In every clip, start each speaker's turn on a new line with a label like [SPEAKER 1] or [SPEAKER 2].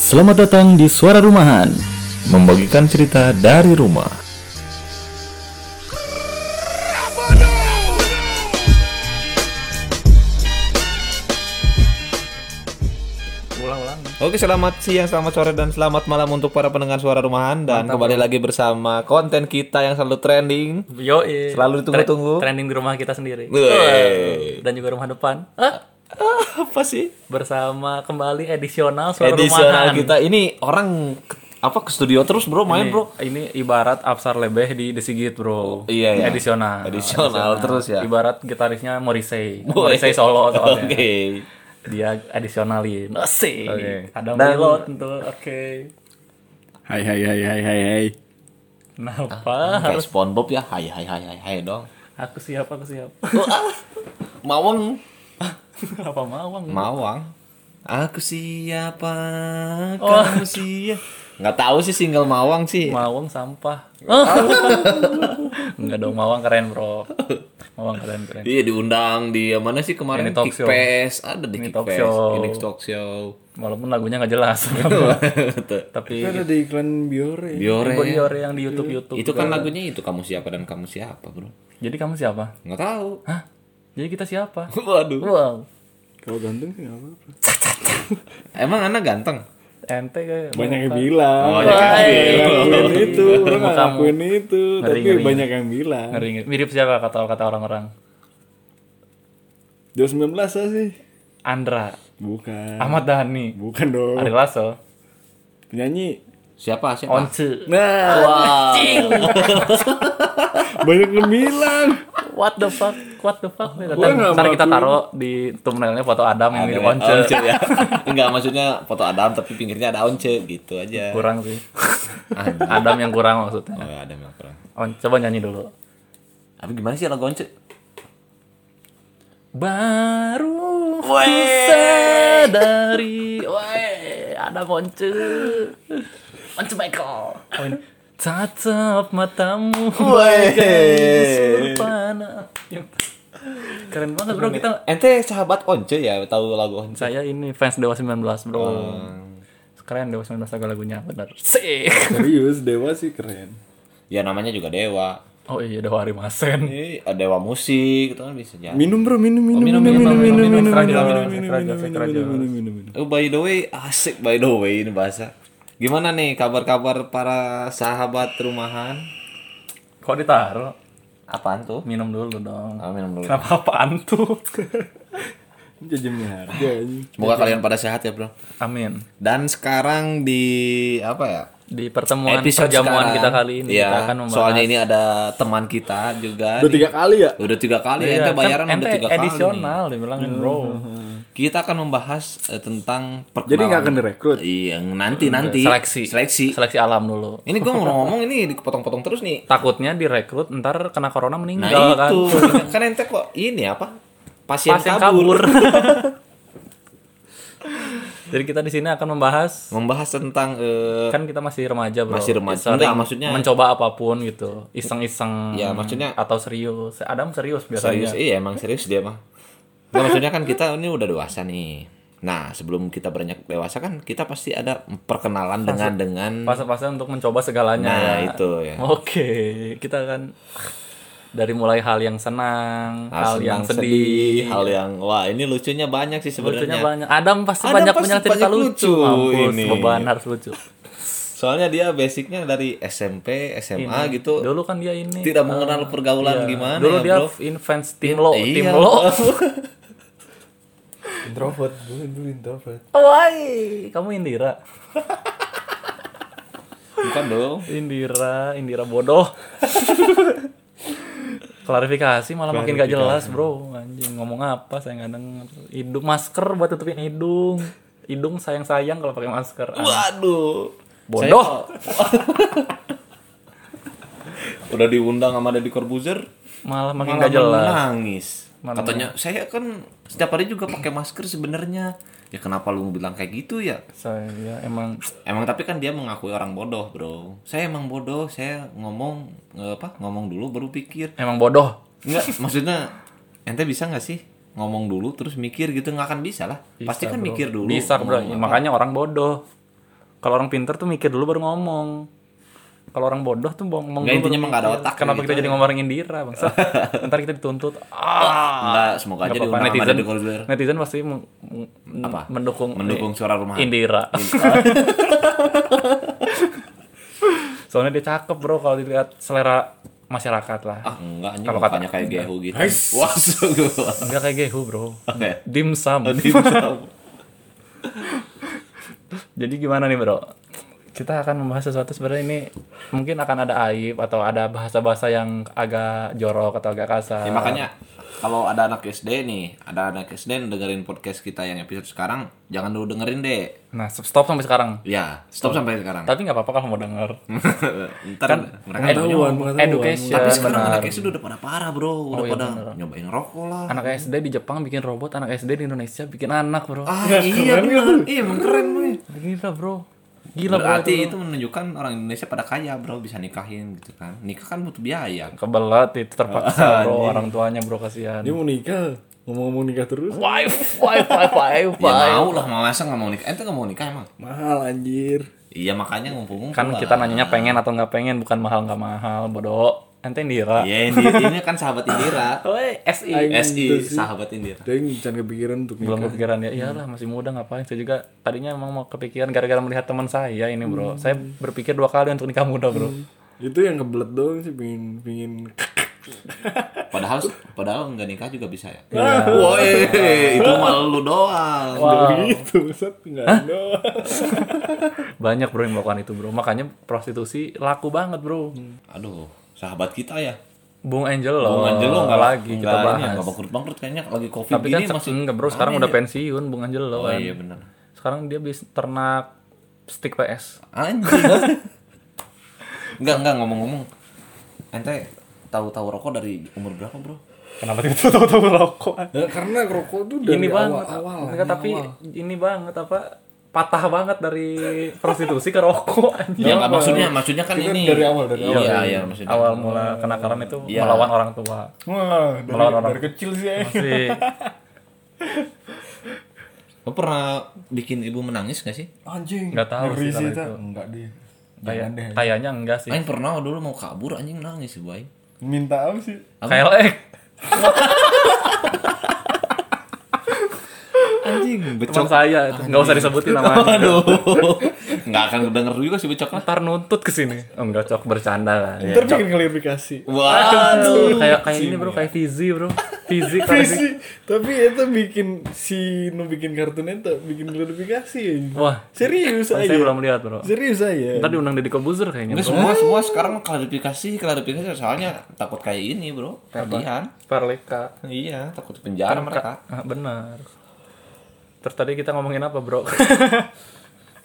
[SPEAKER 1] Selamat datang di Suara Rumahan, membagikan cerita dari rumah.
[SPEAKER 2] Oke, selamat siang, selamat sore, dan selamat malam untuk para pendengar suara rumahan Dan kembali lagi bersama konten kita yang selalu trending
[SPEAKER 3] Yo,
[SPEAKER 2] Selalu ditunggu-tunggu.
[SPEAKER 3] Iya. Trending di rumah kita sendiri.
[SPEAKER 2] Wey.
[SPEAKER 3] Dan juga rumah depan. Ah,
[SPEAKER 2] Apa sih?
[SPEAKER 3] bersama kembali edisional suara
[SPEAKER 2] Edisional gitu.
[SPEAKER 3] rumahan.
[SPEAKER 2] kita ini orang ke- apa ke studio terus bro main bro
[SPEAKER 4] Ini ibarat Absar Lebeh di Desigit bro.
[SPEAKER 2] Iya, iya.
[SPEAKER 3] Ah,
[SPEAKER 4] Edisional.
[SPEAKER 2] Edisional terus ya.
[SPEAKER 4] Ibarat gitarisnya Morrissey.
[SPEAKER 2] Wey.
[SPEAKER 4] Morrissey solo
[SPEAKER 2] Oke.
[SPEAKER 4] soalnya. Dia edisionalin.
[SPEAKER 3] Asik.
[SPEAKER 4] Oke.
[SPEAKER 3] Ada
[SPEAKER 2] Dan-
[SPEAKER 3] pilot tentu. Oke.
[SPEAKER 4] Hai hai hai hai hai hai.
[SPEAKER 3] Kenapa?
[SPEAKER 2] Kayak SpongeBob ya. Hai hai hai hai hai dong.
[SPEAKER 3] Aku siap, aku siap.
[SPEAKER 2] Mawang,
[SPEAKER 3] Apa mawang?
[SPEAKER 2] Mawang. Aku siapa?
[SPEAKER 3] Oh.
[SPEAKER 2] Kamu siapa? Nggak tahu sih single Mawang
[SPEAKER 4] Iya.
[SPEAKER 2] sih.
[SPEAKER 3] Mawang sampah. Oh. Enggak dong, mawang keren, Bro. Mawang keren, keren.
[SPEAKER 2] Iya diundang di mana sih kemarin
[SPEAKER 3] Ini talk
[SPEAKER 2] Kick
[SPEAKER 3] show.
[SPEAKER 2] Fest. ada di
[SPEAKER 3] Ini
[SPEAKER 2] Kick
[SPEAKER 3] talk
[SPEAKER 2] Fest,
[SPEAKER 3] show.
[SPEAKER 2] ini talk show.
[SPEAKER 3] Walaupun lagunya nggak jelas.
[SPEAKER 2] Tuh.
[SPEAKER 3] Tapi
[SPEAKER 4] Ada di ya. iklan Biore.
[SPEAKER 2] Biore.
[SPEAKER 3] Biore yang di YouTube-YouTube.
[SPEAKER 2] Itu kan
[SPEAKER 3] juga.
[SPEAKER 2] lagunya itu kamu siapa dan kamu siapa, Bro?
[SPEAKER 3] Jadi kamu siapa?
[SPEAKER 2] Nggak tahu.
[SPEAKER 3] Hah? Jadi kita siapa?
[SPEAKER 2] Waduh.
[SPEAKER 3] Wow.
[SPEAKER 4] Kalau ganteng sih apa?
[SPEAKER 2] Emang anak ganteng?
[SPEAKER 3] Ente kayak
[SPEAKER 4] Banyak yang bilang.
[SPEAKER 2] Oh, ya kan.
[SPEAKER 4] Ngakuin itu, orang nggak
[SPEAKER 3] Kamu.
[SPEAKER 4] ngakuin itu,
[SPEAKER 3] Ngeri,
[SPEAKER 4] tapi
[SPEAKER 3] ngeri.
[SPEAKER 4] banyak yang bilang.
[SPEAKER 3] Ngeri, ngeri. Mirip siapa kata kata orang-orang?
[SPEAKER 4] Jauh 19 lah sih.
[SPEAKER 3] Andra,
[SPEAKER 4] Bukan.
[SPEAKER 3] Ahmad Dhani,
[SPEAKER 4] Bukan dong.
[SPEAKER 3] Ari Lasso,
[SPEAKER 4] Penyanyi.
[SPEAKER 2] Siapa? Siapa?
[SPEAKER 3] Once.
[SPEAKER 4] Nah,
[SPEAKER 2] Wah.
[SPEAKER 4] banyak yang bilang.
[SPEAKER 3] What the fuck? What the fuck? Ntar,
[SPEAKER 4] Gua nggak
[SPEAKER 3] ntar kita
[SPEAKER 4] ngakuin.
[SPEAKER 3] taruh di thumbnailnya foto Adam yang mirip Once.
[SPEAKER 2] Once ya. Enggak maksudnya foto Adam tapi pinggirnya ada Once gitu aja.
[SPEAKER 3] Kurang sih. Adam yang kurang maksudnya.
[SPEAKER 2] Oh, ada yang kurang.
[SPEAKER 3] Once, coba nyanyi dulu.
[SPEAKER 2] Tapi gimana sih lagu Once?
[SPEAKER 3] Baru ku sadari Weh, ada Once Once Michael Oh, ini. Tatap matamu bagaikan busur panah. Keren banget bro kita
[SPEAKER 2] Ente sahabat Once ya, tahu lagu Once.
[SPEAKER 3] Saya ini fans Dewa 19 bro Keren Dewa 19 lagu-lagunya bener Sih
[SPEAKER 4] Serius, Dewa sih keren.
[SPEAKER 2] Ya namanya juga Dewa.
[SPEAKER 3] Oh iya Dewa Arimasen
[SPEAKER 2] Ini ada Dewa musik gitu kan bisa jadi.
[SPEAKER 4] Minum bro, minum, minum, minum, minum, minum, minum, minum, minum, minum, minum, minum,
[SPEAKER 2] Oh by the way, asik by the way ini bahasa. Gimana nih kabar-kabar para sahabat rumahan?
[SPEAKER 3] Kok ditaruh?
[SPEAKER 2] Apaan tuh?
[SPEAKER 3] Minum dulu dong
[SPEAKER 2] Ah, minum dulu.
[SPEAKER 3] Kenapa apaan tuh?
[SPEAKER 4] Jajamnya harga ini.
[SPEAKER 2] Semoga kalian pada sehat ya, Bro.
[SPEAKER 3] Amin
[SPEAKER 2] Dan sekarang di apa ya?
[SPEAKER 3] di pertemuan
[SPEAKER 2] Episode sekarang.
[SPEAKER 3] perjamuan kita kali ini
[SPEAKER 2] Iya,
[SPEAKER 3] kita akan membahas
[SPEAKER 2] soalnya ini ada teman kita juga.
[SPEAKER 4] Udah
[SPEAKER 2] nih.
[SPEAKER 4] tiga kali ya?
[SPEAKER 2] Udah tiga kali
[SPEAKER 3] Iya,
[SPEAKER 2] ente
[SPEAKER 3] kan
[SPEAKER 2] bayaran
[SPEAKER 3] ente
[SPEAKER 2] udah tiga kali. Hmm. nih.
[SPEAKER 3] edisional dibilangin bro
[SPEAKER 2] Kita akan membahas eh, tentang perkenalan.
[SPEAKER 4] Jadi nggak akan direkrut?
[SPEAKER 2] Iya, nanti nanti.
[SPEAKER 3] seleksi
[SPEAKER 2] Seleksi.
[SPEAKER 3] seleksi alam dulu
[SPEAKER 2] Ini gue ngomong-ngomong ini dipotong-potong terus nih.
[SPEAKER 3] takutnya direkrut ntar kena corona
[SPEAKER 2] Nah
[SPEAKER 3] meninggal kan
[SPEAKER 2] itu kan ente kok ini apa pasien,
[SPEAKER 3] pasien
[SPEAKER 2] kabur.
[SPEAKER 3] kabur jadi kita di sini akan membahas
[SPEAKER 2] membahas tentang eh,
[SPEAKER 3] kan kita masih remaja bro
[SPEAKER 2] Masih remaja.
[SPEAKER 3] Sering
[SPEAKER 2] Enggak, maksudnya-
[SPEAKER 3] mencoba apapun gitu iseng-iseng
[SPEAKER 2] Ya, maksudnya-
[SPEAKER 3] atau serius Adam serius
[SPEAKER 2] serius
[SPEAKER 3] biasanya
[SPEAKER 2] iya emang serius dia mah Nah, maksudnya kan kita ini udah dewasa nih nah sebelum kita beranjak dewasa kan kita pasti ada perkenalan dengan dengan
[SPEAKER 3] fase-fase untuk mencoba segalanya
[SPEAKER 2] Nah, itu, ya.
[SPEAKER 3] oke kita kan dari mulai hal yang senang hal,
[SPEAKER 2] senang,
[SPEAKER 3] yang sedih,
[SPEAKER 2] hal yang wah ini lucunya banyak sih
[SPEAKER 3] lucunya
[SPEAKER 2] sebenarnya
[SPEAKER 3] banyak Adam pasti
[SPEAKER 2] Adam
[SPEAKER 3] banyak
[SPEAKER 2] pasti
[SPEAKER 3] punya cerita
[SPEAKER 2] banyak
[SPEAKER 3] lucu,
[SPEAKER 2] lucu
[SPEAKER 3] mampus
[SPEAKER 2] ini.
[SPEAKER 3] beban harus lucu
[SPEAKER 2] soalnya dia basicnya dari SMP SMA gitu
[SPEAKER 3] dulu kan dia ini iya.
[SPEAKER 2] tidak mengenal pergaulan gimana ya,
[SPEAKER 3] dulu dia
[SPEAKER 2] bro
[SPEAKER 3] in fans tim lo
[SPEAKER 2] Iya.
[SPEAKER 3] tim lo
[SPEAKER 4] Introvert, gue dulu introvert.
[SPEAKER 3] woi kamu Indira
[SPEAKER 2] bukan dong
[SPEAKER 3] Indira Indira bodoh klarifikasi malah makin gak jelas bro anjing ngomong apa saya nggak denger hidung masker buat tutupin hidung hidung sayang sayang kalau pakai masker Ah,
[SPEAKER 2] waduh
[SPEAKER 3] bodoh
[SPEAKER 2] udah diundang sama Deddy Corbuzier
[SPEAKER 3] malah makin
[SPEAKER 2] malah
[SPEAKER 3] gak jelas
[SPEAKER 2] menangis
[SPEAKER 3] Malah
[SPEAKER 2] katanya saya kan setiap hari juga pakai masker sebenarnya ya kenapa lu bilang kayak gitu ya
[SPEAKER 3] saya emang
[SPEAKER 2] emang tapi kan dia mengakui orang bodoh bro saya emang bodoh saya ngomong eh, apa ngomong dulu baru pikir
[SPEAKER 3] emang bodoh
[SPEAKER 2] enggak maksudnya ente bisa nggak sih ngomong dulu terus mikir gitu nggak akan bisa lah pasti kan mikir dulu
[SPEAKER 3] bisa bro
[SPEAKER 2] ngomong apa.
[SPEAKER 3] makanya orang bodoh Kalau orang pinter tuh mikir dulu baru ngomong. Kalau orang bodoh tuh bohong ngomong
[SPEAKER 2] Nggak,
[SPEAKER 3] dulu
[SPEAKER 2] intinya
[SPEAKER 3] baru
[SPEAKER 2] emang nggak ada
[SPEAKER 3] mikir.
[SPEAKER 2] otak,
[SPEAKER 3] Kenapa
[SPEAKER 2] gitu
[SPEAKER 3] kita jadi
[SPEAKER 2] aja.
[SPEAKER 3] ngomongin Indira, Bangsa? Ntar kita dituntut. Ah.
[SPEAKER 2] Enggak, semoga aja
[SPEAKER 3] Nggak apa-apa,
[SPEAKER 2] diundang sama
[SPEAKER 3] netizen,
[SPEAKER 2] Deddy Corbuzier.
[SPEAKER 3] netizen pasti meng- m-
[SPEAKER 2] Apa?
[SPEAKER 3] mendukung
[SPEAKER 2] Mendukung suara rumahan.
[SPEAKER 3] Indira. Soalnya dia cakep, Bro, kalau dilihat selera masyarakat lah.
[SPEAKER 2] Ah, enggak anjing
[SPEAKER 3] Kalau kata-
[SPEAKER 2] mukanya kayak Gehu gitu.
[SPEAKER 4] Hais.
[SPEAKER 2] Wah, sungguh.
[SPEAKER 3] Enggak kayak Gehu, Bro.
[SPEAKER 2] Oke.
[SPEAKER 3] Dimsum.
[SPEAKER 2] Oh,
[SPEAKER 3] Jadi gimana nih bro? Kita akan membahas sesuatu sebenarnya ini mungkin akan ada aib atau ada bahasa-bahasa yang agak jorok atau agak kasar.
[SPEAKER 2] Ya, makanya kalau ada anak SD nih, ada anak SD yang dengerin podcast kita yang episode sekarang, jangan dulu dengerin deh.
[SPEAKER 3] Nah stop sampai sekarang.
[SPEAKER 2] Ya, stop sampai sekarang.
[SPEAKER 3] Oh. Tapi nggak apa-apa kalau mau denger.
[SPEAKER 2] Ntar mereka nyoba.
[SPEAKER 3] Edu-
[SPEAKER 4] Pengetahuan, pengetahuan.
[SPEAKER 3] education.
[SPEAKER 2] Tapi sekarang
[SPEAKER 3] ya, benar.
[SPEAKER 2] anak SD udah pada parah bro, udah
[SPEAKER 3] iya,
[SPEAKER 2] pada
[SPEAKER 3] benar. Kan
[SPEAKER 2] nyobain rokok lah.
[SPEAKER 3] Anak SD di Jepang bikin robot, anak SD di Indonesia bikin anak bro.
[SPEAKER 2] Ah iya
[SPEAKER 3] gitu.
[SPEAKER 2] bener, iya emang keren nih.
[SPEAKER 3] Gila bro. Gila bro.
[SPEAKER 2] Berarti itu menunjukkan orang Indonesia pada kaya bro, bisa nikahin gitu kan. Nikah kan butuh biaya.
[SPEAKER 3] Kebelet itu
[SPEAKER 2] Ah,
[SPEAKER 3] terpaksa bro orang tuanya bro kasihan.
[SPEAKER 4] Dia mau nikah, ngomong-ngomong nikah terus.
[SPEAKER 3] Wife, wife, wife, wife,
[SPEAKER 2] Ya
[SPEAKER 3] wife.
[SPEAKER 2] mau lah, mau masa nggak mau nikah? Ente nggak mau nikah emang?
[SPEAKER 4] Mahal anjir.
[SPEAKER 2] Iya makanya ngumpul-ngumpul
[SPEAKER 3] Kan
[SPEAKER 2] lah.
[SPEAKER 3] kita nanyanya pengen atau nggak pengen, bukan mahal nggak mahal, bodoh. Ente Indira.
[SPEAKER 2] Iya, Indi- ini kan sahabat Indira.
[SPEAKER 3] Woi, SI.
[SPEAKER 2] SI, sahabat Indira.
[SPEAKER 4] Dia jangan kepikiran untuk nikah.
[SPEAKER 3] belum kepikiran ya iyalah masih muda ngapain saya juga tadinya emang mau kepikiran gara-gara melihat teman saya ini bro saya berpikir dua kali untuk nikah muda bro
[SPEAKER 4] Itu yang kebelet doang sih pingin pingin
[SPEAKER 2] Padahal padahal nggak nikah juga bisa ya.
[SPEAKER 3] Iya.
[SPEAKER 2] Woi, itu malu lu doang.
[SPEAKER 4] gitu, Ustaz. Enggak ada.
[SPEAKER 3] banyak bro yang melakukan itu bro makanya prostitusi laku banget bro
[SPEAKER 2] Aduh, sahabat kita ya.
[SPEAKER 3] Bung Angel loh
[SPEAKER 2] Bung Angelo nggak
[SPEAKER 3] Oh, lagi kita
[SPEAKER 2] nggak ini ya,
[SPEAKER 3] bahas
[SPEAKER 2] nggak bangkrut bangkrut kayaknya lagi covid
[SPEAKER 3] tapi kan
[SPEAKER 2] gini masih.
[SPEAKER 3] masih enggak bro sekarang
[SPEAKER 2] aneh
[SPEAKER 3] udah
[SPEAKER 2] ya.
[SPEAKER 3] pensiun Bung Angel loh
[SPEAKER 2] Oh
[SPEAKER 3] kan.
[SPEAKER 2] iya benar.
[SPEAKER 3] sekarang dia bis ternak stick PS
[SPEAKER 2] Anjing. enggak enggak ngomong-ngomong. Ente tahu-tahu rokok dari umur berapa bro?
[SPEAKER 3] kenapa tiba tahu-tahu rokok
[SPEAKER 4] Ya, karena rokok tuh dari
[SPEAKER 3] ini banget
[SPEAKER 4] awal-awal.
[SPEAKER 3] enggak tapi ini banget apa patah banget dari prostitusi ke rokok anjing.
[SPEAKER 2] Ya nggak maksudnya maksudnya kan
[SPEAKER 4] Kita
[SPEAKER 2] ini.
[SPEAKER 4] dari awal, dari
[SPEAKER 2] iya,
[SPEAKER 4] awal.
[SPEAKER 2] Iya iya maksudnya.
[SPEAKER 3] awal mula kenakalan itu
[SPEAKER 2] Iya.
[SPEAKER 3] melawan orang tua
[SPEAKER 4] Wah, dari,
[SPEAKER 3] Melawan orang.
[SPEAKER 4] dari kecil sih. eh.
[SPEAKER 3] masih
[SPEAKER 2] Lo pernah bikin ibu menangis gak sih?
[SPEAKER 4] Anjing.
[SPEAKER 3] Nggak tahu
[SPEAKER 4] ngeri
[SPEAKER 3] sih kalau
[SPEAKER 4] Ta.
[SPEAKER 3] itu.
[SPEAKER 4] Enggak deh.
[SPEAKER 3] kayak
[SPEAKER 4] Jangan deh.
[SPEAKER 2] ya.
[SPEAKER 3] kayaknya enggak sih
[SPEAKER 2] Aing pernah dulu mau kabur anjing nangis ibu Aing.
[SPEAKER 4] Minta apa sih?
[SPEAKER 3] KLX
[SPEAKER 2] Anjing
[SPEAKER 3] teman saya itu nggak usah disebutin namanya
[SPEAKER 2] Aduh. Nggak akan denger juga sih becoknya.
[SPEAKER 3] ntar nuntut ke sini oh, enggak cok bercanda lah Ya,
[SPEAKER 4] Ntar pengen
[SPEAKER 3] Iya
[SPEAKER 4] klarifikasi.
[SPEAKER 2] Waduh.
[SPEAKER 3] kayak kayak ini bro
[SPEAKER 2] ya.
[SPEAKER 3] kayak Fizi bro Fizi
[SPEAKER 4] Visi,
[SPEAKER 3] klarifikasi
[SPEAKER 4] Iya tapi itu bikin si nu bikin kartunnya itu bikin klarifikasi. ya.
[SPEAKER 3] wah
[SPEAKER 4] Serius aja.
[SPEAKER 3] saya belum lihat bro
[SPEAKER 4] Serius aja.
[SPEAKER 3] ntar diundang Deddy Kobuzer kayaknya
[SPEAKER 2] Ini semua semua sekarang klarifikasi klarifikasi soalnya takut kayak ini bro. Kalian.
[SPEAKER 3] Perleka
[SPEAKER 2] Iya takut penjara mereka.
[SPEAKER 3] ah, benar terus tadi kita ngomongin apa bro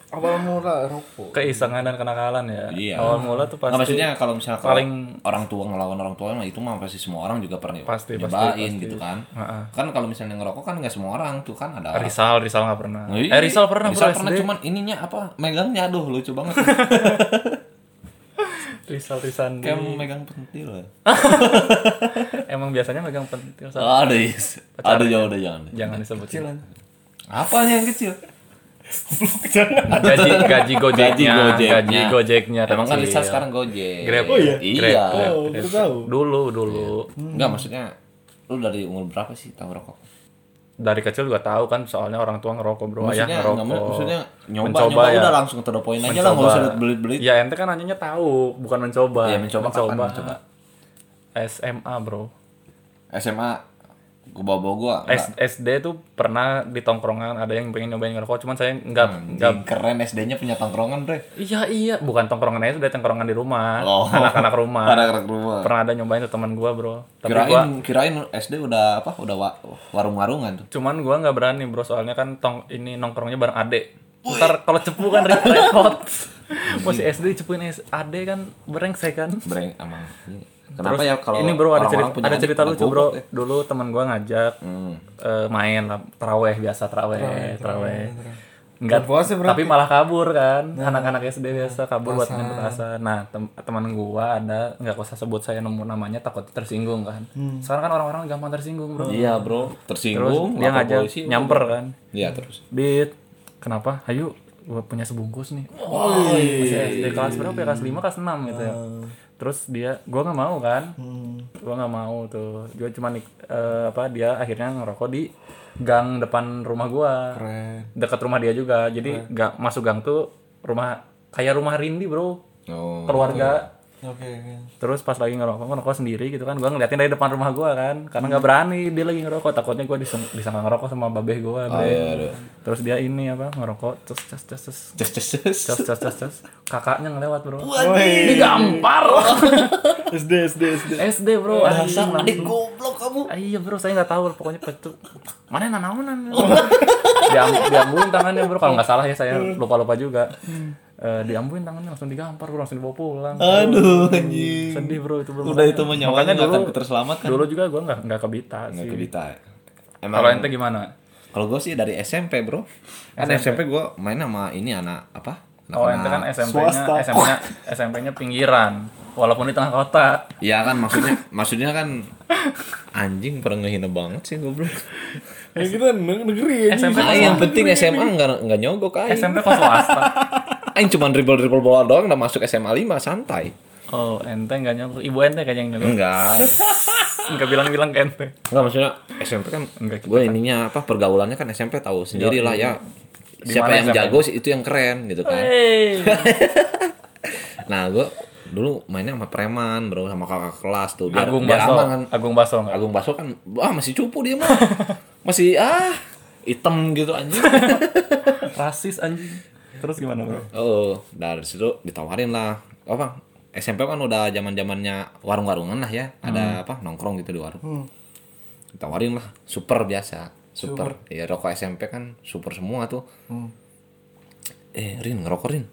[SPEAKER 4] Awal mula rokok.
[SPEAKER 3] keisengan dan kenakalan ya
[SPEAKER 2] Iya.
[SPEAKER 3] awal mula tuh
[SPEAKER 2] Nggak
[SPEAKER 3] pasti
[SPEAKER 2] maksudnya kalau misalnya kalau
[SPEAKER 3] paling-
[SPEAKER 2] orang tua ngelawan orang tua mah itu mah pasti semua orang juga pernah
[SPEAKER 3] Pasti, pasti,
[SPEAKER 2] nyobain
[SPEAKER 3] pasti.
[SPEAKER 2] gitu kan.
[SPEAKER 3] Ha-ha.
[SPEAKER 2] Kan kalau misalnya ngerokok kan nggak semua orang tuh kan ada. orang-
[SPEAKER 3] Rizal Rizal nggak pernah
[SPEAKER 2] Ih,
[SPEAKER 3] eh Rizal pernah
[SPEAKER 2] Oh, iya. Rizal
[SPEAKER 3] bro
[SPEAKER 2] pernah
[SPEAKER 3] SD.
[SPEAKER 2] cuman ininya apa megangnya aduh lucu banget
[SPEAKER 3] Rizal Rizandi
[SPEAKER 2] kayak megang pentil ya.
[SPEAKER 3] Emang biasanya megang pentil Sal.
[SPEAKER 2] Ada yes. Ada jauh ada iya, jangan.
[SPEAKER 3] Jangan disebutin.
[SPEAKER 2] Apa yang kecil?
[SPEAKER 3] Gaji gaji
[SPEAKER 2] Gaji
[SPEAKER 3] gojeknya, gaji
[SPEAKER 2] Gojeknya.
[SPEAKER 3] gojeknya,
[SPEAKER 2] Emang kan
[SPEAKER 3] kecil.
[SPEAKER 2] Lisa sekarang Gojek.
[SPEAKER 3] Grab.
[SPEAKER 2] Oh iya. Iya.
[SPEAKER 3] Grab, Grab.
[SPEAKER 4] Oh, baru tahu.
[SPEAKER 3] Dulu dulu
[SPEAKER 2] Enggak maksudnya lu dari umur berapa sih tahu rokok?
[SPEAKER 3] dari kecil juga tahu kan soalnya orang tua ngerokok bro,
[SPEAKER 2] Maksudnya
[SPEAKER 3] ayah Oh, iya, ngerokok.
[SPEAKER 2] enggak mau- maksudnya nyoba
[SPEAKER 3] Mencoba
[SPEAKER 2] nyoba
[SPEAKER 3] ya.
[SPEAKER 2] udah langsung to the point aja lah enggak usah belit-belit.
[SPEAKER 3] Ya ente kan nanyanya tahu, bukan mencoba.
[SPEAKER 2] Iya, mencoba kapan mencoba?
[SPEAKER 3] SMA bro.
[SPEAKER 2] SMA gua bawa gua.
[SPEAKER 3] S- SD tuh pernah di tongkrongan ada yang pengen nyobain ngerokok, cuman saya nggak nggak
[SPEAKER 2] Enggak keren SD-nya punya tongkrongan, Bre.
[SPEAKER 3] Iya iya, bukan tongkrongan aja sudah tongkrongan di rumah,
[SPEAKER 2] Oh.
[SPEAKER 3] anak-anak rumah.
[SPEAKER 2] Anak-anak rumah.
[SPEAKER 3] Pernah ada nyobain tuh teman gua, Bro. Tapi gua
[SPEAKER 2] Kirain kirain SD udah apa? Udah wa- warung-warungan tuh.
[SPEAKER 3] cuman gua nggak berani, Bro, soalnya kan tong ini nongkrongnya bareng Ade. Ntar kalau cepu kan re- repot. Masih SD cepuin es- Ade kan berengsek kan.
[SPEAKER 2] Breng emang. Kenapa ya kalau
[SPEAKER 3] ini bro ada
[SPEAKER 2] orang-orang
[SPEAKER 3] cerita
[SPEAKER 2] punya
[SPEAKER 3] ada
[SPEAKER 2] adik
[SPEAKER 3] cerita
[SPEAKER 2] pada
[SPEAKER 3] lucu
[SPEAKER 2] goblok
[SPEAKER 3] bro
[SPEAKER 2] ya? Hmm.
[SPEAKER 3] dulu teman gua ngajak eh, main lah traweh biasa traweh traweh Enggak, tapi malah kabur kan anak-anak SD biasa kabur buat main petasan nah tem- teman gua ada nggak usah sebut saya nemu namanya takut tersinggung kan sekarang kan orang-orang gampang tersinggung bro
[SPEAKER 2] Iya, Bro.
[SPEAKER 3] terus
[SPEAKER 2] Tersinggung,
[SPEAKER 3] dia
[SPEAKER 2] lapor
[SPEAKER 3] ngajak
[SPEAKER 2] polisi.
[SPEAKER 3] nyamper kan
[SPEAKER 2] Iya, terus.
[SPEAKER 3] Bit, kenapa? Ayo, gua punya sebungkus nih. Wah, dari kelas berapa ya? Kelas 5, kelas 6 gitu ya.
[SPEAKER 2] Ah.
[SPEAKER 3] Terus dia, gua nggak mau kan,
[SPEAKER 2] Hmm.
[SPEAKER 3] gua nggak mau tuh. Gua cuma nik- eh, apa? Dia akhirnya ngerokok di gang depan rumah gua,
[SPEAKER 4] Keren.
[SPEAKER 3] dekat rumah dia juga. Jadi nggak masuk gang tuh rumah kayak rumah Rindi bro,
[SPEAKER 2] Oh.
[SPEAKER 3] keluarga.
[SPEAKER 4] Oke. oke.
[SPEAKER 3] Terus pas lagi ngerokok, ngerokok sendiri gitu kan. Gua ngeliatin dari depan rumah gua kan. Karena nggak berani dia lagi ngerokok, takutnya gua diseng- disangka ngerokok sama babeh gua.
[SPEAKER 2] Oh,
[SPEAKER 3] Bre.
[SPEAKER 2] iya,
[SPEAKER 3] Terus dia ini apa ngerokok, terus terus terus terus
[SPEAKER 2] Ces ces ces.
[SPEAKER 3] terus terus terus, terus. kakaknya ngelewat, Bro. Digampar.
[SPEAKER 4] SD SD SD.
[SPEAKER 3] SD, Bro. Anjing, langsung.
[SPEAKER 2] goblok kamu.
[SPEAKER 3] Ah, Iya, Bro, saya nggak tahu pokoknya petu. Mana nanaonan. Diam diambuin tangannya, Bro. Kalau nggak salah ya saya
[SPEAKER 4] Hmm.
[SPEAKER 3] lupa-lupa juga. Eh, diambuin tangannya langsung digampar, bro. langsung dibawa pulang. Hmm,
[SPEAKER 4] Aduh anjing.
[SPEAKER 3] Sedih, Bro, itu Bro.
[SPEAKER 4] Udah itu menyawanya
[SPEAKER 3] Makanya
[SPEAKER 4] nggak akan
[SPEAKER 3] dulu-
[SPEAKER 4] terselamatkan.
[SPEAKER 3] Dulu juga gue nggak nggak kebita sih.
[SPEAKER 2] Kebita. Emang
[SPEAKER 3] Kalau ente gimana?
[SPEAKER 2] Kalau gue sih dari SMP bro. Kan SMP, gue main sama ini anak apa? Anak
[SPEAKER 3] Kalau ente kan SMP-nya
[SPEAKER 4] Swasta.
[SPEAKER 3] SMP-nya SMP-nya pinggiran, walaupun di tengah kota.
[SPEAKER 4] Hmm,
[SPEAKER 2] Iya kan maksudnya maksudnya kan anjing pernah ngehina banget sih goblok.
[SPEAKER 4] Ya kita neg- negeri ya.
[SPEAKER 3] SMP
[SPEAKER 2] Nah, yang penting SMA enggak enggak nyogok aing.
[SPEAKER 3] SMP kok swasta.
[SPEAKER 2] Aing cuma dribble-dribble bola doang udah masuk SMA 5 santai.
[SPEAKER 3] Oh, ente nggak nyogok. Ibu ente kayaknya yang nyogok.
[SPEAKER 2] Enggak.
[SPEAKER 4] Hmm.
[SPEAKER 3] Nggak bilang-bilang ke ente.
[SPEAKER 2] Enggak maksudnya SMP kan
[SPEAKER 3] Enggak,
[SPEAKER 2] gue ininya apa pergaulannya kan SMP tahu sendiri lah ya. Siapa
[SPEAKER 3] mana
[SPEAKER 2] yang
[SPEAKER 3] SMP?
[SPEAKER 2] jago sih itu yang keren gitu kan. Nah, gue dulu mainnya sama preman, bro, sama kakak kelas tuh. Biar,
[SPEAKER 3] Agung
[SPEAKER 2] biar
[SPEAKER 3] Baso.
[SPEAKER 2] aman kan.
[SPEAKER 3] Agung Baso nggak?
[SPEAKER 2] Agung Baso kan ah masih cupu dia mah. masih ah hitam gitu anjing.
[SPEAKER 3] Rasis anjing.
[SPEAKER 4] Terus gimana bro?
[SPEAKER 2] oh, dari situ ditawarin lah. Apa? SMP kan udah zaman-zamannya warung-warungan lah ya. Ada apa? Nongkrong gitu di warung. Ditawarin lah super biasa. Super. Ya rokok SMP kan super semua tuh. Eh, Rin ngerokok Rin.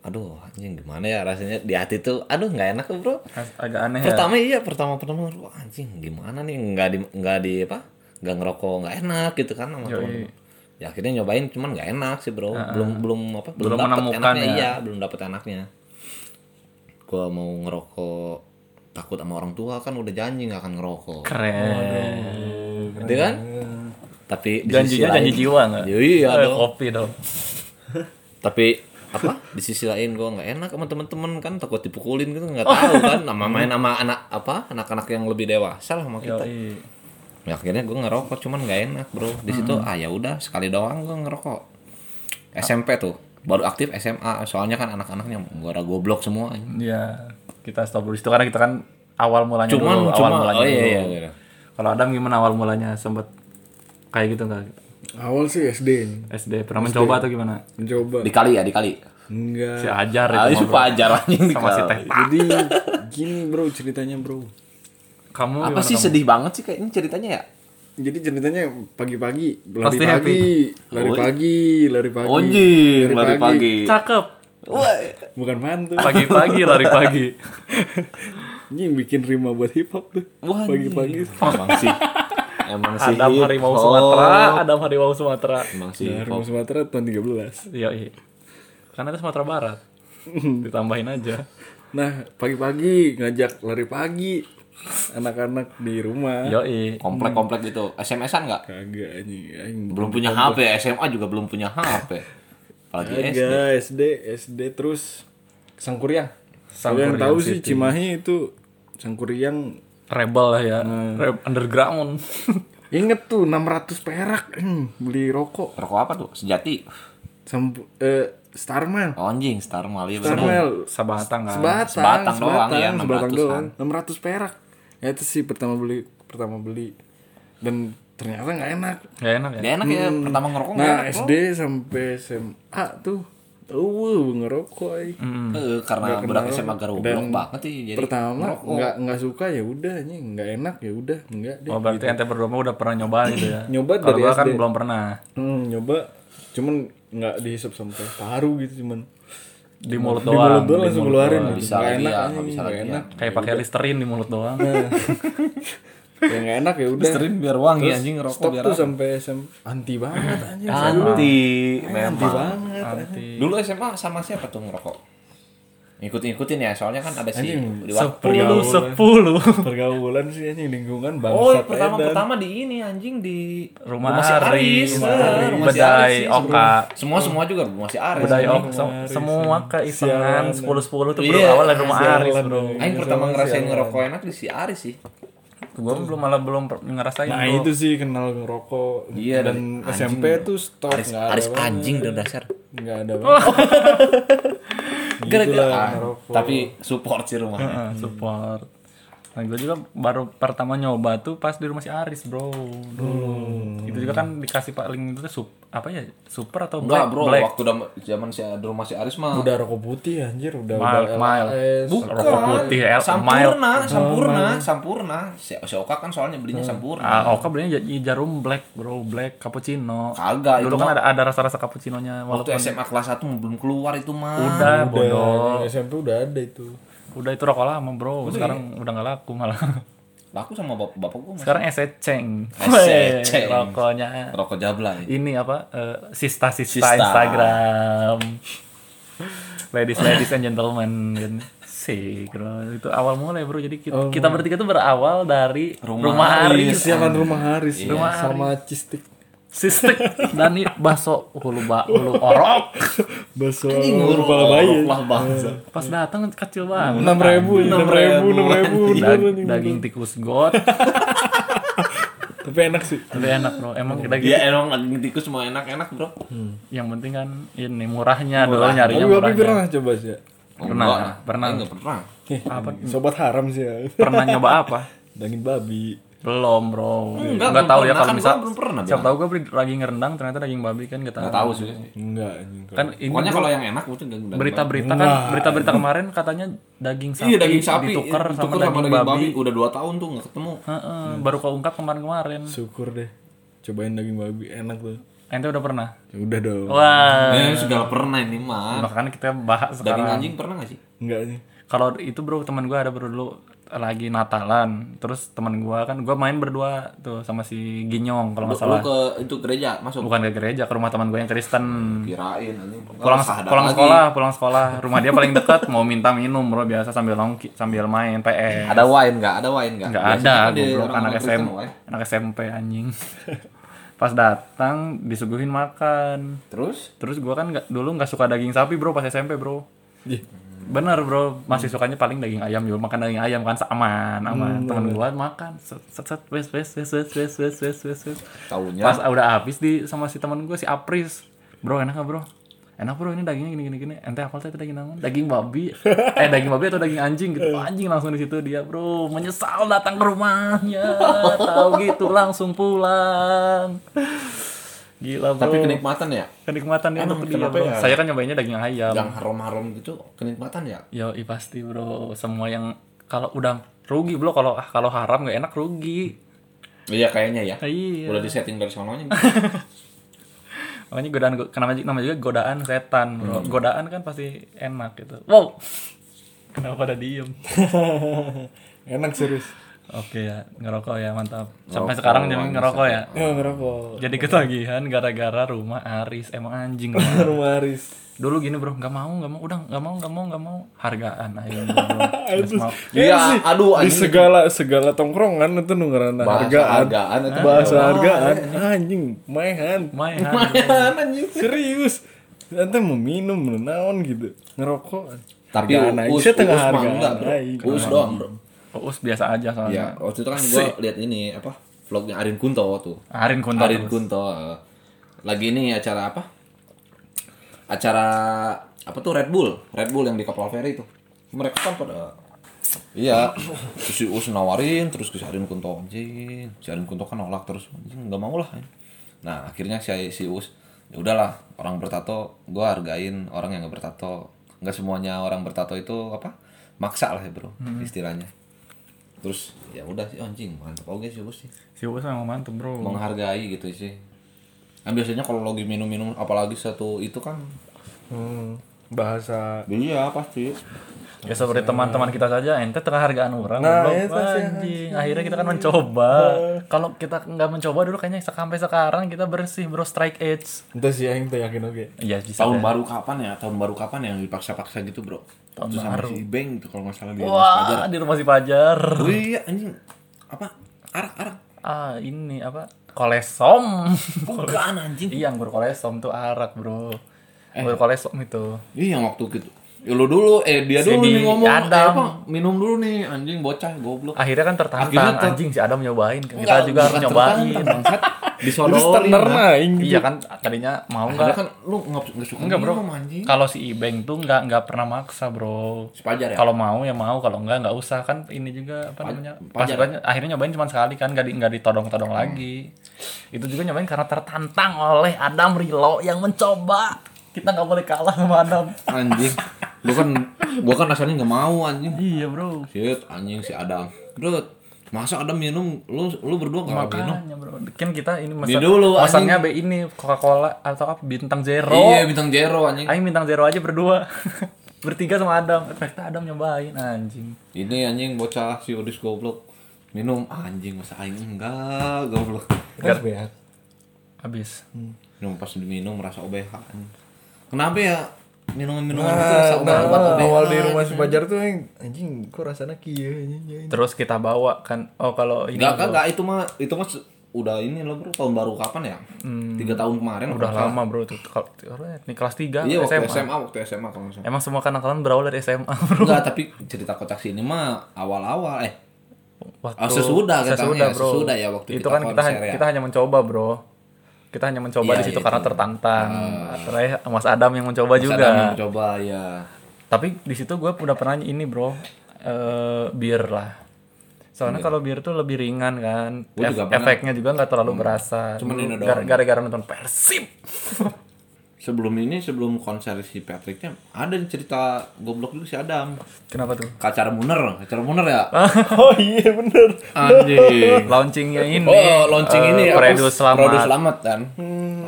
[SPEAKER 2] Aduh, anjing gimana ya rasanya di hati tuh. Aduh, nggak enak tuh, Bro.
[SPEAKER 3] Ras- Agak aneh ya.
[SPEAKER 2] pertama iya pertama pertama wah anjing gimana nih nggak di nggak di apa nggak ngerokok nggak enak gitu kan sama temen ya akhirnya nyobain cuman nggak enak sih bro belum belum apa
[SPEAKER 3] Belum
[SPEAKER 2] dapet
[SPEAKER 3] menemukan
[SPEAKER 2] enaknya,
[SPEAKER 3] ya.
[SPEAKER 2] iya belum dapet enaknya gua mau ngerokok takut sama orang tua kan udah janji nggak akan ngerokok
[SPEAKER 3] Keren.
[SPEAKER 2] gitu kan tapi di sisi
[SPEAKER 3] Janjinya
[SPEAKER 2] lain-
[SPEAKER 3] janji jiwa nggak?
[SPEAKER 2] Iya, iya
[SPEAKER 3] Eh,
[SPEAKER 2] dong.
[SPEAKER 3] Kopi dong.
[SPEAKER 2] tapi apa di sisi lain gua nggak enak sama temen-temen kan takut dipukulin gitu
[SPEAKER 3] Oh.
[SPEAKER 2] nggak tahu kan sama main sama anak apa anak-anak yang lebih dewasa lah sama kita
[SPEAKER 3] Yoi.
[SPEAKER 2] Ya, akhirnya gue ngerokok cuman nggak enak bro di situ ah ya udah sekali doang gue ngerokok SMP tuh baru aktif SMA soalnya kan anak-anaknya gue ada goblok semua
[SPEAKER 3] Iya, kita stop dulu di situ karena kita kan awal mulanya
[SPEAKER 2] Cuman-
[SPEAKER 3] dulu, awal
[SPEAKER 2] cuman-
[SPEAKER 3] mulanya.
[SPEAKER 2] oh iya,
[SPEAKER 3] dulu.
[SPEAKER 2] iya, iya.
[SPEAKER 3] Kalau Adam gimana awal mulanya sempet kayak gitu nggak?
[SPEAKER 4] Awal sih SD nih.
[SPEAKER 3] SD pernah mencoba atau gimana?
[SPEAKER 4] mencoba.
[SPEAKER 2] dikali ya dikali
[SPEAKER 3] Si
[SPEAKER 4] Enggak.
[SPEAKER 3] Ajar
[SPEAKER 2] kali Ah,
[SPEAKER 3] itu ngobrol.
[SPEAKER 2] suka ajarannya
[SPEAKER 3] sama si Teh.
[SPEAKER 4] Jadi gini bro ceritanya bro.
[SPEAKER 3] Kamu
[SPEAKER 2] apa
[SPEAKER 3] gimana
[SPEAKER 2] sih
[SPEAKER 3] kamu?
[SPEAKER 2] sedih banget sih kayaknya ceritanya ya
[SPEAKER 4] Jadi ceritanya pagi-pagi lari
[SPEAKER 3] Pasti happy.
[SPEAKER 4] pagi, lari
[SPEAKER 2] Oh.
[SPEAKER 4] pagi, lari
[SPEAKER 2] Iya,
[SPEAKER 4] pagi.
[SPEAKER 2] anjing lari pagi
[SPEAKER 3] Cakep.
[SPEAKER 4] Bukan mantu.
[SPEAKER 3] Pagi-pagi lari pagi.
[SPEAKER 4] Ini yang bikin rima buat hip hop tuh.
[SPEAKER 2] Wah, anjing.
[SPEAKER 4] Pagi-pagi.
[SPEAKER 2] emang sih emang sih oh.
[SPEAKER 3] Adam
[SPEAKER 2] hip
[SPEAKER 3] harimau
[SPEAKER 2] hop.
[SPEAKER 3] Sumatera, Adam harimau Sumatera.
[SPEAKER 2] emang sih
[SPEAKER 4] Nah,
[SPEAKER 2] hip
[SPEAKER 4] rumah
[SPEAKER 2] hop.
[SPEAKER 4] Sumatera tahun 13.
[SPEAKER 3] Yoi. Karena itu Sumatera Barat.
[SPEAKER 4] Hmm.
[SPEAKER 3] Ditambahin aja.
[SPEAKER 4] Nah, pagi-pagi ngajak lari pagi anak-anak di rumah.
[SPEAKER 3] Yoi.
[SPEAKER 2] komplek-komplek gitu SMS-an nggak
[SPEAKER 4] Kagak anjing. anjing.
[SPEAKER 2] belum punya HP SMA juga belum punya HP apalagi SD
[SPEAKER 4] Kagak SD, SD terus Sangkuriang. Kalau yang
[SPEAKER 3] Sangkuriang
[SPEAKER 4] tahu sih Cimahi itu Sangkuriang
[SPEAKER 3] Rebel lah ya.
[SPEAKER 4] Hmm.
[SPEAKER 3] Reb- underground.
[SPEAKER 4] Ingat tuh 600 perak hmm, beli rokok
[SPEAKER 2] rokok apa tuh sejati
[SPEAKER 4] Sampu, eh, Starmel.
[SPEAKER 2] Oh, anjing Star Mali bener.
[SPEAKER 4] Starmel
[SPEAKER 3] Sebatang kan.
[SPEAKER 4] sebatang,
[SPEAKER 2] sebatang doang ya, 600
[SPEAKER 4] sebatang doang.
[SPEAKER 2] kan.
[SPEAKER 4] 600 perak. Ya itu sih pertama beli pertama beli dan ternyata nggak enak.
[SPEAKER 3] Gak enak ya?
[SPEAKER 2] Gak enak ya pertama ngerokok gak
[SPEAKER 4] Nah,
[SPEAKER 2] enak, bro.
[SPEAKER 4] SD sampai SMA tuh Uh, ngerokok. ay.
[SPEAKER 2] Eh, karena budak SMA garobok banget sih jadi
[SPEAKER 4] pertama nggak nggak suka ya udah anjing, nggak enak ya udah nggak deh.
[SPEAKER 3] Oh
[SPEAKER 4] gitu.
[SPEAKER 3] berarti ente berdua mah udah pernah nyoba gitu ya?
[SPEAKER 4] Nyoba
[SPEAKER 3] Kalau
[SPEAKER 4] dari
[SPEAKER 3] gua kan
[SPEAKER 4] SD.
[SPEAKER 3] belum pernah.
[SPEAKER 4] Hmm, nyoba cuman nggak dihisap sampai paru gitu cuman
[SPEAKER 3] Di mulut
[SPEAKER 4] Hmm. di
[SPEAKER 3] doang.
[SPEAKER 4] mulut doang langsung keluarin
[SPEAKER 2] bisa
[SPEAKER 4] nggak
[SPEAKER 2] lagi
[SPEAKER 4] enak
[SPEAKER 2] ya,
[SPEAKER 4] anjing,
[SPEAKER 2] bisa
[SPEAKER 4] nggak
[SPEAKER 2] lagi ya.
[SPEAKER 4] enak
[SPEAKER 3] Kayak pakai listerin di mulut doang.
[SPEAKER 4] Hmm. ya nggak enak ya udah
[SPEAKER 2] sering biar wangi Iya, anjing
[SPEAKER 4] stop tuh sampai SM anti banget anjing
[SPEAKER 2] Anti
[SPEAKER 4] anti
[SPEAKER 2] memang.
[SPEAKER 4] banget
[SPEAKER 3] Nanti
[SPEAKER 2] Dulu SMA sama siapa tuh ngerokok? Ngikut-ngikutin ya, soalnya kan ada si
[SPEAKER 4] Anjing,
[SPEAKER 2] di waktu.
[SPEAKER 3] Sepuluh, sepuluh.
[SPEAKER 4] pergaulan sih anjing lingkungan bangsat
[SPEAKER 2] Oh, pertama
[SPEAKER 4] edan.
[SPEAKER 2] pertama di ini anjing di
[SPEAKER 3] Rumah
[SPEAKER 2] si
[SPEAKER 3] Aris,
[SPEAKER 2] Aris, eh, rumah si
[SPEAKER 3] Bedai
[SPEAKER 2] Aris sih,
[SPEAKER 3] Oka.
[SPEAKER 2] sebelum- Semua semua juga rumah si Aris.
[SPEAKER 3] Budaya
[SPEAKER 2] anjing.
[SPEAKER 3] ok oh, sem- semua keisengan
[SPEAKER 4] Sialan.
[SPEAKER 3] 10-10 tuh bro
[SPEAKER 2] Iya,
[SPEAKER 3] awal dari rumah Aris bro.
[SPEAKER 2] Aing pertama ngerasain ngerokok enak di si Aris sih.
[SPEAKER 3] Gua belum malah belum per- ngerasain
[SPEAKER 4] Nah
[SPEAKER 3] bro.
[SPEAKER 4] itu sih kenal ngerokok
[SPEAKER 2] Iya,
[SPEAKER 4] dan
[SPEAKER 2] dari
[SPEAKER 4] SMP
[SPEAKER 2] anjing.
[SPEAKER 4] tuh stop
[SPEAKER 2] Aris,
[SPEAKER 4] nggak ada
[SPEAKER 2] Aris
[SPEAKER 4] banget.
[SPEAKER 2] anjing dan dasar.
[SPEAKER 4] nggak ada banget.
[SPEAKER 2] Gara-gara
[SPEAKER 4] lah,
[SPEAKER 2] ah,
[SPEAKER 4] ngerokok.
[SPEAKER 2] tapi support sih rumahnya.
[SPEAKER 3] Heeh, support. Nah, gue juga baru pertama nyoba tuh pas di rumah si Aris, bro.
[SPEAKER 2] Hmm.
[SPEAKER 3] Dulu. Itu juga kan dikasih Pak Link itu tuh sup, apa ya? Super atau
[SPEAKER 2] Enggak,
[SPEAKER 3] black?
[SPEAKER 2] Bro,
[SPEAKER 3] black.
[SPEAKER 2] waktu dam- zaman si di rumah si Aris mah
[SPEAKER 4] udah rokok putih anjir udah
[SPEAKER 3] Mile,
[SPEAKER 4] udah
[SPEAKER 3] mile.
[SPEAKER 4] LS.
[SPEAKER 2] Bukan.
[SPEAKER 3] Rokok putih, L-
[SPEAKER 2] Eh, sampurna, sampurna, sampurna. Si, si Oka kan soalnya belinya sampurna.
[SPEAKER 3] Ah, Oka belinya ja- jarum black, bro. Black cappuccino.
[SPEAKER 2] Kagak, itu
[SPEAKER 3] Dulu
[SPEAKER 2] mah
[SPEAKER 3] kan ada ada rasa-rasa cappuccinonya
[SPEAKER 2] waktu
[SPEAKER 3] Ah, walaupun
[SPEAKER 2] SMA kelas 1 belum keluar itu mah.
[SPEAKER 3] udah
[SPEAKER 4] Udah,
[SPEAKER 3] bodoh.
[SPEAKER 4] SMP udah ada itu
[SPEAKER 3] Udah itu rokok lama, bro.
[SPEAKER 2] iya?
[SPEAKER 3] Sekarang udah nggak laku malah.
[SPEAKER 2] Laku sama bap bapak gua masih
[SPEAKER 3] Sekarang eseceng.
[SPEAKER 2] Eseceng.
[SPEAKER 3] Weh, Rokoknya
[SPEAKER 2] rokok jabla ya.
[SPEAKER 3] ini apa? eh,
[SPEAKER 2] Sista.
[SPEAKER 3] Sista-sista Instagram. ladies ladies and gentlemen kan. Sih, bro. Itu awal mulai, Bro. Jadi kita, kita bertiga tuh berawal dari rumah, Aris.
[SPEAKER 2] Ya.
[SPEAKER 4] sialan Iya, rumah Haris
[SPEAKER 3] Rumah
[SPEAKER 4] sama Cistik
[SPEAKER 3] Sistik dan i- baso hulu oh, ba, hulu orok.
[SPEAKER 4] bakso kepala
[SPEAKER 2] Oh,
[SPEAKER 4] bayi
[SPEAKER 2] Lah bangsa.
[SPEAKER 3] Pas datang kecil banget.
[SPEAKER 4] enam ribu enam ribu enam ribu
[SPEAKER 3] Dag- daging tikus got.
[SPEAKER 4] tapi enak sih
[SPEAKER 3] Tapi enak, Bro. Emang daging
[SPEAKER 2] Iya, emang lagi tikus semua enak-enak, Bro.
[SPEAKER 3] yang penting kan ini murahnya dulu nyarinya
[SPEAKER 4] tapi bapak
[SPEAKER 3] murahnya.
[SPEAKER 4] pernah coba sih ya?
[SPEAKER 3] Pernah,
[SPEAKER 2] Enggak, eh,
[SPEAKER 3] pernah.
[SPEAKER 2] Enggak pernah.
[SPEAKER 4] sobat haram sih ya
[SPEAKER 3] Pernah nyoba apa?
[SPEAKER 4] dagin babi
[SPEAKER 3] Belum bro
[SPEAKER 2] Enggak,
[SPEAKER 3] Nggak
[SPEAKER 2] belum
[SPEAKER 3] tahu ya
[SPEAKER 2] pernah.
[SPEAKER 3] kalau
[SPEAKER 2] Kan
[SPEAKER 3] misal
[SPEAKER 2] gua belum pernah
[SPEAKER 3] Siapa
[SPEAKER 2] bilang.
[SPEAKER 3] tahu gue beli daging rendang ternyata daging babi kan gak tahu.
[SPEAKER 2] Enggak tahu sih.
[SPEAKER 4] enggak anjing
[SPEAKER 3] Kan ini
[SPEAKER 2] Pokoknya
[SPEAKER 3] bro,
[SPEAKER 2] kalau yang enak itu enggak- enggak-
[SPEAKER 3] berita-berita kan berita-berita kemarin katanya daging sapi,
[SPEAKER 2] Iya daging sapi
[SPEAKER 3] ditukar
[SPEAKER 2] eh,
[SPEAKER 3] sama,
[SPEAKER 2] ditukar
[SPEAKER 3] daging, babi.
[SPEAKER 2] udah 2 tahun tuh nggak ketemu.
[SPEAKER 3] Heeh, baru keungkap kemarin-kemarin.
[SPEAKER 4] syukur deh cobain daging babi enak tuh
[SPEAKER 3] Ente udah pernah?
[SPEAKER 4] Ya udah dong
[SPEAKER 3] Oh. Wah.
[SPEAKER 2] Eh segala pernah ini mah.
[SPEAKER 3] Makanya kita bahas
[SPEAKER 2] Daging
[SPEAKER 3] sekarang.
[SPEAKER 2] anjing pernah nggak sih?
[SPEAKER 4] enggak nih
[SPEAKER 3] Kalau itu bro teman gue ada bro dulu lagi Natalan, terus teman gue kan gue main berdua tuh sama si Ginyong kalau
[SPEAKER 2] Lu
[SPEAKER 3] nggak salah.
[SPEAKER 2] ke itu gereja masuk.
[SPEAKER 3] Bukan ke gereja, ke rumah teman gue yang Kristen.
[SPEAKER 2] Kirain anjing.
[SPEAKER 3] pulang
[SPEAKER 2] Sadar
[SPEAKER 3] pulang
[SPEAKER 2] lagi.
[SPEAKER 3] sekolah pulang sekolah rumah dia paling dekat mau minta minum bro biasa sambil nongki sambil main PS
[SPEAKER 2] Ada wine nggak? Ada wine nggak?
[SPEAKER 3] nggak
[SPEAKER 2] Biasanya
[SPEAKER 3] ada
[SPEAKER 2] kan di
[SPEAKER 3] goblok
[SPEAKER 2] orang-orang
[SPEAKER 3] anak
[SPEAKER 2] Kristen, ya.
[SPEAKER 3] SMP
[SPEAKER 2] wine.
[SPEAKER 3] anak SMP anjing pas datang disuguhin makan
[SPEAKER 2] Terus?
[SPEAKER 3] terus gua kan nggak dulu nggak suka daging sapi bro pas SMP bro bener bro masih sukanya paling daging ayam juga makan daging ayam kan aman aman temen gua makan set set set wes wes wes wes wes wes wes wes wes
[SPEAKER 2] Tahunya
[SPEAKER 3] Pas udah habis di sama si teman gue si Apris. Bro, enak gak bro? Enak bro, ini dagingnya gini gini gini. Ente apa tadi daging naon? Daging babi. Eh, daging babi atau daging anjing gitu.
[SPEAKER 2] Eh.
[SPEAKER 3] Oh, anjing langsung di situ dia, bro. Menyesal datang ke rumahnya. Tahu gitu langsung pulang. Gila, bro.
[SPEAKER 2] tapi kenikmatan ya.
[SPEAKER 3] Kenikmatan dia untuk dia, bro. Saya kan nyobainnya daging ayam.
[SPEAKER 2] Yang harum-harum gitu kenikmatan ya.
[SPEAKER 3] Yo, pasti, bro. Semua yang kalau udah rugi, bro. Kalau ah, kalau haram gak enak rugi.
[SPEAKER 2] Iya kayaknya ya.
[SPEAKER 3] Iya.
[SPEAKER 2] Udah di setting dari sononya.
[SPEAKER 3] Makanya godaan kenapa namanya juga godaan setan, bro.
[SPEAKER 2] Hmm.
[SPEAKER 3] Godaan kan pasti enak gitu. Wow. Kenapa pada diem?
[SPEAKER 4] enak serius
[SPEAKER 3] Oke ya, ngerokok ya, mantap. Sampai sekarang jangan ngerokok ya.
[SPEAKER 2] Eh,
[SPEAKER 4] ya ngerokok
[SPEAKER 3] Jadi ketagihan gara-gara rumah Aris emang anjing. Bro.
[SPEAKER 4] rumah Haris
[SPEAKER 3] Dulu gini bro, nggak mau, nggak mau, udah nggak mau, nggak mau, nggak mau. Hargaan ayo bro. Terus mau.
[SPEAKER 2] Iya,
[SPEAKER 4] sih.
[SPEAKER 2] aduh,
[SPEAKER 4] di
[SPEAKER 2] anjing.
[SPEAKER 4] segala segala tongkrongan itu nungeran hargaan.
[SPEAKER 2] hargaan itu.
[SPEAKER 4] Bahasa
[SPEAKER 2] Iya,
[SPEAKER 4] hargaan anjing, maehan.
[SPEAKER 3] Main
[SPEAKER 2] anjing.
[SPEAKER 4] Serius. Ente mau minum mau naon gitu. Ngerokok. Iya, nah,
[SPEAKER 2] Tapi
[SPEAKER 4] Hargaan aja,
[SPEAKER 2] us,
[SPEAKER 4] saya tengah
[SPEAKER 2] us mah
[SPEAKER 4] hargaan
[SPEAKER 2] enggak, bro.
[SPEAKER 4] aja.
[SPEAKER 2] Us doang, bro.
[SPEAKER 3] Uus biasa aja
[SPEAKER 2] Iya,
[SPEAKER 3] soalnya.
[SPEAKER 2] waktu itu kan gue lihat ini apa vlognya Arin Kunto tuh.
[SPEAKER 3] Arin Kunto.
[SPEAKER 2] Arin Kunto eh, lagi ini acara apa? Acara apa tuh Red Bull, Red Bull yang di Kapal Feri itu. Mereka kan pada Iya, terus si Us nawarin, terus ke si Arin Kunto anjing. Si Arin Kunto kan nolak terus, anjing nggak mau lah. Nah, akhirnya si, si Us, ya udahlah, orang bertato, gue hargain orang yang nggak bertato. Nggak semuanya orang bertato itu apa? Maksa lah ya bro, istilahnya. Terus ya udah sih anjing, mantap oke sih Us sih
[SPEAKER 3] Si Uus memang mantep bro.
[SPEAKER 2] menghargai gitu sih. Nah, biasanya kalau lagi minum-minum apalagi satu itu kan
[SPEAKER 4] Hmm, bahasa
[SPEAKER 2] iya pasti.
[SPEAKER 3] Ya seperti teman-teman kita saja, ente tengah hargaan orang.
[SPEAKER 4] Nah,
[SPEAKER 3] goblok.
[SPEAKER 4] iya, pasti.
[SPEAKER 3] anjing. Akhirnya kita kan mencoba. Kalau kita nggak mencoba dulu kayaknya sampai sekarang kita bersih bro strike edge.
[SPEAKER 4] Entah sih aing teh yakin oke.
[SPEAKER 3] Iya bisa.
[SPEAKER 2] Tahun
[SPEAKER 3] deh.
[SPEAKER 2] baru kapan ya? Tahun baru kapan yang dipaksa-paksa gitu, Bro?
[SPEAKER 3] Tahun
[SPEAKER 2] Itu sama
[SPEAKER 3] baru.
[SPEAKER 2] si Beng tuh kalau masalah di Mas Fajar.
[SPEAKER 3] Wah, di rumah si Fajar.
[SPEAKER 2] Oh iya anjing apa arak arak
[SPEAKER 3] Ah, ini apa? Kolesom.
[SPEAKER 2] bukan anjing
[SPEAKER 3] iya, anggur kolesom tuh arak, Bro.
[SPEAKER 2] Eh.
[SPEAKER 3] Anggur kolesom itu.
[SPEAKER 2] iya yang waktu gitu Ya lu dulu, eh dia
[SPEAKER 3] Si
[SPEAKER 2] dulu
[SPEAKER 3] di
[SPEAKER 2] nih ngomong, eh,
[SPEAKER 3] Adam.
[SPEAKER 2] apa, minum dulu nih anjing bocah goblok.
[SPEAKER 3] Akhirnya kan
[SPEAKER 2] Akhirnya
[SPEAKER 3] tertantang
[SPEAKER 2] ter-
[SPEAKER 3] anjing si Adam nyobain. Kita
[SPEAKER 2] Enggak,
[SPEAKER 3] juga harus
[SPEAKER 2] bukan
[SPEAKER 3] nyobain.
[SPEAKER 2] tertantang, bangsat.
[SPEAKER 3] Disodorin.
[SPEAKER 4] Itu standar,
[SPEAKER 3] kan.
[SPEAKER 4] nah, ini.
[SPEAKER 3] Iya kan tadinya mau
[SPEAKER 2] Ada
[SPEAKER 3] enggak?
[SPEAKER 2] kan lu nggak nggak suka
[SPEAKER 3] Enggak, Bro.
[SPEAKER 2] minum anjing.
[SPEAKER 3] Kalau si Ibeng tuh enggak enggak pernah maksa, Bro.
[SPEAKER 2] Sepajar ya.
[SPEAKER 3] Kalau mau ya mau, kalau enggak enggak usah kan ini juga apa namanya? Pas
[SPEAKER 2] Pajar.
[SPEAKER 3] banyak- akhirnya nyobain cuma sekali kan enggak di, enggak ditodong-todong
[SPEAKER 2] Hmm.
[SPEAKER 3] lagi. Itu juga nyobain karena tertantang oleh Adam Rilo yang mencoba. Kita nggak boleh kalah sama Adam.
[SPEAKER 2] anjing. Gua kan gua kan asalnya nggak mau anjing.
[SPEAKER 3] iya, Bro.
[SPEAKER 2] Shit, anjing si Adam. Kedut. Masa Adam minum lu lu berdua enggak minum?
[SPEAKER 3] Makanya, Bro. Kan kita ini
[SPEAKER 2] Di dulu,
[SPEAKER 3] masangnya be ini Coca-Cola atau apa bintang zero.
[SPEAKER 2] Iya, bintang zero anjing.
[SPEAKER 3] Aing bintang zero aja berdua. Bertiga sama Adam. Ternyata Adam nyobain anjing.
[SPEAKER 2] Ini anjing bocah si Odis goblok. Minum anjing masa aing enggak goblok.
[SPEAKER 4] Gar-
[SPEAKER 3] Habis.
[SPEAKER 2] Minum pas diminum merasa OBH. anjing. Kenapa ya minum-minum itu rasa obat-obat OBH?
[SPEAKER 4] Nah, awal di rumah
[SPEAKER 2] Nah,
[SPEAKER 4] si Fajar tuh yang anjing kok rasanya kieu anjing. anjing.
[SPEAKER 3] Terus kita bawa kan. Oh, kalau ini
[SPEAKER 2] Enggak, enggak, enggak, itu mah itu mah se- udah ini loh bro, tahun baru kapan ya?
[SPEAKER 4] Hmm.
[SPEAKER 2] Tiga tahun kemarin
[SPEAKER 3] udah
[SPEAKER 2] apa?
[SPEAKER 3] lama, Bro. Tuh kalau ini kelas 3
[SPEAKER 2] Iya waktu
[SPEAKER 3] SMA.
[SPEAKER 2] SMA, waktu SMA kalau nggak salah.
[SPEAKER 3] Emang semua kanak-kanak berawal dari SMA, Bro.
[SPEAKER 2] Enggak, tapi cerita kocak sini mah awal-awal eh
[SPEAKER 3] Waktu
[SPEAKER 2] Ah, sesudah kita
[SPEAKER 3] sesudah,
[SPEAKER 2] ya,
[SPEAKER 3] Bro.
[SPEAKER 2] sesudah ya waktu kita
[SPEAKER 3] Itu kan kita
[SPEAKER 2] konser
[SPEAKER 3] hanya-
[SPEAKER 2] ya.
[SPEAKER 3] kita hanya mencoba, Bro. Kita hanya mencoba
[SPEAKER 2] Iya,
[SPEAKER 3] di situ
[SPEAKER 2] iya,
[SPEAKER 3] karena
[SPEAKER 2] itu. Ah.
[SPEAKER 3] tertantang. Terakhir Mas Adam yang mencoba
[SPEAKER 4] Iya
[SPEAKER 2] Mas
[SPEAKER 3] juga.
[SPEAKER 2] Adam yang coba ya.
[SPEAKER 3] Tapi di situ gue udah pernah ini bro, eh bir lah. Soalnya kalau bir tuh lebih ringan kan,
[SPEAKER 2] Iya. Gua
[SPEAKER 3] Ef-
[SPEAKER 2] juga pernah. Hmm.
[SPEAKER 3] efeknya juga nggak terlalu berasa.
[SPEAKER 2] Cuman
[SPEAKER 3] Dulu
[SPEAKER 2] ini doang.
[SPEAKER 3] gar- Gara-gara nonton Persib.
[SPEAKER 2] Sebelum ini sebelum konser si Patricknya ada nih cerita goblok juga si Adam.
[SPEAKER 3] Kenapa tuh?
[SPEAKER 2] Kacar Muner, Kacar Muner ya.
[SPEAKER 4] Oh iya bener.
[SPEAKER 3] Iya.
[SPEAKER 2] Anjing.
[SPEAKER 3] Launchingnya ini.
[SPEAKER 2] Oh, launching
[SPEAKER 3] eh,
[SPEAKER 2] ini ya. apa?
[SPEAKER 3] Produce selamat.
[SPEAKER 2] Produce selamat kan.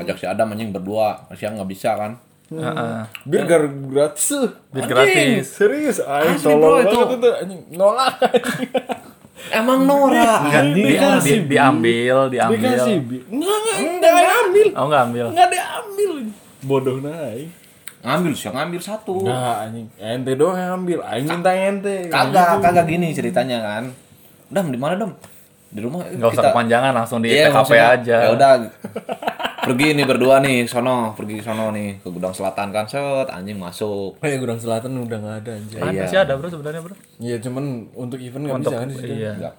[SPEAKER 2] Ajak si Adam anjing berdua, siang nggak bisa kan.
[SPEAKER 3] Heeh.
[SPEAKER 4] Bir gar gratis. eh.
[SPEAKER 3] Bir
[SPEAKER 2] Anjing.
[SPEAKER 3] gratis.
[SPEAKER 4] Serius anjing
[SPEAKER 2] Asli, bro,
[SPEAKER 4] tolol
[SPEAKER 2] itu.
[SPEAKER 4] banget itu anjing nolak. kan
[SPEAKER 2] Emang Nora.
[SPEAKER 3] Di-
[SPEAKER 2] anjing.
[SPEAKER 3] di- diambil, diambil.
[SPEAKER 4] Dikasih bir. Enggak enggak enggak diambil.
[SPEAKER 3] Oh nggak ambil.
[SPEAKER 4] Enggak diambil. Bodoh naik.
[SPEAKER 2] Ngambil siang ngambil satu.
[SPEAKER 4] Nah anjing ente doang yang ambil. Aing minta ente.
[SPEAKER 2] Kagak, kagak gini ceritanya kan. Dam, di mana, Dam? Di rumah.
[SPEAKER 3] Nggak usah kepanjangan, langsung di
[SPEAKER 2] Iya,
[SPEAKER 3] TKP
[SPEAKER 2] maksudnya,
[SPEAKER 3] aja.
[SPEAKER 2] Ya udah. pergi nih berdua nih sono, pergi sono nih ke gudang selatan kan set anjing masuk.
[SPEAKER 4] Eh Gudang Selatan udah nggak ada anjir.
[SPEAKER 3] Kan
[SPEAKER 2] Iya.
[SPEAKER 3] masih ada bro sebenarnya bro.
[SPEAKER 4] Iya cuman untuk event nggak
[SPEAKER 3] Untuk
[SPEAKER 4] bisa kan di situ.
[SPEAKER 3] iya.
[SPEAKER 2] Enggak.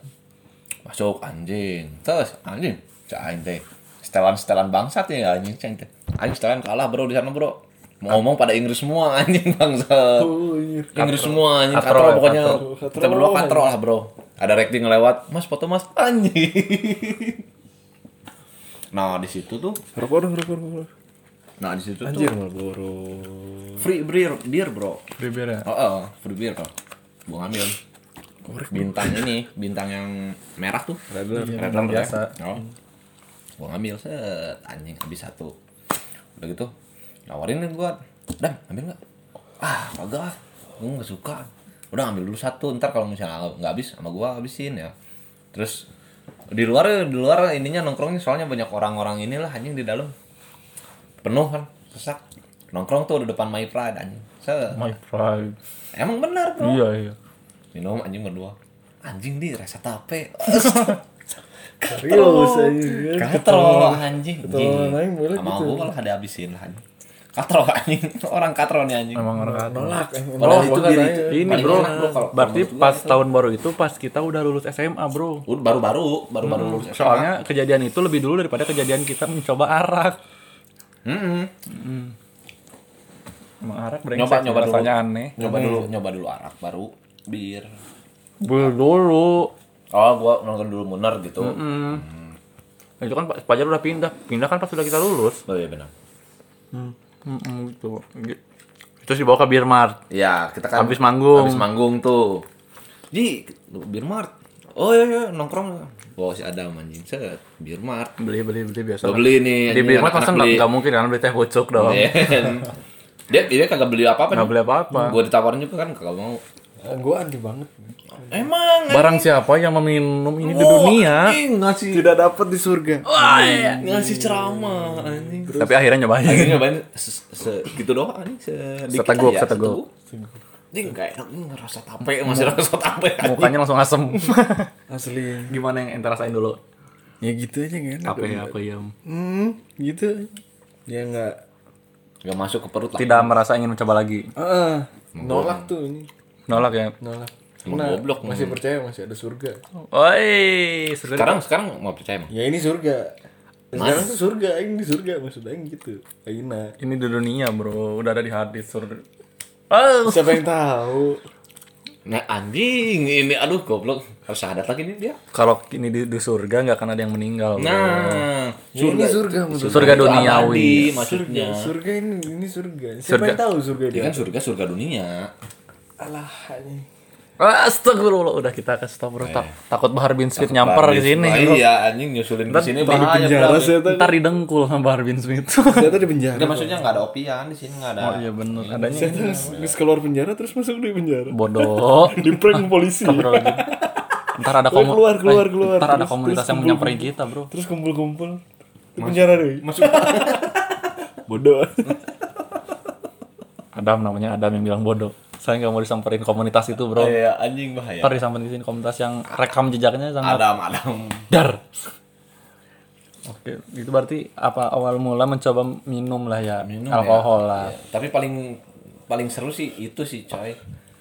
[SPEAKER 2] Masuk anjing. Terus anjing, cain teh. Setelan-setelan bangsat ya anjing cain teh. Anjing setelan kalah bro di sana bro. Mau ngomong pada Inggris semua anjing bangsat.
[SPEAKER 4] Oh, anjir.
[SPEAKER 2] Inggris semua anjing
[SPEAKER 3] Katro,
[SPEAKER 2] katro,
[SPEAKER 3] ya,
[SPEAKER 2] pokoknya
[SPEAKER 3] katro.
[SPEAKER 2] kita berdua katro lah bro ada rating lewat mas foto mas anjing nah di situ tuh
[SPEAKER 4] Rokok dong, rokok, rokok, rokok.
[SPEAKER 2] nah di situ
[SPEAKER 4] Anjir,
[SPEAKER 2] tuh
[SPEAKER 4] Marlboro.
[SPEAKER 2] free beer beer bro
[SPEAKER 3] Bibir ya.
[SPEAKER 2] oh, oh free beer bro gua ngambil bintang ini bintang yang merah tuh red
[SPEAKER 4] alert.
[SPEAKER 2] red
[SPEAKER 3] bintang
[SPEAKER 2] alert
[SPEAKER 3] biasa.
[SPEAKER 2] ya. oh. gua ngambil set anjing habis satu udah gitu nawarin kan gua dan ambil nggak ah kagak ah. gua nggak suka udah ambil dulu satu ntar kalau misalnya nggak habis sama gua habisin ya terus di luar di luar ininya nongkrongnya soalnya banyak orang-orang inilah anjing di dalam penuh kan sesak nongkrong tuh di depan My Pride anjing set
[SPEAKER 3] My pride.
[SPEAKER 2] emang benar bro
[SPEAKER 3] Iya iya.
[SPEAKER 2] minum anjing berdua anjing di rasa tape
[SPEAKER 4] Serius anjir.
[SPEAKER 2] katro anjing
[SPEAKER 4] Katro,
[SPEAKER 2] Anjing.
[SPEAKER 4] anjing, boleh
[SPEAKER 2] sama
[SPEAKER 4] gitu.
[SPEAKER 2] aku kalau ada habisin lah anjing katro anjing orang katro nih anjing
[SPEAKER 3] Emang orang
[SPEAKER 4] Nolak. eh,
[SPEAKER 2] Padahal
[SPEAKER 4] nolak
[SPEAKER 2] itu
[SPEAKER 4] banget,
[SPEAKER 2] diri-
[SPEAKER 4] anjing.
[SPEAKER 3] Ini
[SPEAKER 2] Paling
[SPEAKER 3] ya. bro,
[SPEAKER 2] enak, bro, kalau-
[SPEAKER 3] berarti
[SPEAKER 2] kalau menurut
[SPEAKER 3] pas tahun baru itu pas kita udah lulus SMA bro.
[SPEAKER 2] Udah baru-baru baru-baru lulus SMA.
[SPEAKER 3] Soalnya kejadian itu lebih dulu daripada kejadian kita mencoba arak.
[SPEAKER 2] Mm-mm.
[SPEAKER 3] Emang arak
[SPEAKER 2] nyoba
[SPEAKER 3] brengsek
[SPEAKER 2] nyoba dulu
[SPEAKER 3] rasanya aneh.
[SPEAKER 2] nyoba dulu nyoba dulu arak baru bir
[SPEAKER 3] Bel dulu.
[SPEAKER 2] oh gua nonton dulu muner gitu
[SPEAKER 3] Hmm. Nah, Itu kan Pak Fajar udah pindah. Pindah kan pas sudah kita lulus.
[SPEAKER 2] oh iya benar
[SPEAKER 3] Hmm, gitu. Itu sih bawa ke Beer Mart.
[SPEAKER 2] ya kita kan
[SPEAKER 3] Habis manggung.
[SPEAKER 2] habis manggung tuh ji bir mart oh iya, iya nongkrong Bawa si Adam anjing set bir mart
[SPEAKER 3] Beli beli beli biasa.
[SPEAKER 2] Gua beli nih
[SPEAKER 3] Di
[SPEAKER 2] anjing,
[SPEAKER 3] Beer Mart
[SPEAKER 2] anak-anak
[SPEAKER 3] masa nggak nggak mungkin kan beli teh bocok dong.
[SPEAKER 2] Ben. dia dia kagak beli apa-apa.
[SPEAKER 3] Nggak beli apa-apa.
[SPEAKER 2] Gue ditawarin juga kan kagak mau.
[SPEAKER 4] Eh, Gua anti banget.
[SPEAKER 2] Emang. eh,
[SPEAKER 3] Barang siapa yang meminum ini di
[SPEAKER 2] oh,
[SPEAKER 3] dunia,
[SPEAKER 2] anjing, ngasih
[SPEAKER 4] Tidak dapat di surga.
[SPEAKER 2] ngasih ceramah anjing.
[SPEAKER 3] tapi akhirnya nyobain.
[SPEAKER 2] Akhirnya banyak se, se- gitu doang anjing se dikit
[SPEAKER 3] Seteguk,
[SPEAKER 2] aja,
[SPEAKER 3] seteguk.
[SPEAKER 2] Anjing gak enak nih ngerasa tape, masih ngerasa tape.
[SPEAKER 3] Mukanya langsung asem.
[SPEAKER 4] asli
[SPEAKER 3] Gimana yang ente rasain dulu?
[SPEAKER 4] ya gitu aja nggak enak
[SPEAKER 3] Apa ya, apa ya?
[SPEAKER 4] hmm gitu ya nggak
[SPEAKER 2] Gak masuk ke perut lah.
[SPEAKER 3] Tidak merasa ingin mencoba lagi.
[SPEAKER 4] Heeh. nolak tuh ini
[SPEAKER 3] Nolak ya.
[SPEAKER 4] nolak Nah,
[SPEAKER 2] Emang goblok,
[SPEAKER 4] masih percaya masih ada surga
[SPEAKER 3] Woi, sebenarnya
[SPEAKER 2] Sekarang sekarang mau percaya emang.
[SPEAKER 4] ya ini surga sekarang tuh surga ini surga maksudnya gitu enak
[SPEAKER 3] ini di dunia, Bro. Udah ada di hadis sur. Oh,
[SPEAKER 4] siapa yang tahu
[SPEAKER 2] Nah anjing ini aduh goblok harus sadar lagi nih dia.
[SPEAKER 3] kalau ini di, di surga nggak akan ada yang meninggal. Bro.
[SPEAKER 2] Nah
[SPEAKER 4] Ya, ini surga
[SPEAKER 3] surga,
[SPEAKER 4] maksudnya
[SPEAKER 3] surga
[SPEAKER 2] itu abadi,
[SPEAKER 3] duniawi.
[SPEAKER 2] maksudnya.
[SPEAKER 4] surga ini ini surga Iya. siapa
[SPEAKER 3] Surga.
[SPEAKER 4] yang tahu surga
[SPEAKER 2] Dia
[SPEAKER 4] dia
[SPEAKER 2] kan surga surga dunia.
[SPEAKER 4] alah ini
[SPEAKER 3] Astagfirullah, udah kita ke stop bro. Tak- takut Bahar bin Smith nyamper ke sini.
[SPEAKER 2] Wah,
[SPEAKER 3] bro.
[SPEAKER 2] Iya anjing nyusulin ke sini bahaya.
[SPEAKER 4] penjara
[SPEAKER 2] bro.
[SPEAKER 4] saya tuh
[SPEAKER 3] Ntar didengkul sama Bahar bin Smith.
[SPEAKER 4] saya tuh di penjara
[SPEAKER 2] Nggak, maksudnya nggak ada opian di sini nggak ada.
[SPEAKER 3] Gitu. Iya bener, adanya
[SPEAKER 4] saya terus habis keluar penjara terus masuk di penjara
[SPEAKER 3] bodoh.
[SPEAKER 4] di prank polisi
[SPEAKER 3] Astagfirullahaladzim. Ntar ada komu-
[SPEAKER 4] keluar, keluar,
[SPEAKER 3] eh,
[SPEAKER 4] keluar.
[SPEAKER 3] Ntar ada
[SPEAKER 4] Terus,
[SPEAKER 3] komunitas
[SPEAKER 4] terus
[SPEAKER 3] yang menyamperin kita, bro.
[SPEAKER 4] terus kumpul-kumpul di penjara deh masuk bodoh
[SPEAKER 3] Adam namanya Adam yang bilang bodoh. Saya nggak mau disamperin komunitas itu, bro.
[SPEAKER 2] Iya anjing bahaya.
[SPEAKER 3] Ntar disamperin di sini komunitas yang rekam jejaknya sangat
[SPEAKER 2] Adam Adam.
[SPEAKER 3] dar. Oke, itu berarti apa awal mula mencoba minum lah ya, alkohol lah.
[SPEAKER 2] Iya, Tapi paling paling seru sih itu sih coy.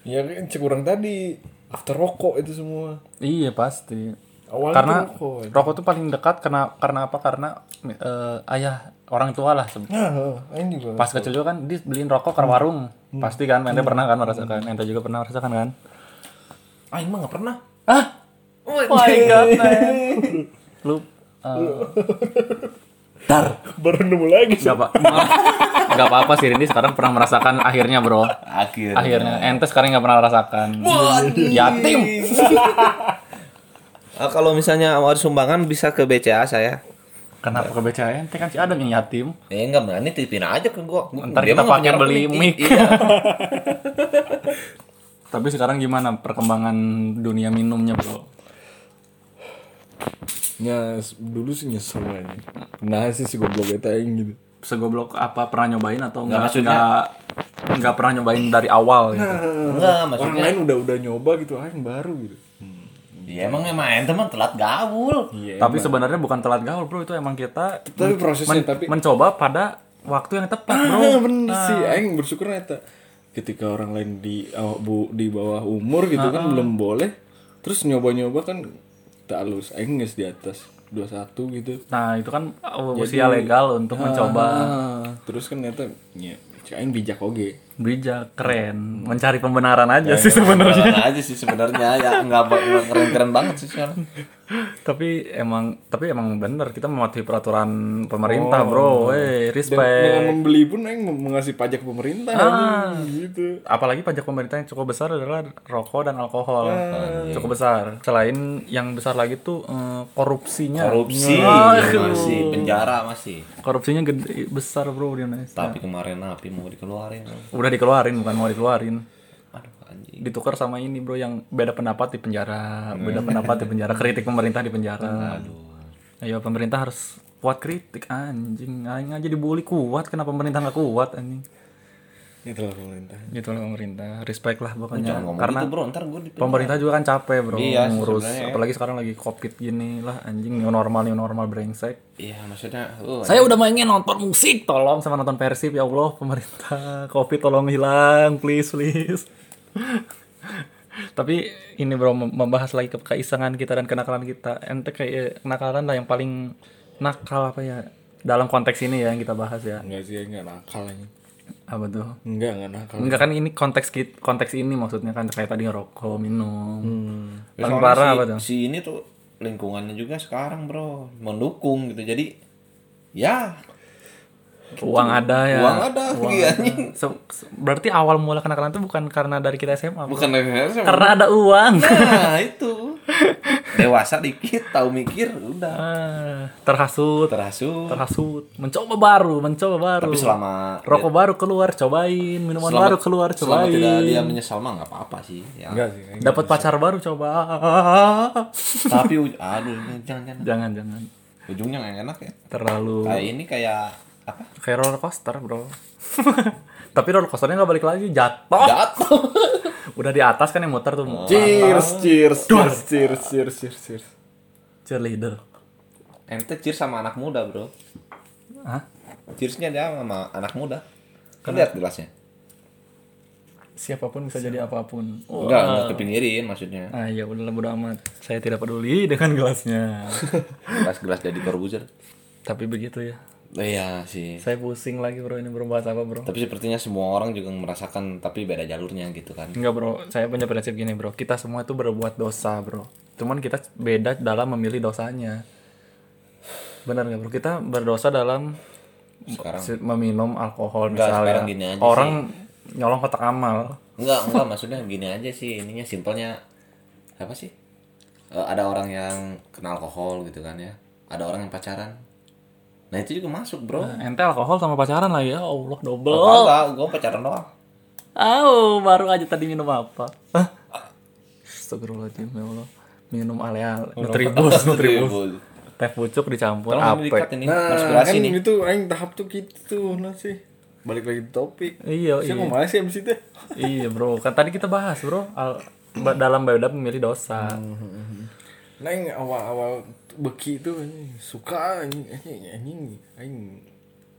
[SPEAKER 4] ya kan kurang tadi after rokok itu semua
[SPEAKER 3] Iya pasti.
[SPEAKER 4] Awalnya
[SPEAKER 3] karena
[SPEAKER 4] tuh rokok.
[SPEAKER 3] rokok tuh paling dekat karena karena apa? Karena eh, ayah orang tua lah sebetulnya.
[SPEAKER 4] nah ini juga
[SPEAKER 3] Pas kecil juga kan dia beliin rokok ke warung. Pasti kan, ente pernah kan merasakan. Ente juga pernah merasakan kan?
[SPEAKER 2] Ah ini mah nggak pernah.
[SPEAKER 3] Ah,
[SPEAKER 2] Oh,
[SPEAKER 3] oh my god, man. Lu Dar,
[SPEAKER 4] baru nemu lagi
[SPEAKER 3] gak apa Gak apa-apa sih Rindi sekarang pernah merasakan akhirnya bro
[SPEAKER 2] Akhir.
[SPEAKER 3] Akhirnya, ente sekarang gak pernah merasakan Yatim
[SPEAKER 2] Ah, kalau misalnya mau ada sumbangan bisa ke BCA saya.
[SPEAKER 3] Kenapa ke BCA ente kan si Adam yang yatim
[SPEAKER 2] Eh enggak berani titipin aja ke gua. Gua-
[SPEAKER 3] Ntar
[SPEAKER 2] dia
[SPEAKER 3] kita
[SPEAKER 2] mah nggak
[SPEAKER 3] pakai
[SPEAKER 2] punya
[SPEAKER 3] beli
[SPEAKER 2] rekening.
[SPEAKER 3] mic
[SPEAKER 2] Iya.
[SPEAKER 3] Tapi sekarang gimana perkembangan dunia minumnya bro?
[SPEAKER 4] Ya, s- dulu sih nyesel aja. Nah sih si goblok itu aing gitu.
[SPEAKER 3] Segoblok apa pernah nyobain atau
[SPEAKER 2] Nggak,
[SPEAKER 3] enggak?
[SPEAKER 2] maksudnya- Nah.
[SPEAKER 3] Enggak pernah nyobain dari awal gitu
[SPEAKER 2] Enggak,
[SPEAKER 4] Orang
[SPEAKER 2] maksudnya
[SPEAKER 4] lain udah udah nyoba gitu, aing baru gitu.
[SPEAKER 2] ya emang main teman telat gaul.
[SPEAKER 3] tapi sebenarnya bukan telat gaul bro itu emang kita
[SPEAKER 4] Iya, Tapi prosesnya
[SPEAKER 3] men-
[SPEAKER 4] tapi
[SPEAKER 3] mencoba pada waktu yang tepat bro
[SPEAKER 4] Ah, bener sih aing bersyukur eta. Ketika orang lain di aw- bu, di bawah umur gitu kan belum boleh. Terus nyoba-nyoba kan tak halus. Aing nges di atas 21 gitu.
[SPEAKER 3] nah itu kan usia legal untuk mencoba
[SPEAKER 4] Ah, terus kan ternyata ya, si aing bijak oge.
[SPEAKER 3] bijak keren mencari pembenaran aja sih sebenarnya
[SPEAKER 2] Beneran aja sih sebenarnya ya enggak ba- enggak keren-keren banget sih sekarang.
[SPEAKER 3] tapi emang tapi emang bener kita mematuhi peraturan pemerintah bro eh respect
[SPEAKER 4] Dengan membeli pun aing mem- mengasih pajak ke pemerintah anjing, gitu.
[SPEAKER 3] apalagi pajak pemerintah yang cukup besar adalah rokok dan alkohol cukup besar selain yang besar lagi tuh eh, korupsinya
[SPEAKER 2] Korupsi
[SPEAKER 3] Ah,
[SPEAKER 2] masih penjara masih.
[SPEAKER 3] korupsinya gede besar bro di Indonesia
[SPEAKER 2] Tapi kemarin napi mau dikeluarin.
[SPEAKER 3] Udah dikeluarin, bukan mau dikeluarin.
[SPEAKER 2] Aduh anjing.
[SPEAKER 3] Ditukar sama ini bro yang beda pendapat di penjara, beda
[SPEAKER 2] Hmm.
[SPEAKER 3] pendapat di penjara, kritik pemerintah di penjara. Ayo pemerintah harus kuat kritik anjing, aing aja dibully kuat, kenapa pemerintah nggak kuat anjing?
[SPEAKER 4] Ini telah pemerintah.
[SPEAKER 3] Gitu lah pemerintah, respect lah
[SPEAKER 2] Jangan
[SPEAKER 3] pokoknya.
[SPEAKER 2] ngomong
[SPEAKER 3] Karena
[SPEAKER 2] gitu, Bro, ntar gua di
[SPEAKER 3] pemerintah juga kan capek bro
[SPEAKER 2] Iya,
[SPEAKER 3] ngurus,
[SPEAKER 2] sebenarnya ya.
[SPEAKER 3] apalagi sekarang lagi covid gini lah anjing new normal new normal brengsek.
[SPEAKER 2] Iya, maksudnya oh,
[SPEAKER 3] Saya udah mainin nonton musik, tolong sama nonton Persib ya Allah, pemerintah. Covid tolong hilang, please please. Tapi ini bro mem- membahas lagi ke keisengan kita dan kenakalan kita. Ente kayak eh, kenakalan lah yang paling nakal apa ya dalam konteks ini ya yang kita bahas ya.
[SPEAKER 4] Enggak sih, enggak nakal aja.
[SPEAKER 3] Apa tuh?
[SPEAKER 4] Enggak, enggak nakal.
[SPEAKER 3] Enggak kan ini konteks kit- konteks ini maksudnya kan kayak tadi ngerokok, minum.
[SPEAKER 2] Hmm.
[SPEAKER 3] Paling parah
[SPEAKER 2] si,
[SPEAKER 3] apa tuh?
[SPEAKER 2] si ini tuh lingkungannya juga sekarang, Bro, mendukung gitu. Jadi ya
[SPEAKER 3] Uang ada ya.
[SPEAKER 2] uang ada iya, anjing.
[SPEAKER 3] Se- se- berarti awal mula kenakalan itu bukan karena dari kita SMA.
[SPEAKER 2] Bukan dari SMA.
[SPEAKER 3] Karena ada uang.
[SPEAKER 2] Nah, itu. Dewasa dikit, tahu mikir, udah.
[SPEAKER 3] Ah, terhasut
[SPEAKER 2] Terhasut.
[SPEAKER 3] terhasut mencoba baru mencoba baru
[SPEAKER 2] Tapi selama ya,
[SPEAKER 3] rokok baru keluar cobain minuman
[SPEAKER 2] selama-
[SPEAKER 3] baru keluar
[SPEAKER 2] Selama tidak
[SPEAKER 3] cobain
[SPEAKER 2] dia menyesal mah nggak apa-apa sih. Ya.
[SPEAKER 4] Enggak sih. aing.
[SPEAKER 3] dapat pacar baru coba
[SPEAKER 2] Tapi uj- aduh jangan jangan.
[SPEAKER 3] jangan jangan
[SPEAKER 2] Ujungnya nggak enak ya.
[SPEAKER 3] terlalu
[SPEAKER 2] Kayak ini kayak apa?
[SPEAKER 3] kayak roller coaster bro tapi roller coasternya nggak balik lagi jatuh
[SPEAKER 2] Jatuh.
[SPEAKER 3] udah di atas kan yang muter tuh
[SPEAKER 2] Oh.
[SPEAKER 4] Cheers, cheers, cheers, cheers, cheers, cheers, cheers.
[SPEAKER 3] cheerleader
[SPEAKER 2] Ente cheers sama anak muda bro
[SPEAKER 3] Hah?
[SPEAKER 2] Cheersnya dia sama anak muda Kan lihat gelasnya
[SPEAKER 3] siapapun bisa jadi apapun oh.
[SPEAKER 2] Enggak, enggak kepinggirin maksudnya
[SPEAKER 3] ah ya udah bodo amat saya tidak peduli dengan gelasnya
[SPEAKER 2] Gelas-gelas jadi Corbuzier
[SPEAKER 3] tapi begitu ya
[SPEAKER 2] Oh, Iya sih
[SPEAKER 3] saya pusing lagi bro ini berbuat apa bro
[SPEAKER 2] Tapi sepertinya semua orang juga merasakan Tapi beda jalurnya gitu kan
[SPEAKER 3] Enggak bro, saya punya prinsip gini bro, kita semua itu berbuat dosa bro. Cuman kita beda dalam memilih dosanya. Benar nggak bro? Kita berdosa dalam se- meminum alkohol
[SPEAKER 2] Enggak,
[SPEAKER 3] misalnya.
[SPEAKER 2] sekarang gini aja
[SPEAKER 3] Orang nyolong kotak amal.
[SPEAKER 2] Enggak, enggak maksudnya gini aja sih ininya simpelnya apa sih? Eh, ada orang yang kena alkohol gitu kan ya. Ada orang yang pacaran. Nah, itu juga masuk, Bro.
[SPEAKER 3] Ente alkohol sama pacaran lagi ya Allah double.
[SPEAKER 2] Oh, enggak, gua pacaran doang.
[SPEAKER 3] Oh, baru aja tadi minum apa? Hah? Astagfirullahaladzim ya Allah. Minum ale-ale. Nutribus, nutribus. Teh pucuk dicampur
[SPEAKER 2] Tolong ini
[SPEAKER 3] apa?
[SPEAKER 2] dikat ya. ini,
[SPEAKER 4] Nah,
[SPEAKER 2] konspirasi
[SPEAKER 4] kan
[SPEAKER 2] nih.
[SPEAKER 4] itu aing tahap tuh gitu tuh nah sih. Balik lagi ke topik.
[SPEAKER 3] Iya,
[SPEAKER 4] Saya
[SPEAKER 3] iya.
[SPEAKER 4] mau masih MC teh.
[SPEAKER 3] iya bro, kan tadi kita bahas bro al- ba- dalam beda memilih dosa.
[SPEAKER 4] Neng Nah, awal-awal beki itu anjing, suka anjing anjing anjing anjing.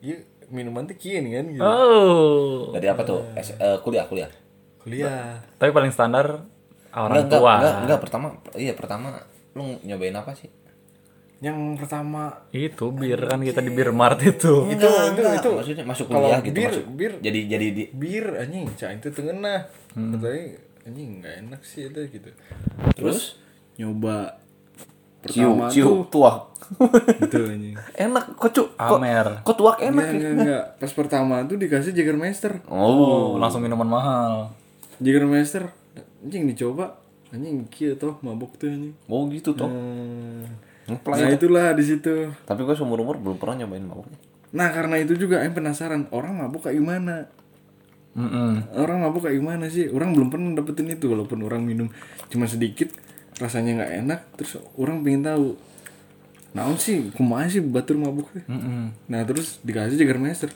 [SPEAKER 4] Iya minuman teh kieu nih kan gitu.
[SPEAKER 3] Oh,
[SPEAKER 2] Dari apa tuh? S- eh, kuliah, kuliah.
[SPEAKER 4] Kuliah.
[SPEAKER 3] tapi paling standar orang
[SPEAKER 2] Enggak, enggak,
[SPEAKER 3] tua.
[SPEAKER 2] enggak, enggak, pertama iya pertama lu nyobain apa sih?
[SPEAKER 4] Yang pertama
[SPEAKER 3] Itu bir kan kita di bir mart itu.
[SPEAKER 2] Itu
[SPEAKER 4] Enggak,
[SPEAKER 2] itu
[SPEAKER 4] enggak.
[SPEAKER 2] itu Nah, maksudnya masuk
[SPEAKER 4] Kalau
[SPEAKER 2] kuliah gitu
[SPEAKER 4] bir-
[SPEAKER 2] masuk.
[SPEAKER 4] bir-
[SPEAKER 2] Jadi Hmm. jadi di
[SPEAKER 4] bir anjing cah itu tengena. Katanya anjing nggak enak sih itu gitu.
[SPEAKER 2] terus
[SPEAKER 4] Nyoba
[SPEAKER 2] ciu
[SPEAKER 4] pertama
[SPEAKER 2] ciu
[SPEAKER 4] tuh
[SPEAKER 2] tuak.
[SPEAKER 4] gitu anjing.
[SPEAKER 2] Enak kok cu- kok
[SPEAKER 3] Amer.
[SPEAKER 2] kok tuak enak.
[SPEAKER 4] Enggak, enggak, enggak. Iya, Pas pertama tuh dikasih Jägermeister.
[SPEAKER 2] Oh,
[SPEAKER 3] Oh, langsung minuman mahal.
[SPEAKER 4] Jägermeister. Anjing dicoba. Anjing kieu toh mabok tuh anjing.
[SPEAKER 2] oh gitu toh.
[SPEAKER 4] Hmm.
[SPEAKER 2] Ngeplay
[SPEAKER 4] Nah
[SPEAKER 2] itu.
[SPEAKER 4] itulah di situ.
[SPEAKER 2] Tapi gue seumur umur belum pernah nyobain mabuknya.
[SPEAKER 4] Nah karena itu juga yang penasaran orang mabuk kayak gimana?
[SPEAKER 3] Mm-mm.
[SPEAKER 4] Orang mabuk kayak gimana sih? Orang belum pernah dapetin itu walaupun orang minum cuma sedikit rasanya nggak enak terus orang pengen tahu naon sih kumaha sih batur mabuk teh? nah terus dikasih Jägermeister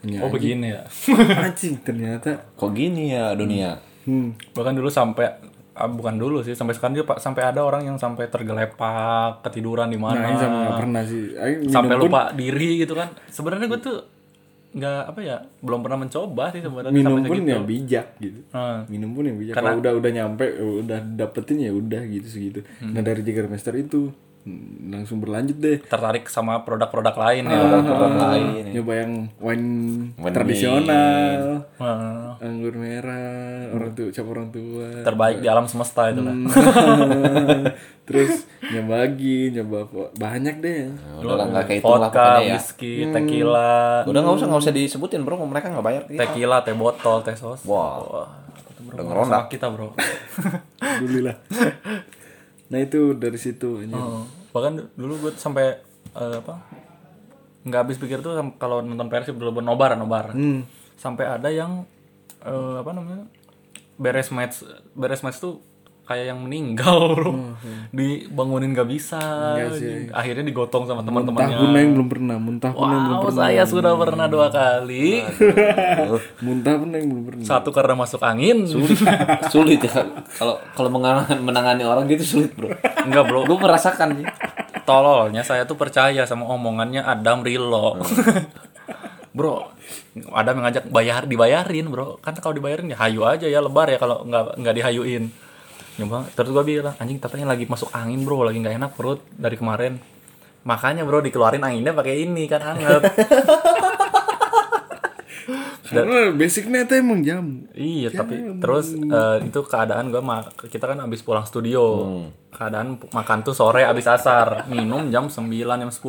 [SPEAKER 4] ya,
[SPEAKER 3] Oh begini ya.
[SPEAKER 4] anjing ternyata
[SPEAKER 2] Kok gini ya dunia?
[SPEAKER 4] hmm,
[SPEAKER 3] Bahkan dulu sampai ah, bukan dulu sih sampai sekarang dia pak sampai ada orang yang sampai tergelepak ketiduran di
[SPEAKER 4] nah, ini
[SPEAKER 3] mana
[SPEAKER 4] sama nggak pernah sih Aing minum
[SPEAKER 3] sampai
[SPEAKER 4] pun-
[SPEAKER 3] lupa diri gitu kan sebenarnya gue tuh nggak apa ya belum pernah mencoba sih sebenarnya
[SPEAKER 4] minum
[SPEAKER 3] sampai
[SPEAKER 4] pun
[SPEAKER 3] segitu.
[SPEAKER 4] ya bijak gitu
[SPEAKER 3] Ah.
[SPEAKER 4] minum pun ya bijak kalau udah udah nyampe udah dapetin ya udah gitu segitu
[SPEAKER 3] Hmm.
[SPEAKER 4] nah dari Jägermeister itu hmm, langsung berlanjut deh
[SPEAKER 3] tertarik sama produk-produk lain ya
[SPEAKER 4] Ah.
[SPEAKER 2] Orang lain.
[SPEAKER 4] nyoba yang wine,
[SPEAKER 2] Wine
[SPEAKER 4] tradisional
[SPEAKER 3] Wah,
[SPEAKER 4] anggur
[SPEAKER 3] Hmm.
[SPEAKER 4] merah orang tua cap orang tua
[SPEAKER 3] terbaik di alam semesta itu lah
[SPEAKER 4] Hmm. terus nyoba lagi nyoba apa banyak deh
[SPEAKER 2] Ya Udah lah nggak kayak itu lah
[SPEAKER 3] vodka,
[SPEAKER 2] pokoknya ya.
[SPEAKER 3] whisky,
[SPEAKER 4] Hmm.
[SPEAKER 3] tequila,
[SPEAKER 2] Udah nggak usah nggak usah disebutin bro, mereka nggak bayar. Iya.
[SPEAKER 3] tequila, teh botol, teh sos.
[SPEAKER 2] Wah, udah ngeronda.
[SPEAKER 3] Sama kita bro.
[SPEAKER 4] alhamdulillah nah itu dari situ ini
[SPEAKER 3] Oh, Bahkan dulu gue sampai eh, apa? Nggak habis pikir tuh sam- kalau nonton Persib dulu nobar nobar.
[SPEAKER 4] Hmm.
[SPEAKER 3] Sampai ada yang eh, apa namanya? Beres match, beres match tuh kayak yang meninggal
[SPEAKER 4] Oh,
[SPEAKER 3] bro.
[SPEAKER 4] iya.
[SPEAKER 3] Dibangunin nggak bisa. Akhirnya digotong sama
[SPEAKER 4] muntah
[SPEAKER 3] teman-temannya.
[SPEAKER 4] pun yang belum pernah muntah pun yang belum
[SPEAKER 3] Wow,
[SPEAKER 4] pernah
[SPEAKER 3] saya sudah pernah dua kali.
[SPEAKER 4] muntah pun yang belum pernah
[SPEAKER 3] Satu karena masuk angin.
[SPEAKER 2] sulit ya kalau kalau mengan- menangani orang gitu sulit bro.
[SPEAKER 3] Enggak bro,
[SPEAKER 2] Gue merasakan sih.
[SPEAKER 3] tololnya saya tuh percaya sama omongannya Adam Rilo. bro, Adam yang ngajak bayar dibayarin bro. Kan kalau dibayarin ya hayu aja ya lebar ya kalau nggak nggak dihayuin. Nyoba, terus gua bilang anjing katanya lagi masuk angin bro, lagi nggak enak perut dari kemarin. Makanya bro dikeluarin anginnya pakai ini kan hangat.
[SPEAKER 4] karena basicnya itu emang jamu
[SPEAKER 3] iya tapi terus eh, itu keadaan gua ma- kita kan abis pulang studio. Keadaan pu- makan tuh sore abis asar, minum jam 9 jam 10.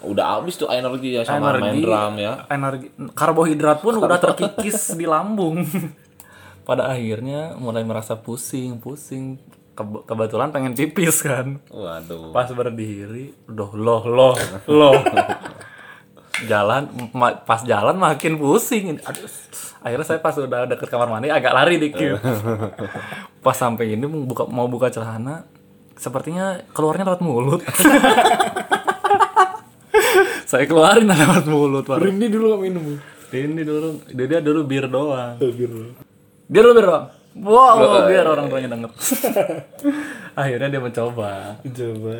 [SPEAKER 2] Udah habis tuh energi
[SPEAKER 3] Iya,
[SPEAKER 2] ya sama main drum ya.
[SPEAKER 3] energi karbohidrat pun udah terkikis di lambung pada akhirnya mulai merasa pusing pusing Keb- kebetulan pengen pipis kan
[SPEAKER 2] Waduh.
[SPEAKER 3] pas berdiri udah loh loh loh jalan ma- pas jalan makin pusing Aduh, akhirnya saya pas udah deket kamar mandi agak lari dikit pas sampai ini mau buka mau buka celana sepertinya keluarnya lewat mulut saya keluarin lewat mulut Pak.
[SPEAKER 4] ini dulu gak minum
[SPEAKER 3] Ini dulu, dia, dia dulu bir doang. Dia dulu bir doang. Wow,
[SPEAKER 4] eh.
[SPEAKER 3] biar orang tuanya denger. Akhirnya dia mencoba.
[SPEAKER 4] Coba.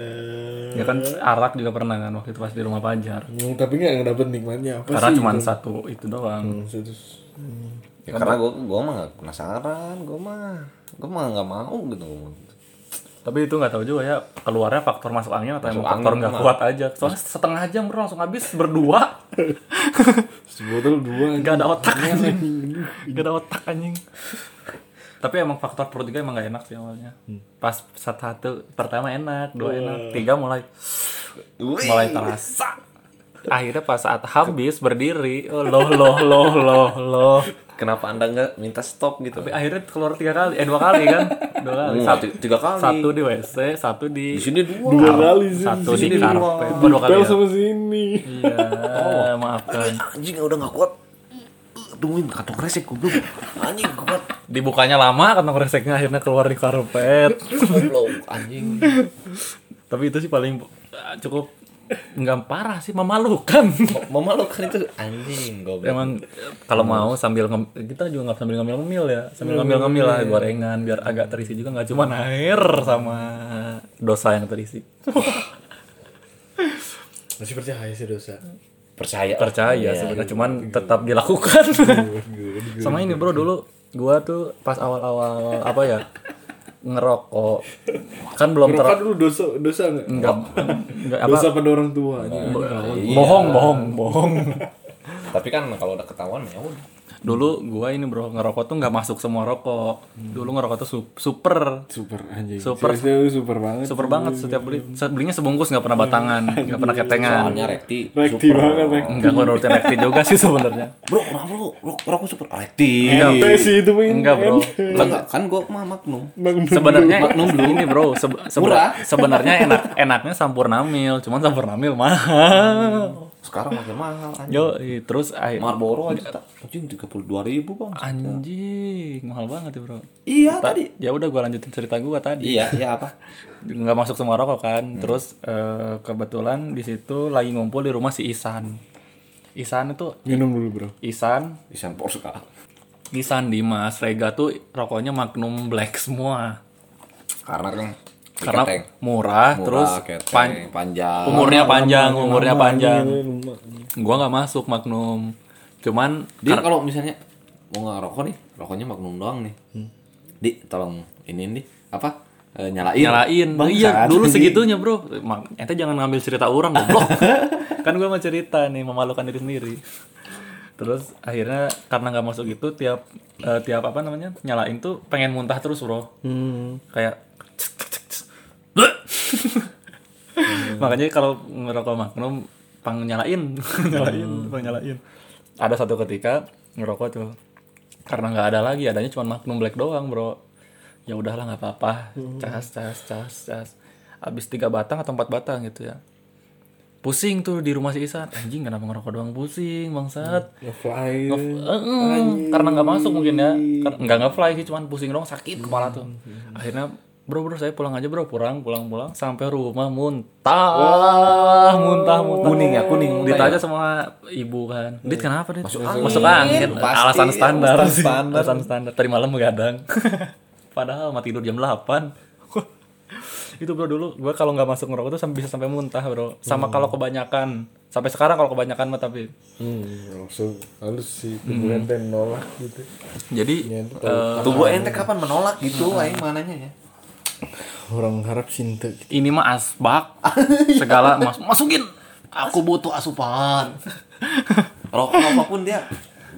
[SPEAKER 3] Ya kan arak juga pernah kan waktu itu pas di rumah pajar.
[SPEAKER 4] Hmm, tapi nggak ngedapet nikmatnya apa
[SPEAKER 3] Karena
[SPEAKER 4] sih?
[SPEAKER 3] cuma satu itu doang.
[SPEAKER 4] Hmm, terus- hmm.
[SPEAKER 2] Ya, karena gue gue mah gak penasaran, gue mah gue mah nggak mau gitu.
[SPEAKER 3] Tapi itu nggak tahu juga ya keluarnya faktor masuk angin atau emang faktor
[SPEAKER 2] angin
[SPEAKER 3] nggak
[SPEAKER 2] mah.
[SPEAKER 3] kuat aja. Soalnya setengah jam bro langsung habis berdua.
[SPEAKER 4] Sebotol dua.
[SPEAKER 3] Gak ada otak anjing.
[SPEAKER 4] iya.
[SPEAKER 3] Gak ada otak anjing. Tapi emang faktor perut juga emang gak enak sih awalnya. Pas satu satu pertama enak, dua enak, tiga mulai mulai terasa. Akhirnya pas saat habis berdiri, oh, loh loh loh loh loh.
[SPEAKER 2] Kenapa anda nggak minta stop gitu?
[SPEAKER 3] Tapi akhirnya keluar tiga kali, eh dua kali kan, dua kali.
[SPEAKER 2] Hmm,
[SPEAKER 3] Satu,
[SPEAKER 2] ti- tiga kali.
[SPEAKER 3] satu di WC, satu di
[SPEAKER 2] Di sini dua.
[SPEAKER 4] Dua kali sih.
[SPEAKER 3] satu di
[SPEAKER 2] sini dua.
[SPEAKER 3] karpet, Oh, dua kali
[SPEAKER 4] Pel
[SPEAKER 3] ya.
[SPEAKER 4] sama sini.
[SPEAKER 3] Iya, maafkan.
[SPEAKER 2] Anjing udah nggak kuat. Tungguin kantong kresek goblok. Anjing nggak kuat.
[SPEAKER 3] Dibukanya lama kantong kreseknya akhirnya keluar di karpet.
[SPEAKER 2] Goblok anjing.
[SPEAKER 3] Tapi itu sih paling ah, cukup nggak parah sih memalukan.
[SPEAKER 2] Memalukan itu anjing goblok.
[SPEAKER 3] Emang eh, kalau mau sambil ngem- kita juga nggak sambil ngambil ngemil ya, sambil ngambil ngemil lah gorengan biar agak terisi juga nggak cuma air sama dosa yang terisi.
[SPEAKER 4] Masih percaya sih dosa.
[SPEAKER 2] Percaya.
[SPEAKER 3] Percaya sebenarnya cuman tetap dilakukan. sama ini bro dulu gua tuh pas awal-awal apa ya ngerokok kan belum ter
[SPEAKER 4] Kan dulu dosa dosa nggak?
[SPEAKER 3] nggak nggak apa
[SPEAKER 4] Dosa pada orang tua.
[SPEAKER 3] bohong bohong bohong
[SPEAKER 2] Tapi kan kalau udah ketahuan ya udah.
[SPEAKER 3] dulu gua ini bro ngerokok tuh nggak masuk semua rokok dulu ngerokok tuh su- super
[SPEAKER 4] Super anjing.
[SPEAKER 3] Super.
[SPEAKER 4] Seriusnya lu super banget.
[SPEAKER 3] super banget setiap beli Se- belinya sebungkus nggak pernah batangan nggak pernah ketengan
[SPEAKER 2] Soalnya rekti.
[SPEAKER 4] Rekti banget, rekti.
[SPEAKER 3] nggak gua nurutin rekti juga sih sebenarnya
[SPEAKER 2] Bro, kenapa lu? Bro, aku super rekti.
[SPEAKER 3] Iya,
[SPEAKER 4] Ente sih itu pengen.
[SPEAKER 3] enggak bro
[SPEAKER 2] Lah enggak, kan gua mah magnum.
[SPEAKER 3] sebenarnya ini bro sebe- sebe-
[SPEAKER 2] Murah.
[SPEAKER 3] sebenarnya enak enaknya sampurnamil cuman sampurnamil mahal
[SPEAKER 2] Sekarang makin mahal anjing.
[SPEAKER 3] yo terus ai-
[SPEAKER 2] Marlboro aja tak. Anjing 32.000, Bang.
[SPEAKER 3] anjing mahal banget ya bro
[SPEAKER 2] Iya tadi.
[SPEAKER 3] ya udah gua lanjutin cerita gua tadi
[SPEAKER 2] Iya, Hmm. iya apa?
[SPEAKER 3] nggak masuk semua rokok kan terus eh, kebetulan di situ lagi ngumpul di rumah si Isan Isan itu
[SPEAKER 4] Minum dulu bro.
[SPEAKER 3] Isan
[SPEAKER 2] Isan Porska.
[SPEAKER 3] Isan Dimas Rega tuh rokoknya Magnum Black semua
[SPEAKER 2] Karena kan
[SPEAKER 3] karena
[SPEAKER 2] keteng. Murah,
[SPEAKER 3] murah, terus
[SPEAKER 2] keteng,
[SPEAKER 3] pan-
[SPEAKER 2] panjang.
[SPEAKER 3] umurnya panjang umurnya panjang
[SPEAKER 4] Minum.
[SPEAKER 3] gua nggak masuk Magnum cuman
[SPEAKER 2] Dia kalau misalnya mau nggak rokok nih, rokoknya Magnum doang nih. Di, tolong ini nih apa? eh, nyalain.
[SPEAKER 3] nyalain
[SPEAKER 4] Bangsat.
[SPEAKER 3] iya dulu segitunya bro Ma- ente jangan ngambil cerita orang goblok kan gue mau cerita nih memalukan diri sendiri terus akhirnya karena nggak masuk gitu tiap eh, tiap apa namanya nyalain tuh pengen muntah terus bro kayak makanya kalau ngerokok maknum pang nyalain nyalain pang nyalain ada satu ketika ngerokok tuh karena nggak ada lagi adanya cuma maknum black doang bro ya udahlah nggak apa-apa cas cas cas cas abis tiga batang atau empat batang gitu ya pusing tuh di rumah si Isan anjing kenapa ngerokok doang pusing bangsat
[SPEAKER 4] Ngefly.
[SPEAKER 3] Eh, eh, karena nggak masuk mungkin ya Kar- nggak nggak fly sih cuman pusing doang sakit kepala tuh akhirnya bro bro saya pulang aja bro pulang pulang pulang sampai rumah muntah muntah muntah Oh. kuning ya kuning ditanya sama ibu kan dit kenapa dit masuk angin,
[SPEAKER 2] Pasti,
[SPEAKER 3] alasan standar
[SPEAKER 2] alasan
[SPEAKER 3] sih.
[SPEAKER 2] standar.
[SPEAKER 3] alasan standar tadi malam begadang padahal mati tidur jam 8 itu bro dulu gue kalau nggak masuk ngerokok tuh sam- bisa sampai muntah bro sama kalau kebanyakan sampai sekarang kalau kebanyakan mah tapi
[SPEAKER 4] Hmm, langsung halus sih.
[SPEAKER 3] Hmm.
[SPEAKER 4] Kemudian teh nolak gitu.
[SPEAKER 3] jadi
[SPEAKER 2] Tubuh ente kapan menolak gitu aing mananya ya?
[SPEAKER 4] Orang harap cinta gitu.
[SPEAKER 3] ini mah asbak segala mas masukin
[SPEAKER 2] Aku butuh asupan. Rokok apapun dia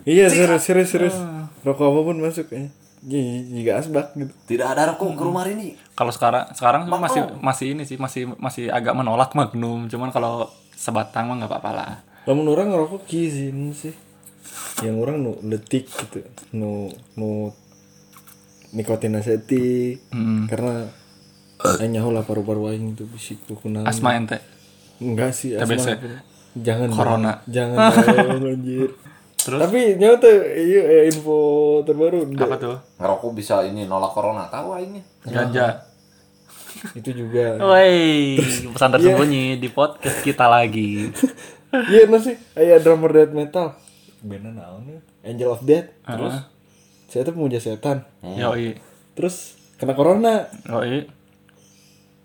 [SPEAKER 4] Iya serius serius serius.
[SPEAKER 3] Ah.
[SPEAKER 4] Rokok apapun masuk ya. Iya, Jika asbak gitu.
[SPEAKER 2] tidak ada rokok ke rumah ini.
[SPEAKER 3] kalau sekarang sekarang mah masih masih ini sih masih masih agak menolak magnum cuman kalau sebatang mah nggak apa-apa lah
[SPEAKER 4] Namun orang ngerokok kizin sih. Yang orang nu letik gitu. Nu nu nikotin asetik.
[SPEAKER 3] Hmm.
[SPEAKER 4] Karena saya nyaho lah paru-paru aing gitu, itu bisi kunang.
[SPEAKER 3] asma ente
[SPEAKER 4] Enggak sih asma.
[SPEAKER 3] TBC.
[SPEAKER 4] Jangan
[SPEAKER 3] Corona.
[SPEAKER 4] Jangan dong, anjir. Tapi nyawa tuh iya, eh, info terbaru
[SPEAKER 3] apa tuh
[SPEAKER 2] Ngerokok bisa ini nolak corona, tahu aingnya.
[SPEAKER 3] ganja
[SPEAKER 4] itu juga.
[SPEAKER 3] Oh. Woi, pesan tersembunyi di podcast kita lagi.
[SPEAKER 4] Iya yeah, sih, aya drummer death metal. Bandnya naon ya? Angel of Death. Terus saya tuh puja setan
[SPEAKER 3] Yoi.
[SPEAKER 4] terus kena corona
[SPEAKER 3] Yoi.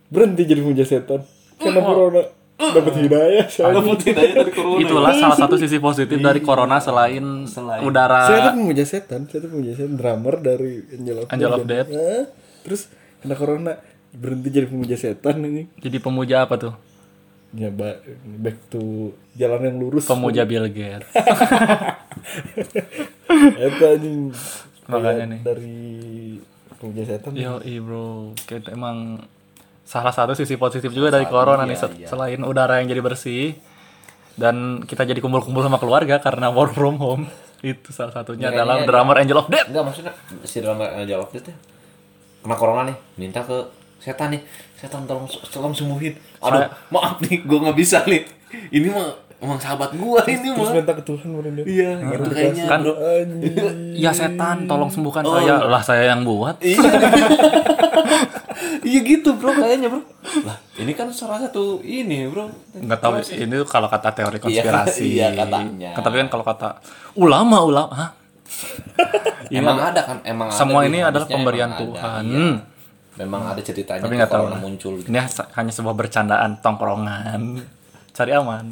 [SPEAKER 4] berhenti jadi puja setan kena corona dapat hidayah saya
[SPEAKER 3] Itulah salah satu sisi positif dari corona selain,
[SPEAKER 4] saya
[SPEAKER 3] udara
[SPEAKER 4] tuh pemuja setan saya tuh pemuja setan drummer dari Angel of
[SPEAKER 3] Ah. Angel of
[SPEAKER 4] Dan-
[SPEAKER 3] Death.
[SPEAKER 4] Hah? terus kena corona berhenti jadi pemuja setan ini
[SPEAKER 3] jadi pemuja apa tuh?
[SPEAKER 4] ya ba- back to jalan yang lurus
[SPEAKER 3] Pemuja Bill Gates.
[SPEAKER 4] Ya, itu anjing Ya,
[SPEAKER 3] Makanya nih. Iya.
[SPEAKER 4] dari pemuja setan
[SPEAKER 3] Yoi bro, kita emang salah satu sisi positif juga dari corona
[SPEAKER 2] iya,
[SPEAKER 3] nih se- selain udara yang jadi bersih dan kita jadi kumpul-kumpul sama keluarga karena work from home itu salah satunya
[SPEAKER 2] Iya,
[SPEAKER 3] adalah drummer Angel of Death.
[SPEAKER 2] Enggak maksudnya si dalam jawab itu kena corona nih, minta ke setan nih. Setan tolong tolong sembuhin. Aduh, maaf nih, gua nggak bisa nih. Ini mah emang sahabat gua ini
[SPEAKER 4] terus
[SPEAKER 2] mah.
[SPEAKER 4] minta ke Tuhan baru dia
[SPEAKER 2] Iya, gitu kayaknya.
[SPEAKER 3] Kan
[SPEAKER 4] anjing
[SPEAKER 3] ya setan tolong sembuhkan saya Oh, lah saya yang buat.
[SPEAKER 2] Iya. Iya gitu, Bro, kayaknya, Bro. Lah, ini kan salah satu ini, Bro.
[SPEAKER 3] Nggak tahu ini tuh kalau kata teori konspirasi.
[SPEAKER 2] oh, iya, katanya.
[SPEAKER 3] Tapi kan kalau kata ulama ulama, hah?
[SPEAKER 2] emang ada kan, emang ada
[SPEAKER 3] Iya,
[SPEAKER 2] di
[SPEAKER 3] semua ini adalah
[SPEAKER 2] hadisnya,
[SPEAKER 3] pemberian
[SPEAKER 2] emang ada,
[SPEAKER 3] Tuhan.
[SPEAKER 2] iya.
[SPEAKER 3] Hmm.
[SPEAKER 2] Memang ada ceritanya tuh
[SPEAKER 3] Tapi nggak tahu
[SPEAKER 2] corona
[SPEAKER 3] lah.
[SPEAKER 2] muncul. gitu.
[SPEAKER 3] Ini ha- hanya sebuah bercandaan tongkrongan. Cari aman.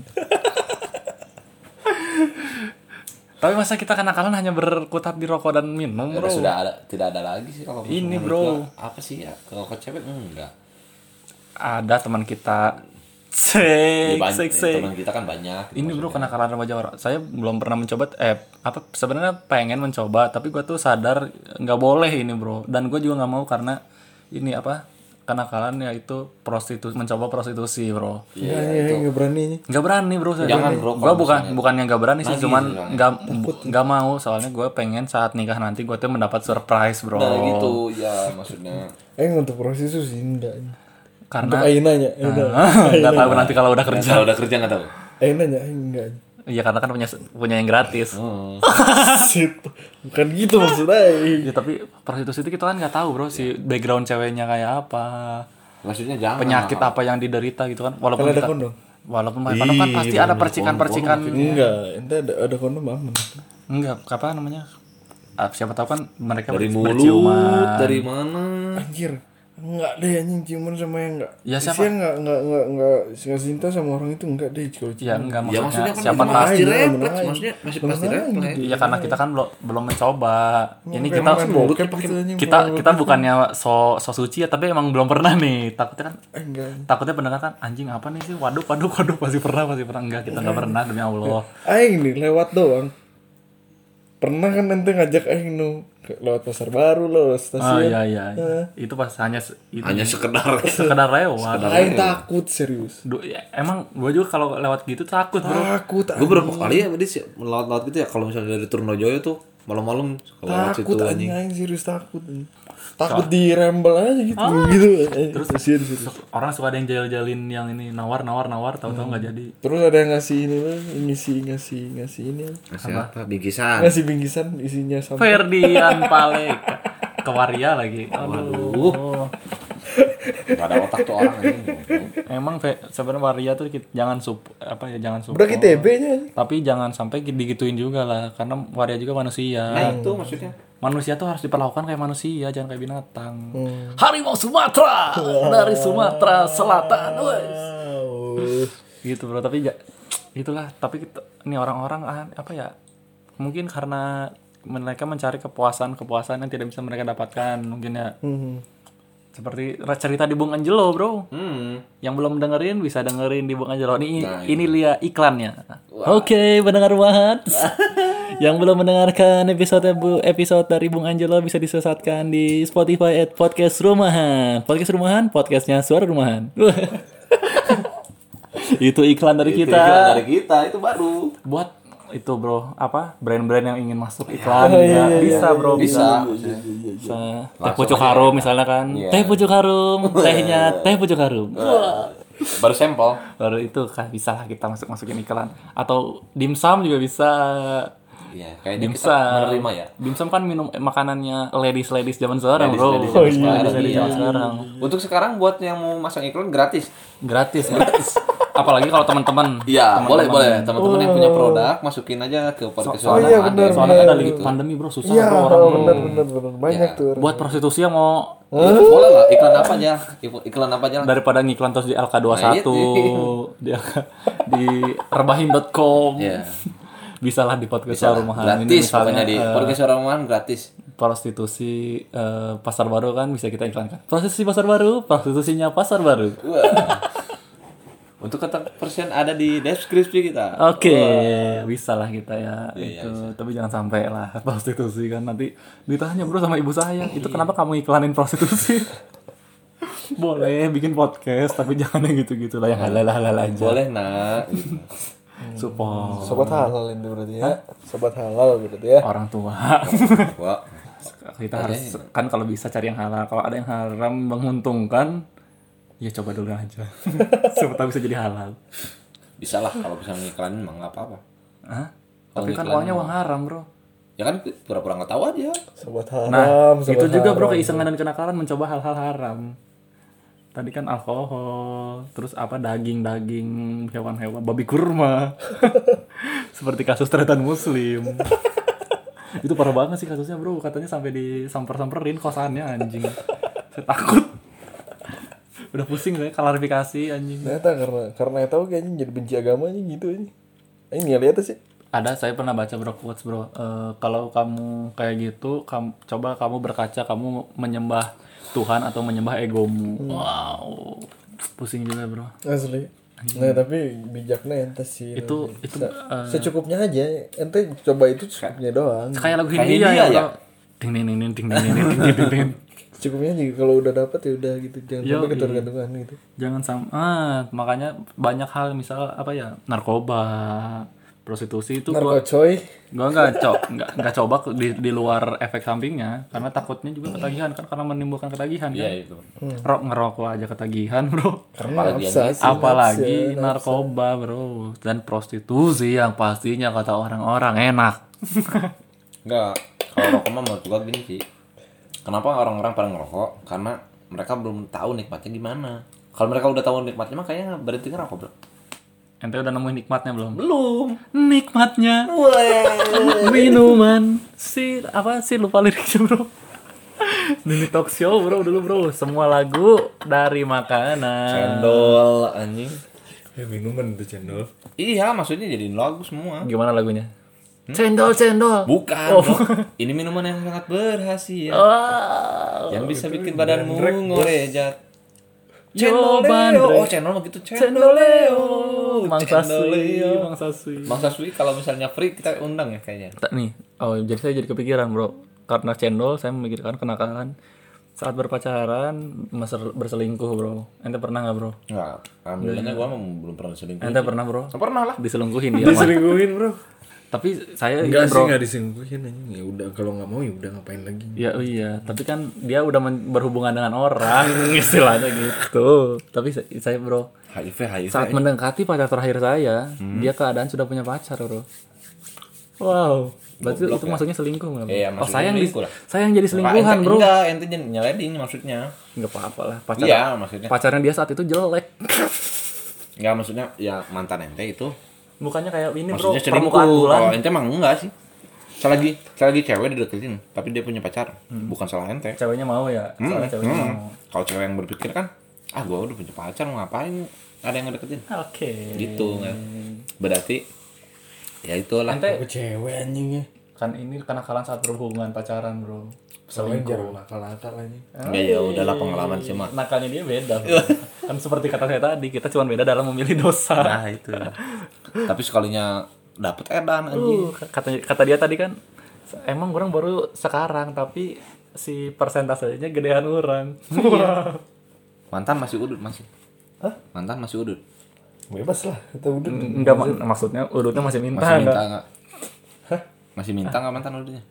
[SPEAKER 3] Tapi masa kita kenakalan hanya berkutat di rokok dan minum,
[SPEAKER 2] Karena
[SPEAKER 3] bro?
[SPEAKER 2] sudah ada tidak ada lagi sih kalau
[SPEAKER 3] Ini,
[SPEAKER 2] menurut
[SPEAKER 3] Bro.
[SPEAKER 2] gua. apa sih ya kalau ke cewek enggak
[SPEAKER 3] Ada teman kita.
[SPEAKER 2] Ya,
[SPEAKER 3] Cek,
[SPEAKER 2] banyak-
[SPEAKER 3] cek,
[SPEAKER 2] ya,
[SPEAKER 3] cek.
[SPEAKER 2] teman kita kan banyak gitu
[SPEAKER 3] Ini bro
[SPEAKER 2] maksudnya.
[SPEAKER 3] kenakalan remaja orang. Saya belum pernah mencoba. Eh apa? Sebenarnya pengen mencoba, tapi gue tuh sadar nggak boleh ini bro. Dan gue juga nggak mau karena ini apa? Kenakalan yaitu prostitusi, mencoba prostitusi bro.
[SPEAKER 4] iya iya nggak berani ini
[SPEAKER 3] Nggak berani bro saya.
[SPEAKER 2] Jangan, bro,
[SPEAKER 3] Gue
[SPEAKER 2] kalau
[SPEAKER 3] bukan
[SPEAKER 2] misalnya. Nah, gitu,
[SPEAKER 3] bukannya nggak berani sih,
[SPEAKER 2] Nagih,
[SPEAKER 3] cuman
[SPEAKER 2] bilangnya.
[SPEAKER 3] nggak nggak mau soalnya gue pengen saat nikah nanti gue tuh mendapat surprise bro.
[SPEAKER 2] nah gitu ya maksudnya
[SPEAKER 4] eh untuk prostitusi sih enggak untuk
[SPEAKER 3] Karena Nah,
[SPEAKER 4] Aina nanya Aina
[SPEAKER 3] nggak tahu nanti kalau udah kerja.
[SPEAKER 2] kalau udah kerja nggak tahu
[SPEAKER 4] Aina nanya enggak
[SPEAKER 3] Iya karena kan punya punya yang gratis.
[SPEAKER 2] Oh.
[SPEAKER 4] situ bukan gitu maksudnya
[SPEAKER 3] Ya tapi prostitusi itu kita kan nggak tahu bro
[SPEAKER 2] Iya.
[SPEAKER 3] si background ceweknya kayak apa,
[SPEAKER 2] maksudnya jangan
[SPEAKER 3] penyakit apa yang diderita gitu kan. Walaupun
[SPEAKER 4] Kalau ada
[SPEAKER 3] kita-
[SPEAKER 4] kondom?
[SPEAKER 3] Walaupun pakai kondom kan pasti ada percikan-percikan.
[SPEAKER 2] gitu.
[SPEAKER 4] enggak ente ada ada kondom aman
[SPEAKER 3] Enggak, apa namanya? Ah, Siapa tahu kan mereka
[SPEAKER 2] dari
[SPEAKER 3] ber-
[SPEAKER 2] mulut
[SPEAKER 3] berciuman.
[SPEAKER 2] dari mana
[SPEAKER 4] anjir enggak deh anjing ciuman sama yang enggak
[SPEAKER 3] Ya, siapa?
[SPEAKER 4] Isinya enggak enggak enggak enggak enggak cinta sama orang itu enggak deh kalau ciuman.
[SPEAKER 3] Ya
[SPEAKER 2] ya
[SPEAKER 3] enggak maksudnya,
[SPEAKER 2] maksudnya kan
[SPEAKER 3] siapa
[SPEAKER 2] itu
[SPEAKER 3] tahu
[SPEAKER 2] pasti
[SPEAKER 4] Iya, beneran.
[SPEAKER 2] refleks maksudnya masih pasti
[SPEAKER 4] Beneran.
[SPEAKER 2] refleks
[SPEAKER 3] Iya karena kita kan belum belum mencoba. Ini kita
[SPEAKER 4] Emang kan bokep gitu anjing
[SPEAKER 3] kita kita bukannya so so suci ya, tapi emang belum pernah nih. Takutnya kan
[SPEAKER 4] Eh, enggak
[SPEAKER 3] takutnya pendengar kan anjing apa nih sih? Waduh, waduh, waduh pasti pernah, pasti pernah enggak kita enggak pernah demi
[SPEAKER 4] Iya.
[SPEAKER 3] Allah.
[SPEAKER 4] aing nih lewat doang pernah kan ente ngajak aing nu ke- lewat pasar baru lewat
[SPEAKER 3] Ah
[SPEAKER 4] stasiun
[SPEAKER 3] iya iya. Itu pas hanya se- itu
[SPEAKER 2] hanya sekedar
[SPEAKER 3] sekedar lewat.
[SPEAKER 4] aing takut serius
[SPEAKER 3] Duh, ya, emang gue juga kalau lewat gitu takut, Bro.
[SPEAKER 4] takut
[SPEAKER 2] gue berapa kali ya berarti sih laut-laut gitu ya kalau misalnya dari Trunojoyo tuh malam-malam kalau lewat situ
[SPEAKER 4] takut
[SPEAKER 2] anjing
[SPEAKER 4] anjing aing serius takut takut dirembel aja gitu gitu terus serius
[SPEAKER 3] Orang suka ada yang jail-jailin yang ini nawar-nawar nawar
[SPEAKER 4] Hmm.
[SPEAKER 3] tahu-tahu nggak jadi.
[SPEAKER 4] Terus ada yang ngasih ini lah, ngisi ngasi ngasi ini, lah.
[SPEAKER 2] Ngasih apa bingkisan
[SPEAKER 4] ngasih bingkisan
[SPEAKER 3] Oh,
[SPEAKER 4] isinya
[SPEAKER 3] iya.
[SPEAKER 4] sampai
[SPEAKER 3] Ferdian Palek ke waria lagi. Aduh.
[SPEAKER 2] nggak ada otak tuh orang anjing
[SPEAKER 3] Emang Fe- sebenarnya waria tuh kita, jangan sup apa ya jangan support.
[SPEAKER 4] udah kita TB nya.
[SPEAKER 3] Tapi jangan sampai digituin juga lah karena waria juga
[SPEAKER 2] nah
[SPEAKER 3] manusia.
[SPEAKER 2] itu maksudnya
[SPEAKER 3] Manusia tuh harus diperlakukan kayak manusia, jangan kayak binatang. Harimau Sumatera dari Sumatera Selatan, wes. Gitu bro, tapi ja- itulah. Tapi kita- ini orang-orang ah, apa ya? Mungkin karena mereka mencari kepuasan-kepuasan yang tidak bisa mereka dapatkan, mungkin ya. Seperti ra- cerita di Bung Angelo, bro.
[SPEAKER 2] hmm Nah,
[SPEAKER 3] Yang belum dengerin bisa dengerin di Bung Angelo. Ini ini lihat iklannya. Oke, pendengar Wahat. yang belum mendengarkan episode bu episode dari Bung Angelo bisa disesatkan di Spotify at podcast rumahan. Podcast rumahan, podcastnya suara rumahan. itu iklan dari
[SPEAKER 2] Itu
[SPEAKER 3] kita.
[SPEAKER 2] iklan dari kita itu baru
[SPEAKER 3] Buat itu bro apa brand-brand yang ingin masuk
[SPEAKER 2] Iya.
[SPEAKER 3] iklan
[SPEAKER 2] Oh,
[SPEAKER 3] ya. bisa bro
[SPEAKER 2] bisa
[SPEAKER 3] bisa. teh
[SPEAKER 2] ya.
[SPEAKER 3] pucuk harum misalnya kan
[SPEAKER 2] Iya.
[SPEAKER 3] teh pucuk harum tehnya teh pucuk harum
[SPEAKER 2] baru sampel
[SPEAKER 3] baru itu kan bisa lah kita masuk masukin iklan atau dimsum juga bisa
[SPEAKER 2] Iya, kayaknya kita
[SPEAKER 3] dimsum
[SPEAKER 2] menerima ya.
[SPEAKER 3] dimsum kan minum eh, makanannya ladies ladies zaman sekarang bro
[SPEAKER 2] Ladies-ladies
[SPEAKER 3] oh,
[SPEAKER 2] zaman sekarang,
[SPEAKER 3] ladies
[SPEAKER 2] iya.
[SPEAKER 3] zaman sekarang
[SPEAKER 2] Untuk sekarang buat yang mau masang iklan gratis.
[SPEAKER 3] gratis gratis apalagi kalau teman-teman
[SPEAKER 2] Iya, boleh boleh. Teman-teman yang punya produk masukin aja ke podcast
[SPEAKER 5] oh
[SPEAKER 2] Warna
[SPEAKER 5] iya,
[SPEAKER 2] ada.
[SPEAKER 5] benar,
[SPEAKER 3] soalnya kan
[SPEAKER 5] benar.
[SPEAKER 3] ada lagi pandemi bro susah
[SPEAKER 5] Iya,
[SPEAKER 3] bro orang
[SPEAKER 5] benar benar benar benar banyak tuh. orang.
[SPEAKER 3] Ya, buat prostitusi yang mau
[SPEAKER 2] Itu Iya, boleh lah iklan apa aja? Iklan- Iklan apa aja? lah.
[SPEAKER 3] daripada ngiklan terus di LK21
[SPEAKER 2] Nah, iya,
[SPEAKER 3] di, LK di rebahin.com
[SPEAKER 2] Iya.
[SPEAKER 3] bisa lah di podcast
[SPEAKER 2] Bisa lah.
[SPEAKER 3] rumahan ini
[SPEAKER 2] gratis pokoknya
[SPEAKER 3] misalnya Eh,
[SPEAKER 2] di podcast orang rumahan gratis.
[SPEAKER 3] prostitusi eh, pasar baru kan bisa kita iklankan prostitusi pasar baru prostitusinya pasar baru
[SPEAKER 2] Wah. Untuk kata persen ada di deskripsi kita.
[SPEAKER 3] Oke, bisa lah kita ya.
[SPEAKER 2] Iya,
[SPEAKER 3] itu. Tapi jangan sampai lah prostitusi kan nanti ditanya bro sama ibu saya.
[SPEAKER 2] Iya.
[SPEAKER 3] Itu kenapa kamu iklanin prostitusi? Boleh bikin podcast, tapi jangan yang gitu-gitu lah yang halal halal aja.
[SPEAKER 2] Iya. Boleh nak. Gitu.
[SPEAKER 3] Support
[SPEAKER 5] Sobat
[SPEAKER 4] Hmm.
[SPEAKER 5] halal itu berarti ya. Sobat halal berarti ya.
[SPEAKER 3] orang tua.
[SPEAKER 2] Wah.
[SPEAKER 3] kita harus kan kalau bisa cari yang halal. Kalau ada yang haram menguntungkan, ya coba dulu aja. Siapa tahu bisa jadi halal.
[SPEAKER 2] Bisa lah kalau bisa ngiklanin emang nggak apa-apa.
[SPEAKER 3] Hah?
[SPEAKER 2] Kalau
[SPEAKER 3] Tapi kan
[SPEAKER 2] ngiklan
[SPEAKER 3] uangnya uang haram bro.
[SPEAKER 2] Ya kan pura-pura nggak tahu aja.
[SPEAKER 5] Sobat haram.
[SPEAKER 3] Nah,
[SPEAKER 5] sobat
[SPEAKER 3] itu juga bro
[SPEAKER 5] haram.
[SPEAKER 3] keisengan dan kenakalan mencoba hal-hal haram. Tadi kan alkohol, terus apa daging-daging hewan-hewan, babi kurma. Seperti kasus tretan muslim. itu parah banget sih kasusnya bro, katanya sampai disamper-samperin kosannya anjing. Saya takut. Udah pusing saya klarifikasi anjing.
[SPEAKER 5] Ternyata karena karena tahu kayaknya jadi benci agamanya gitu aja. Ini nggak lihat sih.
[SPEAKER 3] ada saya pernah baca bro quotes bro Eh, kalau kamu kayak gitu kam- coba kamu berkaca kamu menyembah Tuhan atau menyembah egomu
[SPEAKER 2] Hmm.
[SPEAKER 3] wow pusing juga bro
[SPEAKER 5] Asli. Nah tapi bijaknya ente sih. Nah,
[SPEAKER 3] itu
[SPEAKER 2] Iya,
[SPEAKER 3] itu eh, Kan.
[SPEAKER 5] secukupnya aja. Ente coba itu secukupnya doang.
[SPEAKER 3] kayak lagu
[SPEAKER 2] Kayak
[SPEAKER 3] Hindia,
[SPEAKER 2] Hindia
[SPEAKER 3] ya,
[SPEAKER 2] ya?
[SPEAKER 3] bro ding ding ding ding ding ding ding ding, ding, ding.
[SPEAKER 5] Secukupnya aja kalau udah dapat ya udah gitu. Jangan
[SPEAKER 3] iya.
[SPEAKER 5] sampai ketergantungan gitu.
[SPEAKER 3] jangan sama ah, makanya banyak hal misal apa ya narkoba prostitusi itu gua
[SPEAKER 5] Narko coy.
[SPEAKER 3] gua nggak co nggak nggak coba di, di luar efek sampingnya karena takutnya juga ketagihan kan karena menimbulkan ketagihan kan
[SPEAKER 2] Iya itu.
[SPEAKER 3] Rok ngerokok aja ketagihan bro
[SPEAKER 4] Iya,
[SPEAKER 5] Karena
[SPEAKER 2] dia
[SPEAKER 5] nafsa sih.
[SPEAKER 3] Apalagi narkoba bro Dan prostitusi yang pastinya kata orang-orang enak
[SPEAKER 2] Enggak. Kalau rokok mah menurut gua gini sih. Kenapa orang-orang pada ngerokok? Karena mereka belum tahu nikmatnya gimana. Kalau mereka udah tahu nikmatnya mah kayaknya berhenti ngerokok, Bro.
[SPEAKER 3] Ente udah nemuin nikmatnya belum?
[SPEAKER 2] Belum.
[SPEAKER 3] Nikmatnya Minuman Si apa sih lupa liriknya bro Mini talk show bro dulu bro Semua lagu dari makanan
[SPEAKER 2] Cendol anjing.
[SPEAKER 4] Ya minuman tuh channel.
[SPEAKER 2] Iya, maksudnya jadiin lagu semua.
[SPEAKER 3] Gimana lagunya? Cendol
[SPEAKER 4] Oh.
[SPEAKER 3] cendol
[SPEAKER 2] Bukan. Bro. Ini minuman yang sangat berhasil. Yang bisa bikin badanmu ngorejat. Cendol
[SPEAKER 3] Jawaban,
[SPEAKER 2] Leo.
[SPEAKER 3] Dre.
[SPEAKER 2] Oh, cendol mah gitu. Cendol
[SPEAKER 3] Cendol
[SPEAKER 2] Leo.
[SPEAKER 3] Mangsa
[SPEAKER 2] Cendol
[SPEAKER 3] sui
[SPEAKER 2] Leo.
[SPEAKER 3] Mangsa sui
[SPEAKER 2] Mangsa Sui kalau misalnya free kita undang ya kayaknya.
[SPEAKER 3] Tak nih. Oh, jadi saya jadi kepikiran, Bro. Karena cendol saya memikirkan kenakalan saat berpacaran meser- berselingkuh, Bro. Ente pernah nggak, Bro?
[SPEAKER 2] Enggak. Alhamdulillahnya gua mah belum pernah selingkuh.
[SPEAKER 3] Ente pernah, Bro?
[SPEAKER 2] Pernah lah.
[SPEAKER 3] Diselingkuhin dia. Mas.
[SPEAKER 4] Diselingkuhin bro.
[SPEAKER 3] Tapi saya ini,
[SPEAKER 4] Enggak sih
[SPEAKER 3] Bro.
[SPEAKER 4] enggak diselingkuhin anjing. Ya udah kalau nggak mau ya udah ngapain lagi.
[SPEAKER 3] Ya oh iya, tapi kan dia udah men- berhubungan dengan orang istilahnya gitu. Tapi sa- saya, Bro,
[SPEAKER 2] HIV HIV.
[SPEAKER 3] saat mendekati pacar terakhir saya,
[SPEAKER 2] Hmm.
[SPEAKER 3] dia keadaan sudah punya pacar, Bro. Wow, berarti itu maksudnya selingkuh nggak? Bro?
[SPEAKER 2] ya. Iya,
[SPEAKER 3] oh,
[SPEAKER 2] maksudnya
[SPEAKER 3] saya yang, dis-
[SPEAKER 2] selingkuh lah.
[SPEAKER 3] saya yang jadi
[SPEAKER 2] Pak,
[SPEAKER 3] selingkuhan,
[SPEAKER 2] ente-
[SPEAKER 3] Bro.
[SPEAKER 2] Enggak, ente jangan nyeleding maksudnya.
[SPEAKER 3] nggak apa-apa lah pacar
[SPEAKER 2] Iya, maksudnya.
[SPEAKER 3] pacarnya dia saat itu jelek
[SPEAKER 2] Enggak maksudnya ya mantan ente itu.
[SPEAKER 3] mukanya kayak ini bro
[SPEAKER 2] Maksudnya selingkuh.
[SPEAKER 3] permukaan bulan
[SPEAKER 2] Kalau ente emang enggak sih. Selagi selagi cewek dideketin, tapi dia punya pacar, bukan salah ente.
[SPEAKER 3] ceweknya mau ya soalnya ceweknya
[SPEAKER 2] Hmm.
[SPEAKER 3] mau
[SPEAKER 2] Kalau cewek yang berpikir kan, ah gua udah punya pacar mau ngapain ada yang ngedeketin.
[SPEAKER 3] oke
[SPEAKER 2] Gitu kan. Berarti ya itulah.
[SPEAKER 3] ente
[SPEAKER 4] Aku cewek anjing ya.
[SPEAKER 3] kan ini kenakalan saat berhubungan pacaran bro
[SPEAKER 4] Soalnya jarang nakal-nakal anjing.
[SPEAKER 2] Enggak ya udahlah pengalaman sih mah.
[SPEAKER 3] nakalnya dia beda bro. kan seperti kata saya tadi kita cuma beda dalam memilih dosa
[SPEAKER 2] Nah, itu. tapi sekalinya dapet edan anjing.
[SPEAKER 3] Uh, kata kata dia tadi kan emang orang baru sekarang tapi si persentasenya gedean orang Wah.
[SPEAKER 2] Mantan masih udut masih. Mantan masih udut.
[SPEAKER 5] Bebas lah. Kita udah.
[SPEAKER 3] Enggak mak- maksudnya urutnya masih minta,
[SPEAKER 2] Masih minta
[SPEAKER 3] enggak?
[SPEAKER 2] enggak? Hmm. Masih minta enggak mantan udutnya?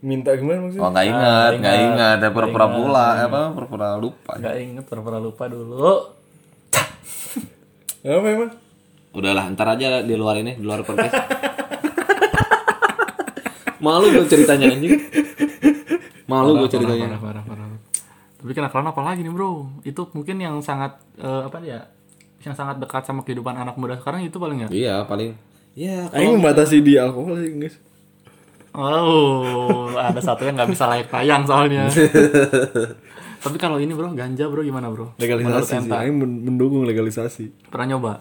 [SPEAKER 5] Minta gimana maksudnya?
[SPEAKER 2] Oh, enggak ingat, enggak ingat, ya pura-pura pula, apa pura-pura lupa.
[SPEAKER 3] nggak inget pernah lupa dulu
[SPEAKER 5] Apa emang?
[SPEAKER 2] Udahlah, ntar aja di luar ini, di luar podcast. Malu gue ceritanya anjing. Malu gue ceritanya.
[SPEAKER 3] Parah, parah, parah. Tapi kenakalan apa lagi nih bro? Itu mungkin yang sangat eh, apa ya yang sangat dekat sama kehidupan anak muda sekarang itu paling nggak
[SPEAKER 2] Iya paling. Iya
[SPEAKER 4] Aing membatasi di alkohol sih guys.
[SPEAKER 3] Oh, ada satu yang nggak bisa layak tayang soalnya. Tapi kalau ini bro, ganja bro gimana bro? Menurut
[SPEAKER 4] Legalisasi sih.
[SPEAKER 3] Enta,
[SPEAKER 4] Aing men- mendukung legalisasi.
[SPEAKER 3] Pernah nyoba?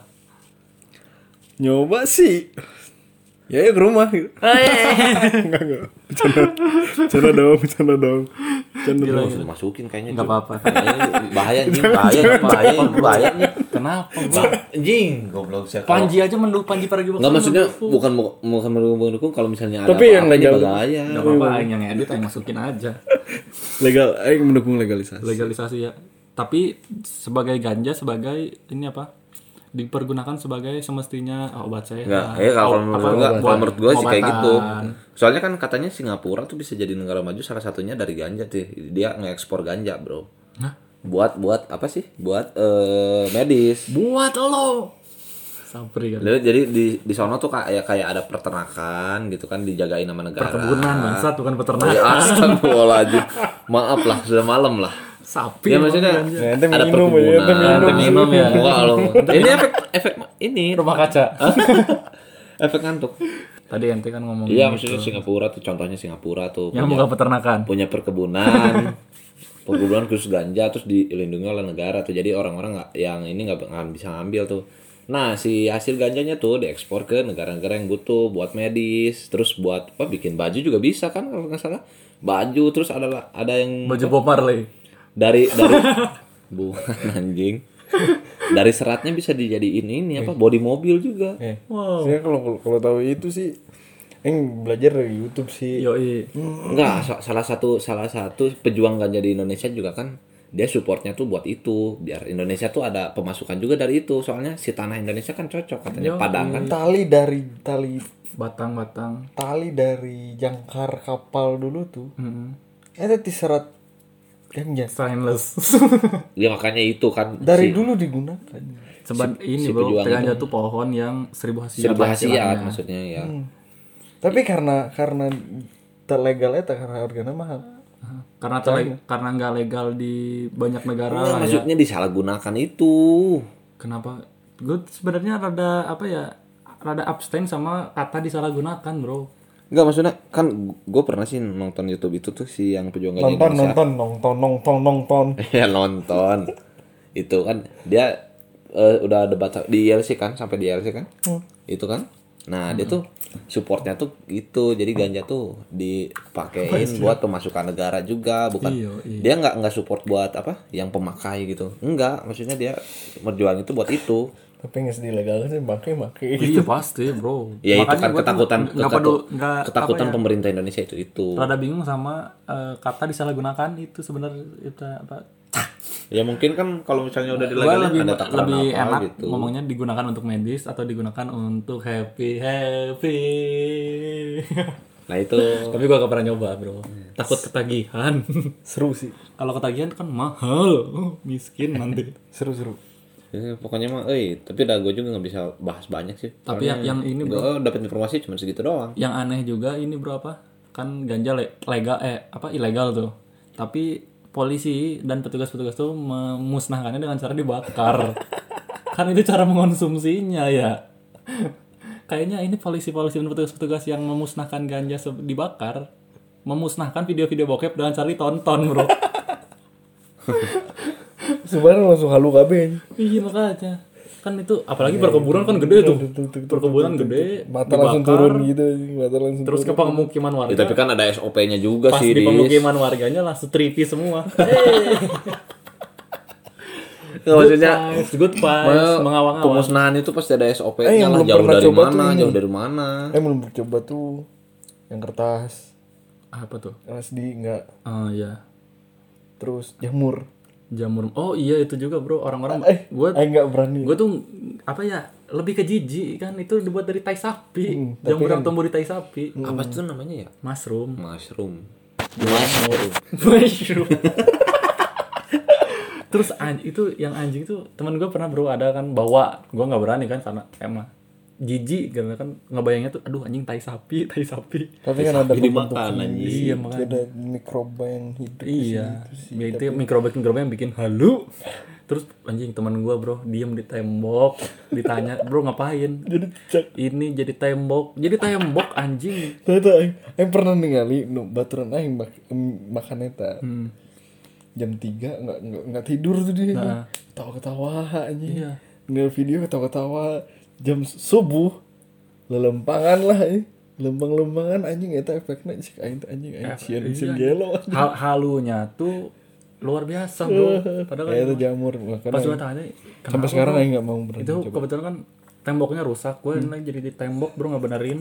[SPEAKER 4] Nyoba sih. Ya ya ke rumah gitu. Enggak enggak. Bercanda. Bercanda dong, bercanda dong. Bercanda
[SPEAKER 2] Gak
[SPEAKER 4] dong.
[SPEAKER 2] usah dimasukin kayaknya.
[SPEAKER 3] Nggak
[SPEAKER 2] Jul.
[SPEAKER 3] apa-apa.
[SPEAKER 2] Kayaknya bahaya anjing, bahaya, bahaya, bahaya. anjing.
[SPEAKER 3] Kenapa? Bro?
[SPEAKER 2] Bah- Anjing, goblok siapa.
[SPEAKER 3] Panji aja mendukung Panji Pragiwaksono.
[SPEAKER 2] Enggak maksudnya bukan bukan mendukung mendukung kalau misalnya ada
[SPEAKER 4] Tapi yang
[SPEAKER 2] apa-apa,
[SPEAKER 4] legal.
[SPEAKER 2] ini bahaya.
[SPEAKER 3] Nggak apa-apa, Aing yang edit yang masukin aja
[SPEAKER 4] Legal, Aing mendukung legalisasi.
[SPEAKER 3] legalisasi ya. Tapi sebagai ganja sebagai ini apa? Dipergunakan sebagai semestinya obat saya.
[SPEAKER 2] Enggak, eh kalau menurut gua, kalau menurut gua sih kayak gitu. Soalnya kan katanya Singapura tuh bisa jadi negara maju salah satunya dari ganja sih. Dia ngekspor ganja, Bro. Buat buat apa sih? Buat eh, medis.
[SPEAKER 3] Buat lo. Sapri kan.
[SPEAKER 2] Jadi- Jadi di di sono tuh kayak kayak ada peternakan gitu kan dijagain sama negara.
[SPEAKER 3] Perkebunan bangsat bukan
[SPEAKER 2] Ya,
[SPEAKER 3] peternakan.
[SPEAKER 2] Astagfirullahaladzim. Maaf lah, sudah malam lah.
[SPEAKER 3] Sapi.
[SPEAKER 2] Ya
[SPEAKER 3] emang
[SPEAKER 2] maksudnya
[SPEAKER 3] ganja.
[SPEAKER 5] Ente
[SPEAKER 2] ada
[SPEAKER 5] minum ya, ente
[SPEAKER 2] perkebunan.
[SPEAKER 5] minum.
[SPEAKER 2] Ente minum ya. Enggak loh. Ini efek efek ini
[SPEAKER 3] rumah kaca.
[SPEAKER 2] efek ngantuk.
[SPEAKER 3] Tadi ente kan ngomong
[SPEAKER 2] Iya, maksudnya Singapura tuh contohnya Singapura tuh
[SPEAKER 3] yang
[SPEAKER 2] punya,
[SPEAKER 3] bukan peternakan.
[SPEAKER 2] punya perkebunan. perkebunan khusus ganja terus dilindungi oleh negara tuh. Jadi orang-orang nggak yang ini nggak nggak bisa ngambil tuh. Nah, si hasil ganjanya tuh diekspor ke negara-negara yang butuh buat medis, terus buat apa bikin baju juga bisa kan kalau nggak salah. Baju terus ada ada yang
[SPEAKER 3] Baju Bob Marley.
[SPEAKER 2] dari dari bukan anjing dari seratnya bisa dijadiin ini apa body mobil juga
[SPEAKER 5] Wow.
[SPEAKER 4] Ya,
[SPEAKER 5] Saya kalau kalau- kalau tahu itu sih Aing belajar dari YouTube sih.
[SPEAKER 3] Yoi.
[SPEAKER 2] enggak sa- salah satu salah satu pejuang ganja di Indonesia juga kan dia supportnya tuh buat itu biar Indonesia tuh ada pemasukan juga dari itu soalnya si tanah Indonesia kan cocok katanya Padang kan
[SPEAKER 5] Tali dari tali
[SPEAKER 3] Batang-batang.
[SPEAKER 5] tali dari jangkar kapal dulu tuh.
[SPEAKER 3] Mm-mm.
[SPEAKER 5] Itu diserat ganja.
[SPEAKER 3] Stainless.
[SPEAKER 2] ya makanya itu kan
[SPEAKER 5] Dari
[SPEAKER 2] si,
[SPEAKER 5] dulu digunakan.
[SPEAKER 3] Sebab ini
[SPEAKER 2] si
[SPEAKER 3] bro,
[SPEAKER 2] pejuang
[SPEAKER 3] ganja tuh pohon yang seribu hasiat.
[SPEAKER 2] serba
[SPEAKER 3] lah
[SPEAKER 2] hasiat
[SPEAKER 3] istilahnya.
[SPEAKER 2] maksudnya ya
[SPEAKER 5] Tapi karena karena tak legal eta karena harganya mahal.
[SPEAKER 3] Karena tele-
[SPEAKER 2] Iya.
[SPEAKER 3] karena nggak legal di banyak negara
[SPEAKER 5] Nah,
[SPEAKER 2] Enggak,
[SPEAKER 3] lah ya.
[SPEAKER 2] Nah, maksudnya disalahgunakan itu
[SPEAKER 3] Kenapa? Gue sebenarnya rada apa ya? Rada abstain sama kata disalahgunakan bro.
[SPEAKER 2] Enggak maksudnya kan gue pernah sih nonton YouTube itu tuh si yang pejuang ganja
[SPEAKER 5] Nonton
[SPEAKER 2] Indonesia
[SPEAKER 5] nonton nonton nonton nonton.
[SPEAKER 2] ya nonton itu kan dia eh, udah debat di ILC kan sampai di ILC kan
[SPEAKER 3] Hmm.
[SPEAKER 2] itu kan nah dia tuh supportnya tuh gitu jadi ganja tuh dipakein buat pemasukan negara juga bukan
[SPEAKER 3] Iya,
[SPEAKER 2] dia nggak nggak support buat apa yang pemakai gitu enggak maksudnya dia berjuang itu buat itu
[SPEAKER 5] Tapi nggak sedih legal sih pakai pakai.
[SPEAKER 3] Iya pasti bro.
[SPEAKER 2] ya itu
[SPEAKER 3] Makanya
[SPEAKER 2] kan
[SPEAKER 3] gua tuh
[SPEAKER 2] ketakutan
[SPEAKER 3] nggak
[SPEAKER 2] ketu-
[SPEAKER 3] perlu nggak
[SPEAKER 2] ketakutan
[SPEAKER 3] apa ya,
[SPEAKER 2] pemerintah Indonesia itu itu
[SPEAKER 3] rada bingung sama eh, kata disalahgunakan itu sebenarnya itu apa?
[SPEAKER 2] ya mungkin kan kalau misalnya udah
[SPEAKER 3] Gue
[SPEAKER 2] dilegalin
[SPEAKER 3] lebih
[SPEAKER 2] ada takaran
[SPEAKER 3] lebih
[SPEAKER 2] apa
[SPEAKER 3] enak
[SPEAKER 2] gitu
[SPEAKER 3] ngomongnya digunakan untuk medis atau digunakan untuk happy happy.
[SPEAKER 2] nah itu
[SPEAKER 3] Oh. Tapi gua gak pernah nyoba bro. Takut ketagihan.
[SPEAKER 5] Seru sih.
[SPEAKER 3] Kalau ketagihan kan mahal, Oh, miskin nanti.
[SPEAKER 5] Seru seru.
[SPEAKER 2] Ya, pokoknya mah, eh tapi udah gue juga nggak bisa bahas banyak sih.
[SPEAKER 3] Tapi yang, yang ini bro,
[SPEAKER 2] Gue dapat informasi cuma segitu doang.
[SPEAKER 3] yang aneh juga ini bro apa? Kan ganja le- legal eh apa ilegal tuh. Tapi polisi dan petugas-petugas tuh memusnahkannya dengan cara dibakar. kan itu cara mengonsumsinya ya. Kayaknya ini polisi-polisi dan petugas-petugas yang memusnahkan ganja se- dibakar memusnahkan video-video bokep dengan cara ditonton bro.
[SPEAKER 5] Sebenarnya langsung halu KB aja.
[SPEAKER 3] Iya makanya kan itu apalagi perkebunan kan gede
[SPEAKER 5] Iya,
[SPEAKER 3] tuh perkebunan gede
[SPEAKER 5] Mata langsung
[SPEAKER 3] dibakar,
[SPEAKER 5] turun gitu. anjing. Mata langsung
[SPEAKER 3] terus ke pemukiman
[SPEAKER 2] Ya,
[SPEAKER 3] warga
[SPEAKER 2] tapi kan ada SOP-nya juga
[SPEAKER 3] Iya. pas
[SPEAKER 2] sih.
[SPEAKER 3] di
[SPEAKER 2] Dis. Iya,
[SPEAKER 3] pemukiman warganya langsung tripi semua
[SPEAKER 2] Nggak, maksudnya
[SPEAKER 3] Vibes, good vibes
[SPEAKER 2] eh,
[SPEAKER 3] mengawang-awang
[SPEAKER 2] pemusnahan itu pasti ada SOP-nya
[SPEAKER 5] Eh, yang
[SPEAKER 2] lah.
[SPEAKER 5] belum
[SPEAKER 2] Jauh
[SPEAKER 5] pernah
[SPEAKER 2] dari
[SPEAKER 5] coba tuh
[SPEAKER 2] mana,
[SPEAKER 5] ini.
[SPEAKER 2] jauh dari mana.
[SPEAKER 5] Eh belum coba tuh yang kertas,
[SPEAKER 3] apa tuh
[SPEAKER 5] keras di enggak,
[SPEAKER 3] oh iya
[SPEAKER 5] terus jamur.
[SPEAKER 3] jamur oh iya itu juga bro orang-orang
[SPEAKER 5] Eh,
[SPEAKER 3] gue
[SPEAKER 5] eh enggak berani.
[SPEAKER 3] gue tuh apa ya lebih ke jijik kan itu dibuat dari tai sapi
[SPEAKER 5] Hmm,
[SPEAKER 3] jamur
[SPEAKER 5] kan
[SPEAKER 3] yang tumbuh di tai sapi
[SPEAKER 2] Apa itu namanya ya?
[SPEAKER 3] mushroom
[SPEAKER 2] Mushroom.
[SPEAKER 3] mushroom terus an- itu yang anjing itu teman gue pernah bro ada kan bawa gue nggak berani kan karena emang jijik karena kan ngebayangnya tuh aduh anjing tai sapi tai sapi
[SPEAKER 5] Tapi kan ada pembentuk
[SPEAKER 2] Dimakan anjing.
[SPEAKER 5] iya, ada mikroba yang hidup.
[SPEAKER 3] iya ya itu mikroba mikroba yang bikin halu terus anjing teman gua bro diem di tembok ditanya bro ngapain
[SPEAKER 4] Jadi cak.
[SPEAKER 3] ini jadi tembok jadi tembok anjing
[SPEAKER 4] Ternyata aing, aing pernah ningali nu baturan aing mak, em, makan eta.
[SPEAKER 3] Hmm.
[SPEAKER 4] Jam 3 enggak enggak, tidur tuh dia. Ketawa-ketawa anjing.
[SPEAKER 3] Nah. Iya.
[SPEAKER 4] Ngeliat video ketawa-ketawa jam subuh lelempangan lah ini. Lembang-lembangan anjing eta efeknya cek aing teh, anjing aing sieun
[SPEAKER 3] iya,
[SPEAKER 4] sieun gelo.
[SPEAKER 3] Hal halunya tuh luar biasa bro padahal kan
[SPEAKER 4] Kayak Ya, itu jamur makanya
[SPEAKER 3] pas gua
[SPEAKER 4] aing-
[SPEAKER 3] tanya
[SPEAKER 4] sampai
[SPEAKER 3] kenapa
[SPEAKER 4] sekarang aing enggak mau berani.
[SPEAKER 3] itu kebetulan kan temboknya rusak gue naik jadi di tembok bro nggak benerin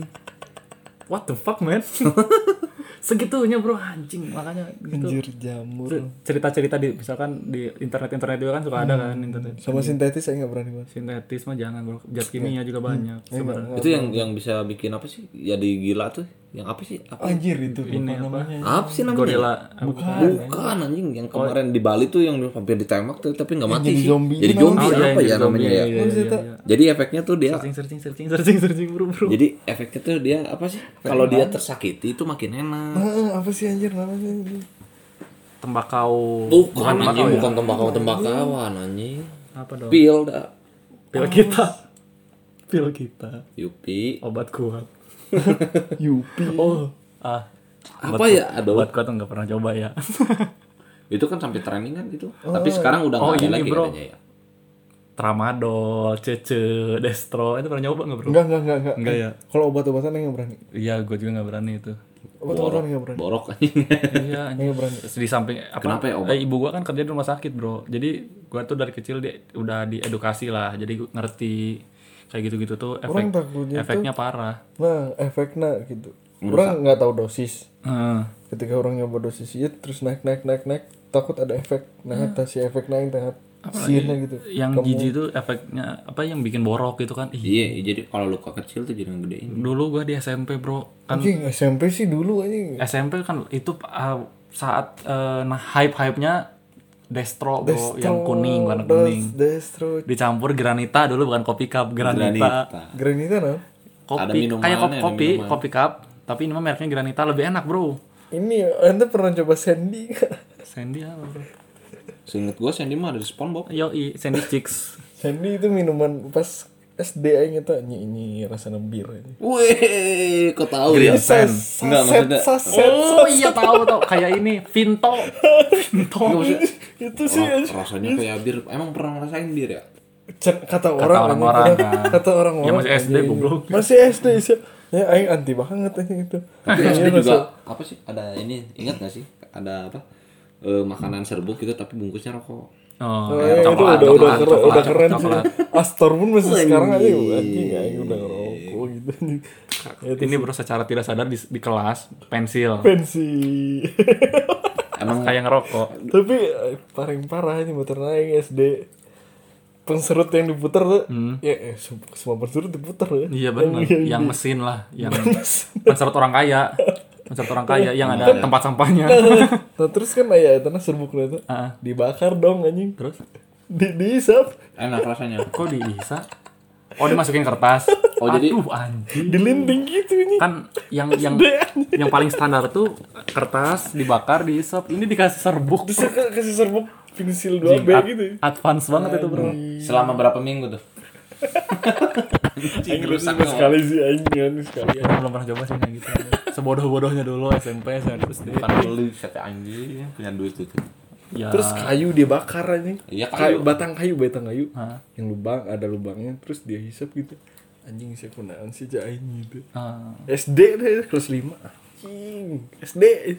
[SPEAKER 3] what the fuck man segitunya bro anjing makanya gitu
[SPEAKER 4] Anjir jamur.
[SPEAKER 3] cerita-cerita di misalkan di internet-internet juga kan suka ada kan internet
[SPEAKER 4] Sama sintetis saya nggak berani mas.
[SPEAKER 3] sintetis mah jangan bro zat kimia juga banyak sebenarnya
[SPEAKER 2] itu yang yang bisa bikin apa sih jadi gila tuh yang apa sih apa,
[SPEAKER 4] Anjir itu
[SPEAKER 3] ini apa
[SPEAKER 2] apa sih namanya
[SPEAKER 3] gorila
[SPEAKER 2] bukan anjing yang
[SPEAKER 3] Oh.
[SPEAKER 2] kemarin di Bali tuh yang hampir ditembak tuh tapi nggak mati
[SPEAKER 4] jadi
[SPEAKER 2] sih
[SPEAKER 4] zombie.
[SPEAKER 2] jadi
[SPEAKER 4] Ini
[SPEAKER 2] zombie
[SPEAKER 3] iya,
[SPEAKER 2] apa ya
[SPEAKER 3] yang jadi
[SPEAKER 2] namanya
[SPEAKER 3] zombie,
[SPEAKER 2] ya
[SPEAKER 3] iya, iya, iya, iya.
[SPEAKER 2] jadi efeknya tuh dia
[SPEAKER 3] searching searching searching searching searching bro bro
[SPEAKER 2] jadi efeknya tuh dia apa sih kalau dia tersakiti itu makin enak
[SPEAKER 4] Ah, apa sih anjir namanya? anjir?
[SPEAKER 3] tembakau
[SPEAKER 2] Bukan ya? Iya. anjing, bukan tembakau-tembakauan anjing.
[SPEAKER 3] apa dong
[SPEAKER 2] Pil dah.
[SPEAKER 3] pil kita pil kita
[SPEAKER 2] Yupi.
[SPEAKER 3] obat kuat
[SPEAKER 4] Yupi.
[SPEAKER 3] oh ah
[SPEAKER 2] Apa ya? Aduh.
[SPEAKER 3] obat kuat tuh nggak pernah coba ya
[SPEAKER 2] Itu kan sampai trending kan itu. Tapi sekarang udah
[SPEAKER 3] Oh,
[SPEAKER 2] nggak
[SPEAKER 3] ini,
[SPEAKER 2] ada lagi
[SPEAKER 3] bro.
[SPEAKER 2] katanya ya.
[SPEAKER 3] tramadol cece destro itu pernah nyoba nggak bro
[SPEAKER 4] Enggak, enggak, enggak, enggak.
[SPEAKER 3] Enggak ya?
[SPEAKER 4] Kalau obat-obatan yang berani.
[SPEAKER 3] iya gue juga nggak berani itu
[SPEAKER 4] Obat-obatan yang berani.
[SPEAKER 2] Borok anjing.
[SPEAKER 3] iya anjing. di samping apa
[SPEAKER 2] Kenapa ya, obat?
[SPEAKER 3] eh, ibu gua kan kerja di rumah sakit bro jadi gua tuh dari kecil dia udah diedukasi lah jadi gua ngerti kayak gitu-gitu tuh efek
[SPEAKER 4] Orang takutnya tuh-
[SPEAKER 3] efeknya parah
[SPEAKER 4] Nah, efeknya gitu. Orang nggak tahu dosis.
[SPEAKER 3] Heeh.
[SPEAKER 4] Ketika orang nyoba dosis itu terus naik naik naik naik takut ada efek. Nah, atas si efek naik tengah sirna gitu.
[SPEAKER 3] yang jijik tuh efeknya apa yang bikin borok gitu kan Ih,
[SPEAKER 2] Iya, jadi kalau luka kecil tuh jadi ngegedein.
[SPEAKER 3] dulu gua di SMP bro kan
[SPEAKER 4] Anjing SMP sih dulu anjing.
[SPEAKER 3] SMP kan itu uh, saat uh, nah hype hype nya Destro bro yang kuning warna kuning
[SPEAKER 4] Dos- Destro.
[SPEAKER 3] dicampur granita dulu bukan kopi cup
[SPEAKER 2] Nah,
[SPEAKER 3] granita,
[SPEAKER 2] Granita.
[SPEAKER 4] Granita nah.
[SPEAKER 2] Ada
[SPEAKER 3] kopi
[SPEAKER 2] minuman,
[SPEAKER 3] kayak kop-
[SPEAKER 2] ada
[SPEAKER 3] kopi
[SPEAKER 2] minuman.
[SPEAKER 3] kopi cup tapi ini mah mereknya granita lebih enak bro
[SPEAKER 4] Ini anda pernah coba Sandy? nggak?
[SPEAKER 3] Sandy apa bro
[SPEAKER 2] Seinget gua Sandy mah ada di SpongeBob.
[SPEAKER 3] Yoi, Sandy Chicks
[SPEAKER 4] Sandy itu minuman pas SD aja tuh ini ini rasanya bir. anjing.
[SPEAKER 2] Wih, kok tahu ya?
[SPEAKER 4] Saset,
[SPEAKER 2] Enggak maksudnya.
[SPEAKER 4] saset.
[SPEAKER 3] oh iya tahu tahu kayak ini Vinto Vinto
[SPEAKER 4] Itu sih
[SPEAKER 2] ra- rasanya kayak bir. Emang pernah ngerasain bir ya?
[SPEAKER 4] Cer- kata orang
[SPEAKER 3] orang-orang,
[SPEAKER 4] anjing,
[SPEAKER 3] kan.
[SPEAKER 4] kata orang-orang
[SPEAKER 3] Ya, masih SD,
[SPEAKER 4] anjing.
[SPEAKER 3] goblok.
[SPEAKER 4] masih SD sih ya aing anti banget anjing itu
[SPEAKER 2] Tapi
[SPEAKER 4] Iya,
[SPEAKER 2] SD
[SPEAKER 4] rasa-
[SPEAKER 2] juga apa sih? Ada ini ingat gak sih? Ada apa? Eh, makanan serbuk gitu tapi bungkusnya rokok.
[SPEAKER 3] oh,
[SPEAKER 4] Oh,
[SPEAKER 3] ya,
[SPEAKER 4] iya, itu
[SPEAKER 3] coklat,
[SPEAKER 4] udah udah
[SPEAKER 3] coklat,
[SPEAKER 4] keren, udah
[SPEAKER 3] coklat,
[SPEAKER 4] keren sih.
[SPEAKER 3] coklat.
[SPEAKER 4] Astor pun masih sekarang aja anjing aing udah ngerokok gitu anjing.
[SPEAKER 3] ini bro secara tidak sadar di, di kelas pensil
[SPEAKER 4] pensi
[SPEAKER 2] Emang
[SPEAKER 3] kayak ngerokok
[SPEAKER 4] tapi eh, paling parah ini motor aing SD penserut yang diputar tuh ya eh, se- semua penserut diputar ya
[SPEAKER 3] Hmm. Iya benar, yang, mesin lah, yang peserta orang kaya, peserta orang kaya yang ada tempat sampahnya.
[SPEAKER 4] nah terus kan ayah tanah serbuknya itu
[SPEAKER 3] Ah.
[SPEAKER 4] dibakar dong anjing
[SPEAKER 3] Terus,
[SPEAKER 4] di diisap
[SPEAKER 2] enak rasanya.
[SPEAKER 3] kok diisa? Oh dimasukin kertas.
[SPEAKER 2] Oh,
[SPEAKER 3] Aduh
[SPEAKER 2] jadi-
[SPEAKER 3] anjing.
[SPEAKER 4] dilinting gitu ini
[SPEAKER 3] Kan yang yang yang paling standar tuh kertas dibakar diisap. Ini dikasih serbuk.
[SPEAKER 4] terus dia kasih serbuk pensil 2B gitu
[SPEAKER 3] Ad- advance banget itu bro.
[SPEAKER 2] Selama berapa minggu tuh?
[SPEAKER 4] anjing rusak sekali sih anjing anjing sekali
[SPEAKER 3] Iya, belum pernah coba sih kayak gitu. Sebodoh-bodohnya dulu SMP SMP terus deh.
[SPEAKER 2] Kan beli sate anjing punya duit itu.
[SPEAKER 3] Ya.
[SPEAKER 4] terus kayu dia bakar anjing
[SPEAKER 2] Iya, kayu.
[SPEAKER 4] kayu batang kayu batang kayu
[SPEAKER 3] Ah.
[SPEAKER 4] yang lubang ada lubangnya terus dia hisap gitu anjing saya kunaan sih cah aing gitu
[SPEAKER 3] eh,
[SPEAKER 4] SD deh kelas 5 anjing SD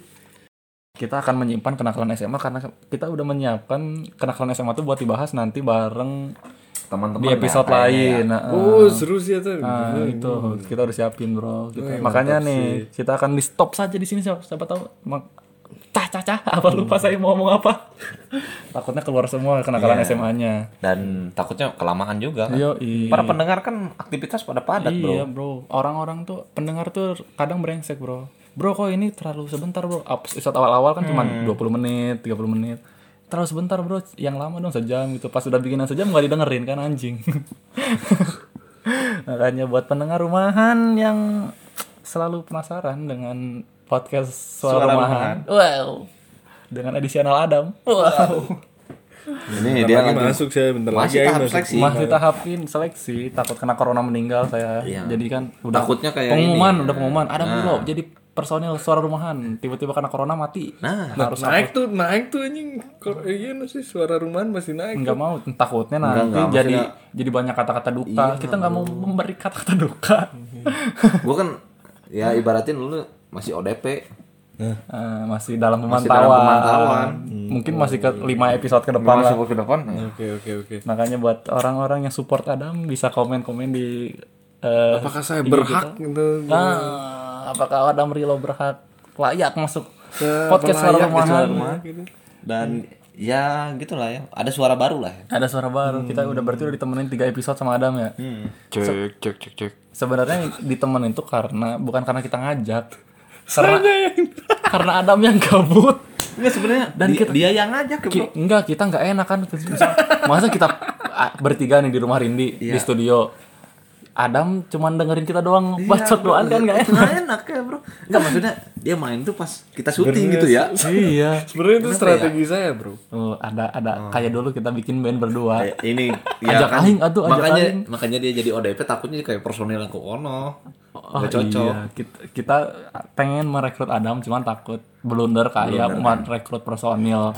[SPEAKER 3] kita akan menyimpan kenakalan SMA karena kita udah menyiapkan kenakalan SMA tuh buat dibahas nanti bareng
[SPEAKER 2] Teman-teman
[SPEAKER 3] di episode
[SPEAKER 2] ya, kayaknya
[SPEAKER 3] lain. Nah,
[SPEAKER 4] oh seru sih ya tuh
[SPEAKER 3] nah, itu kita harus siapin bro. Kita- makanya nih kita akan di stop saja di sini siapa, siapa tahu mak- cah cah cah apa lupa saya mau ngomong apa. Takutnya keluar semua
[SPEAKER 2] Iya.
[SPEAKER 3] kenakalan SMA-nya.
[SPEAKER 2] Dan takutnya kelamaan juga kan.
[SPEAKER 3] Yo,
[SPEAKER 2] Para pendengar kan aktivitas pada padat,
[SPEAKER 3] Iya
[SPEAKER 2] Bro.
[SPEAKER 3] bro, orang-orang tuh pendengar tuh kadang brengsek bro. Bro kok ini terlalu sebentar bro. Ups, Episode awal-awal kan cuma 20 menit, 30 menit. Terlalu sebentar bro, yang lama dong sejam gitu. Pas udah bikinan sejam nggak didengerin kan anjing. Makanya buat pendengar rumahan yang selalu penasaran dengan podcast suara, rumahan. Wow. Dengan edisional Adam. Wow.
[SPEAKER 1] Ini dia
[SPEAKER 2] kan.
[SPEAKER 1] lagi
[SPEAKER 4] masuk saya bentar
[SPEAKER 2] Iya, masih
[SPEAKER 4] lagi aing
[SPEAKER 2] tahap
[SPEAKER 4] masuk.
[SPEAKER 2] seleksi
[SPEAKER 3] Masih tahapin seleksi, takut kena corona meninggal saya.
[SPEAKER 2] Iya.
[SPEAKER 3] Jadi kan udah
[SPEAKER 2] Takutnya kayak ini.
[SPEAKER 3] pengumuman,
[SPEAKER 2] ya. Nah.
[SPEAKER 3] udah pengumuman. Ada belum? Jadi personil suara rumahan tiba-tiba kena corona mati.
[SPEAKER 2] Nah.
[SPEAKER 3] harus
[SPEAKER 4] Naik tuh, naik tuh anjing. Kor- Iya sih suara rumahan masih naik.
[SPEAKER 3] nggak mau takutnya nanti
[SPEAKER 2] nggak,
[SPEAKER 3] jadi
[SPEAKER 2] maksudnya- Iya.
[SPEAKER 3] jadi banyak kata-kata duka kita nggak mau memberi kata-kata duka
[SPEAKER 2] gue kan ya ibaratin lu masih ODP
[SPEAKER 3] Eh, masih dalam pemantauan, Hmm.
[SPEAKER 2] dalam pemantauan. Hmm.
[SPEAKER 3] mungkin masih ke lima episode ke depan lah.
[SPEAKER 2] masuk ke depan ya.
[SPEAKER 4] Oke oke oke.
[SPEAKER 3] makanya buat orang-orang yang support Adam bisa komen-komen di eh,
[SPEAKER 4] Apakah saya berhak gitu?
[SPEAKER 3] nah apakah Adam Rilo berhak layak masuk podcast suara rumahan
[SPEAKER 2] dan ya gitulah ya ada suara baru lah ya.
[SPEAKER 3] ada suara baru kita udah berarti udah ditemenin tiga episode sama Adam ya
[SPEAKER 1] cek cek cek cek.
[SPEAKER 3] sebenarnya ditemenin tuh karena bukan karena kita ngajak karena karena Adam yang gabut
[SPEAKER 2] Nggak sebenarnya
[SPEAKER 3] Dan
[SPEAKER 2] dia,
[SPEAKER 3] kita-
[SPEAKER 2] dia yang ngajak bro
[SPEAKER 3] Ki- enggak kita nggak enak kan Misal- masa kita ah, bertiga nih di rumah Rindi di studio Adam cuman dengerin kita doang bacot doang kan nggak enak
[SPEAKER 2] Nggak enak ya bro Nggak maksudnya dia main tuh pas kita syuting gitu ya
[SPEAKER 3] iya
[SPEAKER 4] Sebenarnya itu strategi saya bro.
[SPEAKER 3] Oh, ada ada kayak dulu kita bikin band berdua
[SPEAKER 2] Kayak Eh, ini ya kan.
[SPEAKER 3] Ajak aing, atuh, ajak
[SPEAKER 2] makanya
[SPEAKER 3] aing.
[SPEAKER 2] makanya dia jadi ODP takutnya kayak personil yang ke ono
[SPEAKER 3] Oh,
[SPEAKER 2] nggak cocok
[SPEAKER 3] iya. Kita, kita pengen merekrut Adam cuman takut blunder kayak
[SPEAKER 2] kan?
[SPEAKER 3] merekrut personil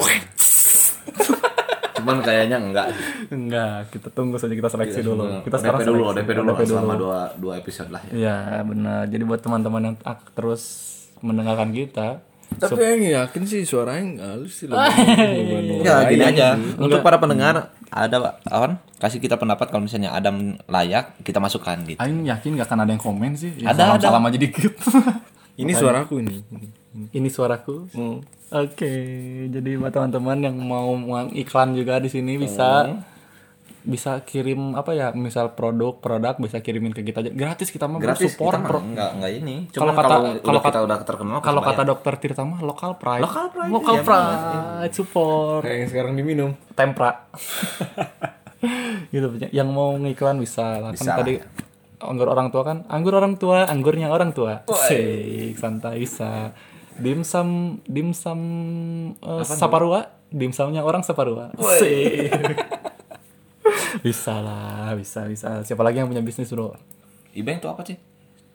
[SPEAKER 2] cuman kayaknya enggak
[SPEAKER 3] enggak kita tunggu saja kita seleksi dulu kita
[SPEAKER 2] ODP
[SPEAKER 3] sekarang
[SPEAKER 2] Iya, dulu
[SPEAKER 3] seleksi.
[SPEAKER 2] ODP dulu lah, selama dua dua episode lah ya
[SPEAKER 3] Iya benar. Jadi buat teman-teman yang ak- terus mendengarkan kita,
[SPEAKER 4] Tapi yang yakin sih suara yang halus sih lebih.
[SPEAKER 2] Ya gini aja. Hmm. Untuk para pendengar ada Pak Awan kasih kita pendapat kalau misalnya Adam layak kita masukkan gitu.
[SPEAKER 3] Aing yakin gak akan ada yang komen sih. Ya,
[SPEAKER 2] Ada,
[SPEAKER 3] salam, salam aja dikit.
[SPEAKER 4] Ini suaraku ini.
[SPEAKER 3] Ini suaraku.
[SPEAKER 2] Hmm.
[SPEAKER 3] Oke, jadi buat teman-teman yang mau mau iklan juga di sini bisa
[SPEAKER 2] Hmm.
[SPEAKER 3] bisa kirim apa ya misal produk produk bisa kirimin ke kita aja gratis kita mah
[SPEAKER 2] Gratis
[SPEAKER 3] support
[SPEAKER 2] kita mah
[SPEAKER 3] pro-
[SPEAKER 2] enggak enggak ini. Cuma
[SPEAKER 3] Kalau
[SPEAKER 2] kalau
[SPEAKER 3] kata-
[SPEAKER 2] udah
[SPEAKER 3] kalau
[SPEAKER 2] kita
[SPEAKER 3] kata-
[SPEAKER 2] udah terkenal
[SPEAKER 3] kalau
[SPEAKER 2] kebayang.
[SPEAKER 3] kata dokter Tirta mah local pride
[SPEAKER 2] Local ya. pride,
[SPEAKER 3] local
[SPEAKER 2] iya,
[SPEAKER 3] pride support
[SPEAKER 4] Kayak yang sekarang diminum.
[SPEAKER 3] tempra gitu punya. yang mau ngiklan bisa lah
[SPEAKER 2] Bisa ya.
[SPEAKER 3] kan tadi anggur orang tua kan anggur orang tua anggurnya orang tua Sik, santai bisa dimsum dimsum eh, saparua dimsumnya orang saparua Sik. bisa lah bisa bisa siapa lagi yang punya bisnis bro
[SPEAKER 2] Ibeng tuh apa sih?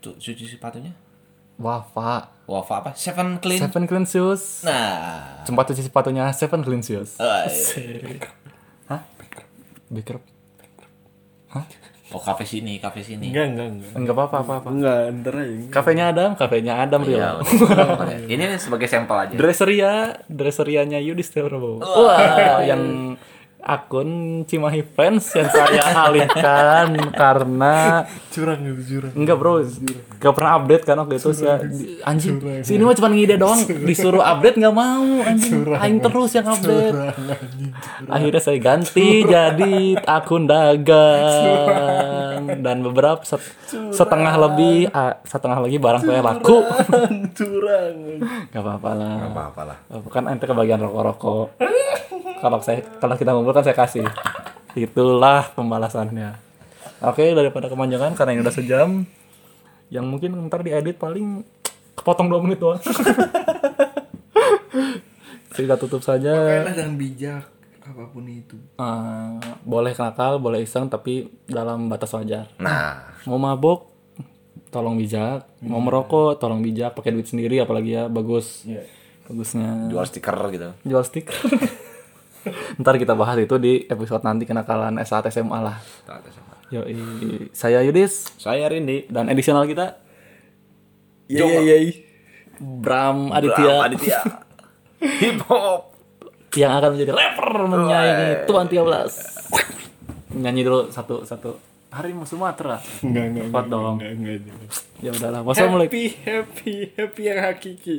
[SPEAKER 2] Tuh cuci sepatunya.
[SPEAKER 3] wafa
[SPEAKER 2] Wafa apa? Seven clean.
[SPEAKER 3] seven clean shoes
[SPEAKER 2] Nah.
[SPEAKER 3] tempat cuci sepatunya seven clean shoes
[SPEAKER 2] eh,
[SPEAKER 3] hah baker
[SPEAKER 2] Oh kafe sini, kafe sini.
[SPEAKER 4] Enggak enggak enggak.
[SPEAKER 3] enggak apa apa apa, apa.
[SPEAKER 4] Enggak ntar aja.
[SPEAKER 3] Kafenya Adam, kafenya Adam Rio.
[SPEAKER 2] Ya, udah. ini sebagai sampel aja.
[SPEAKER 3] Dresseria, dresserianya Yudis Prabowo. Wah, yang akun Cimahi fans yang saya alihkan karena
[SPEAKER 4] Curang itu curang.
[SPEAKER 3] enggak bro enggak pernah update kan waktu itu saya di- anjing si ini mah cuma ngide doang disuruh update nggak mau anjing aing terus yang update akhirnya saya ganti jadi akun dagang dan beberapa set- setengah lebih ah, setengah lagi barang saya laku
[SPEAKER 4] Curang.
[SPEAKER 3] nggak apa-apa lah
[SPEAKER 2] Apa-apa lah.
[SPEAKER 3] Oh, kan ente kebagian rokok-rokok. kalau saya kalau kita ngumpul kan saya kasih. Itulah pembalasannya. Oke, daripada kemanjangan karena ini udah sejam. Yang mungkin ntar diedit paling kepotong 2 menit doang. kita tutup saja.
[SPEAKER 4] Kayaklah jangan bijak apapun itu.
[SPEAKER 3] Eh, boleh nakal, boleh iseng tapi dalam batas wajar.
[SPEAKER 2] Nah,
[SPEAKER 3] Mau mabok tolong bijak, mau merokok tolong bijak, pakai duit sendiri apalagi ya bagus. Bagusnya
[SPEAKER 2] jual stiker gitu.
[SPEAKER 3] jual stiker ntar kita bahas itu di episode nanti kenakalan S1 SMA lah yoi saya Yudis
[SPEAKER 2] Saya Rindi.
[SPEAKER 3] dan edisional kita
[SPEAKER 4] Iya iya iya.
[SPEAKER 3] Bram Aditya
[SPEAKER 2] Aditya. Hip hop.
[SPEAKER 3] yang akan menjadi rapper menyayangi Tuan 13 nyanyi dulu satu satu hari mau Sumatera
[SPEAKER 4] Enggak enggak.
[SPEAKER 3] Cepat dong.
[SPEAKER 4] Enggak enggak. enggak.
[SPEAKER 3] ya udahlah wassalamualaikum
[SPEAKER 4] Happy happy happy yang hakiki.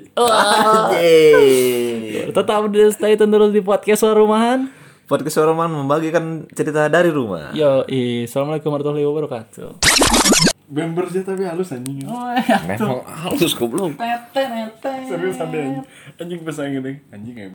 [SPEAKER 2] Yeay.
[SPEAKER 3] tetap di stay tune terus di podcast suara rumahan
[SPEAKER 2] Podcast Soroman membagikan cerita dari rumah.
[SPEAKER 3] yoi assalamualaikum warahmatullahi wabarakatuh
[SPEAKER 4] Bember aja tapi halus anjing.
[SPEAKER 2] Memang halus goblok.
[SPEAKER 4] iya. Serius ada anjing. Anjing pas angin deh. Anjing ya.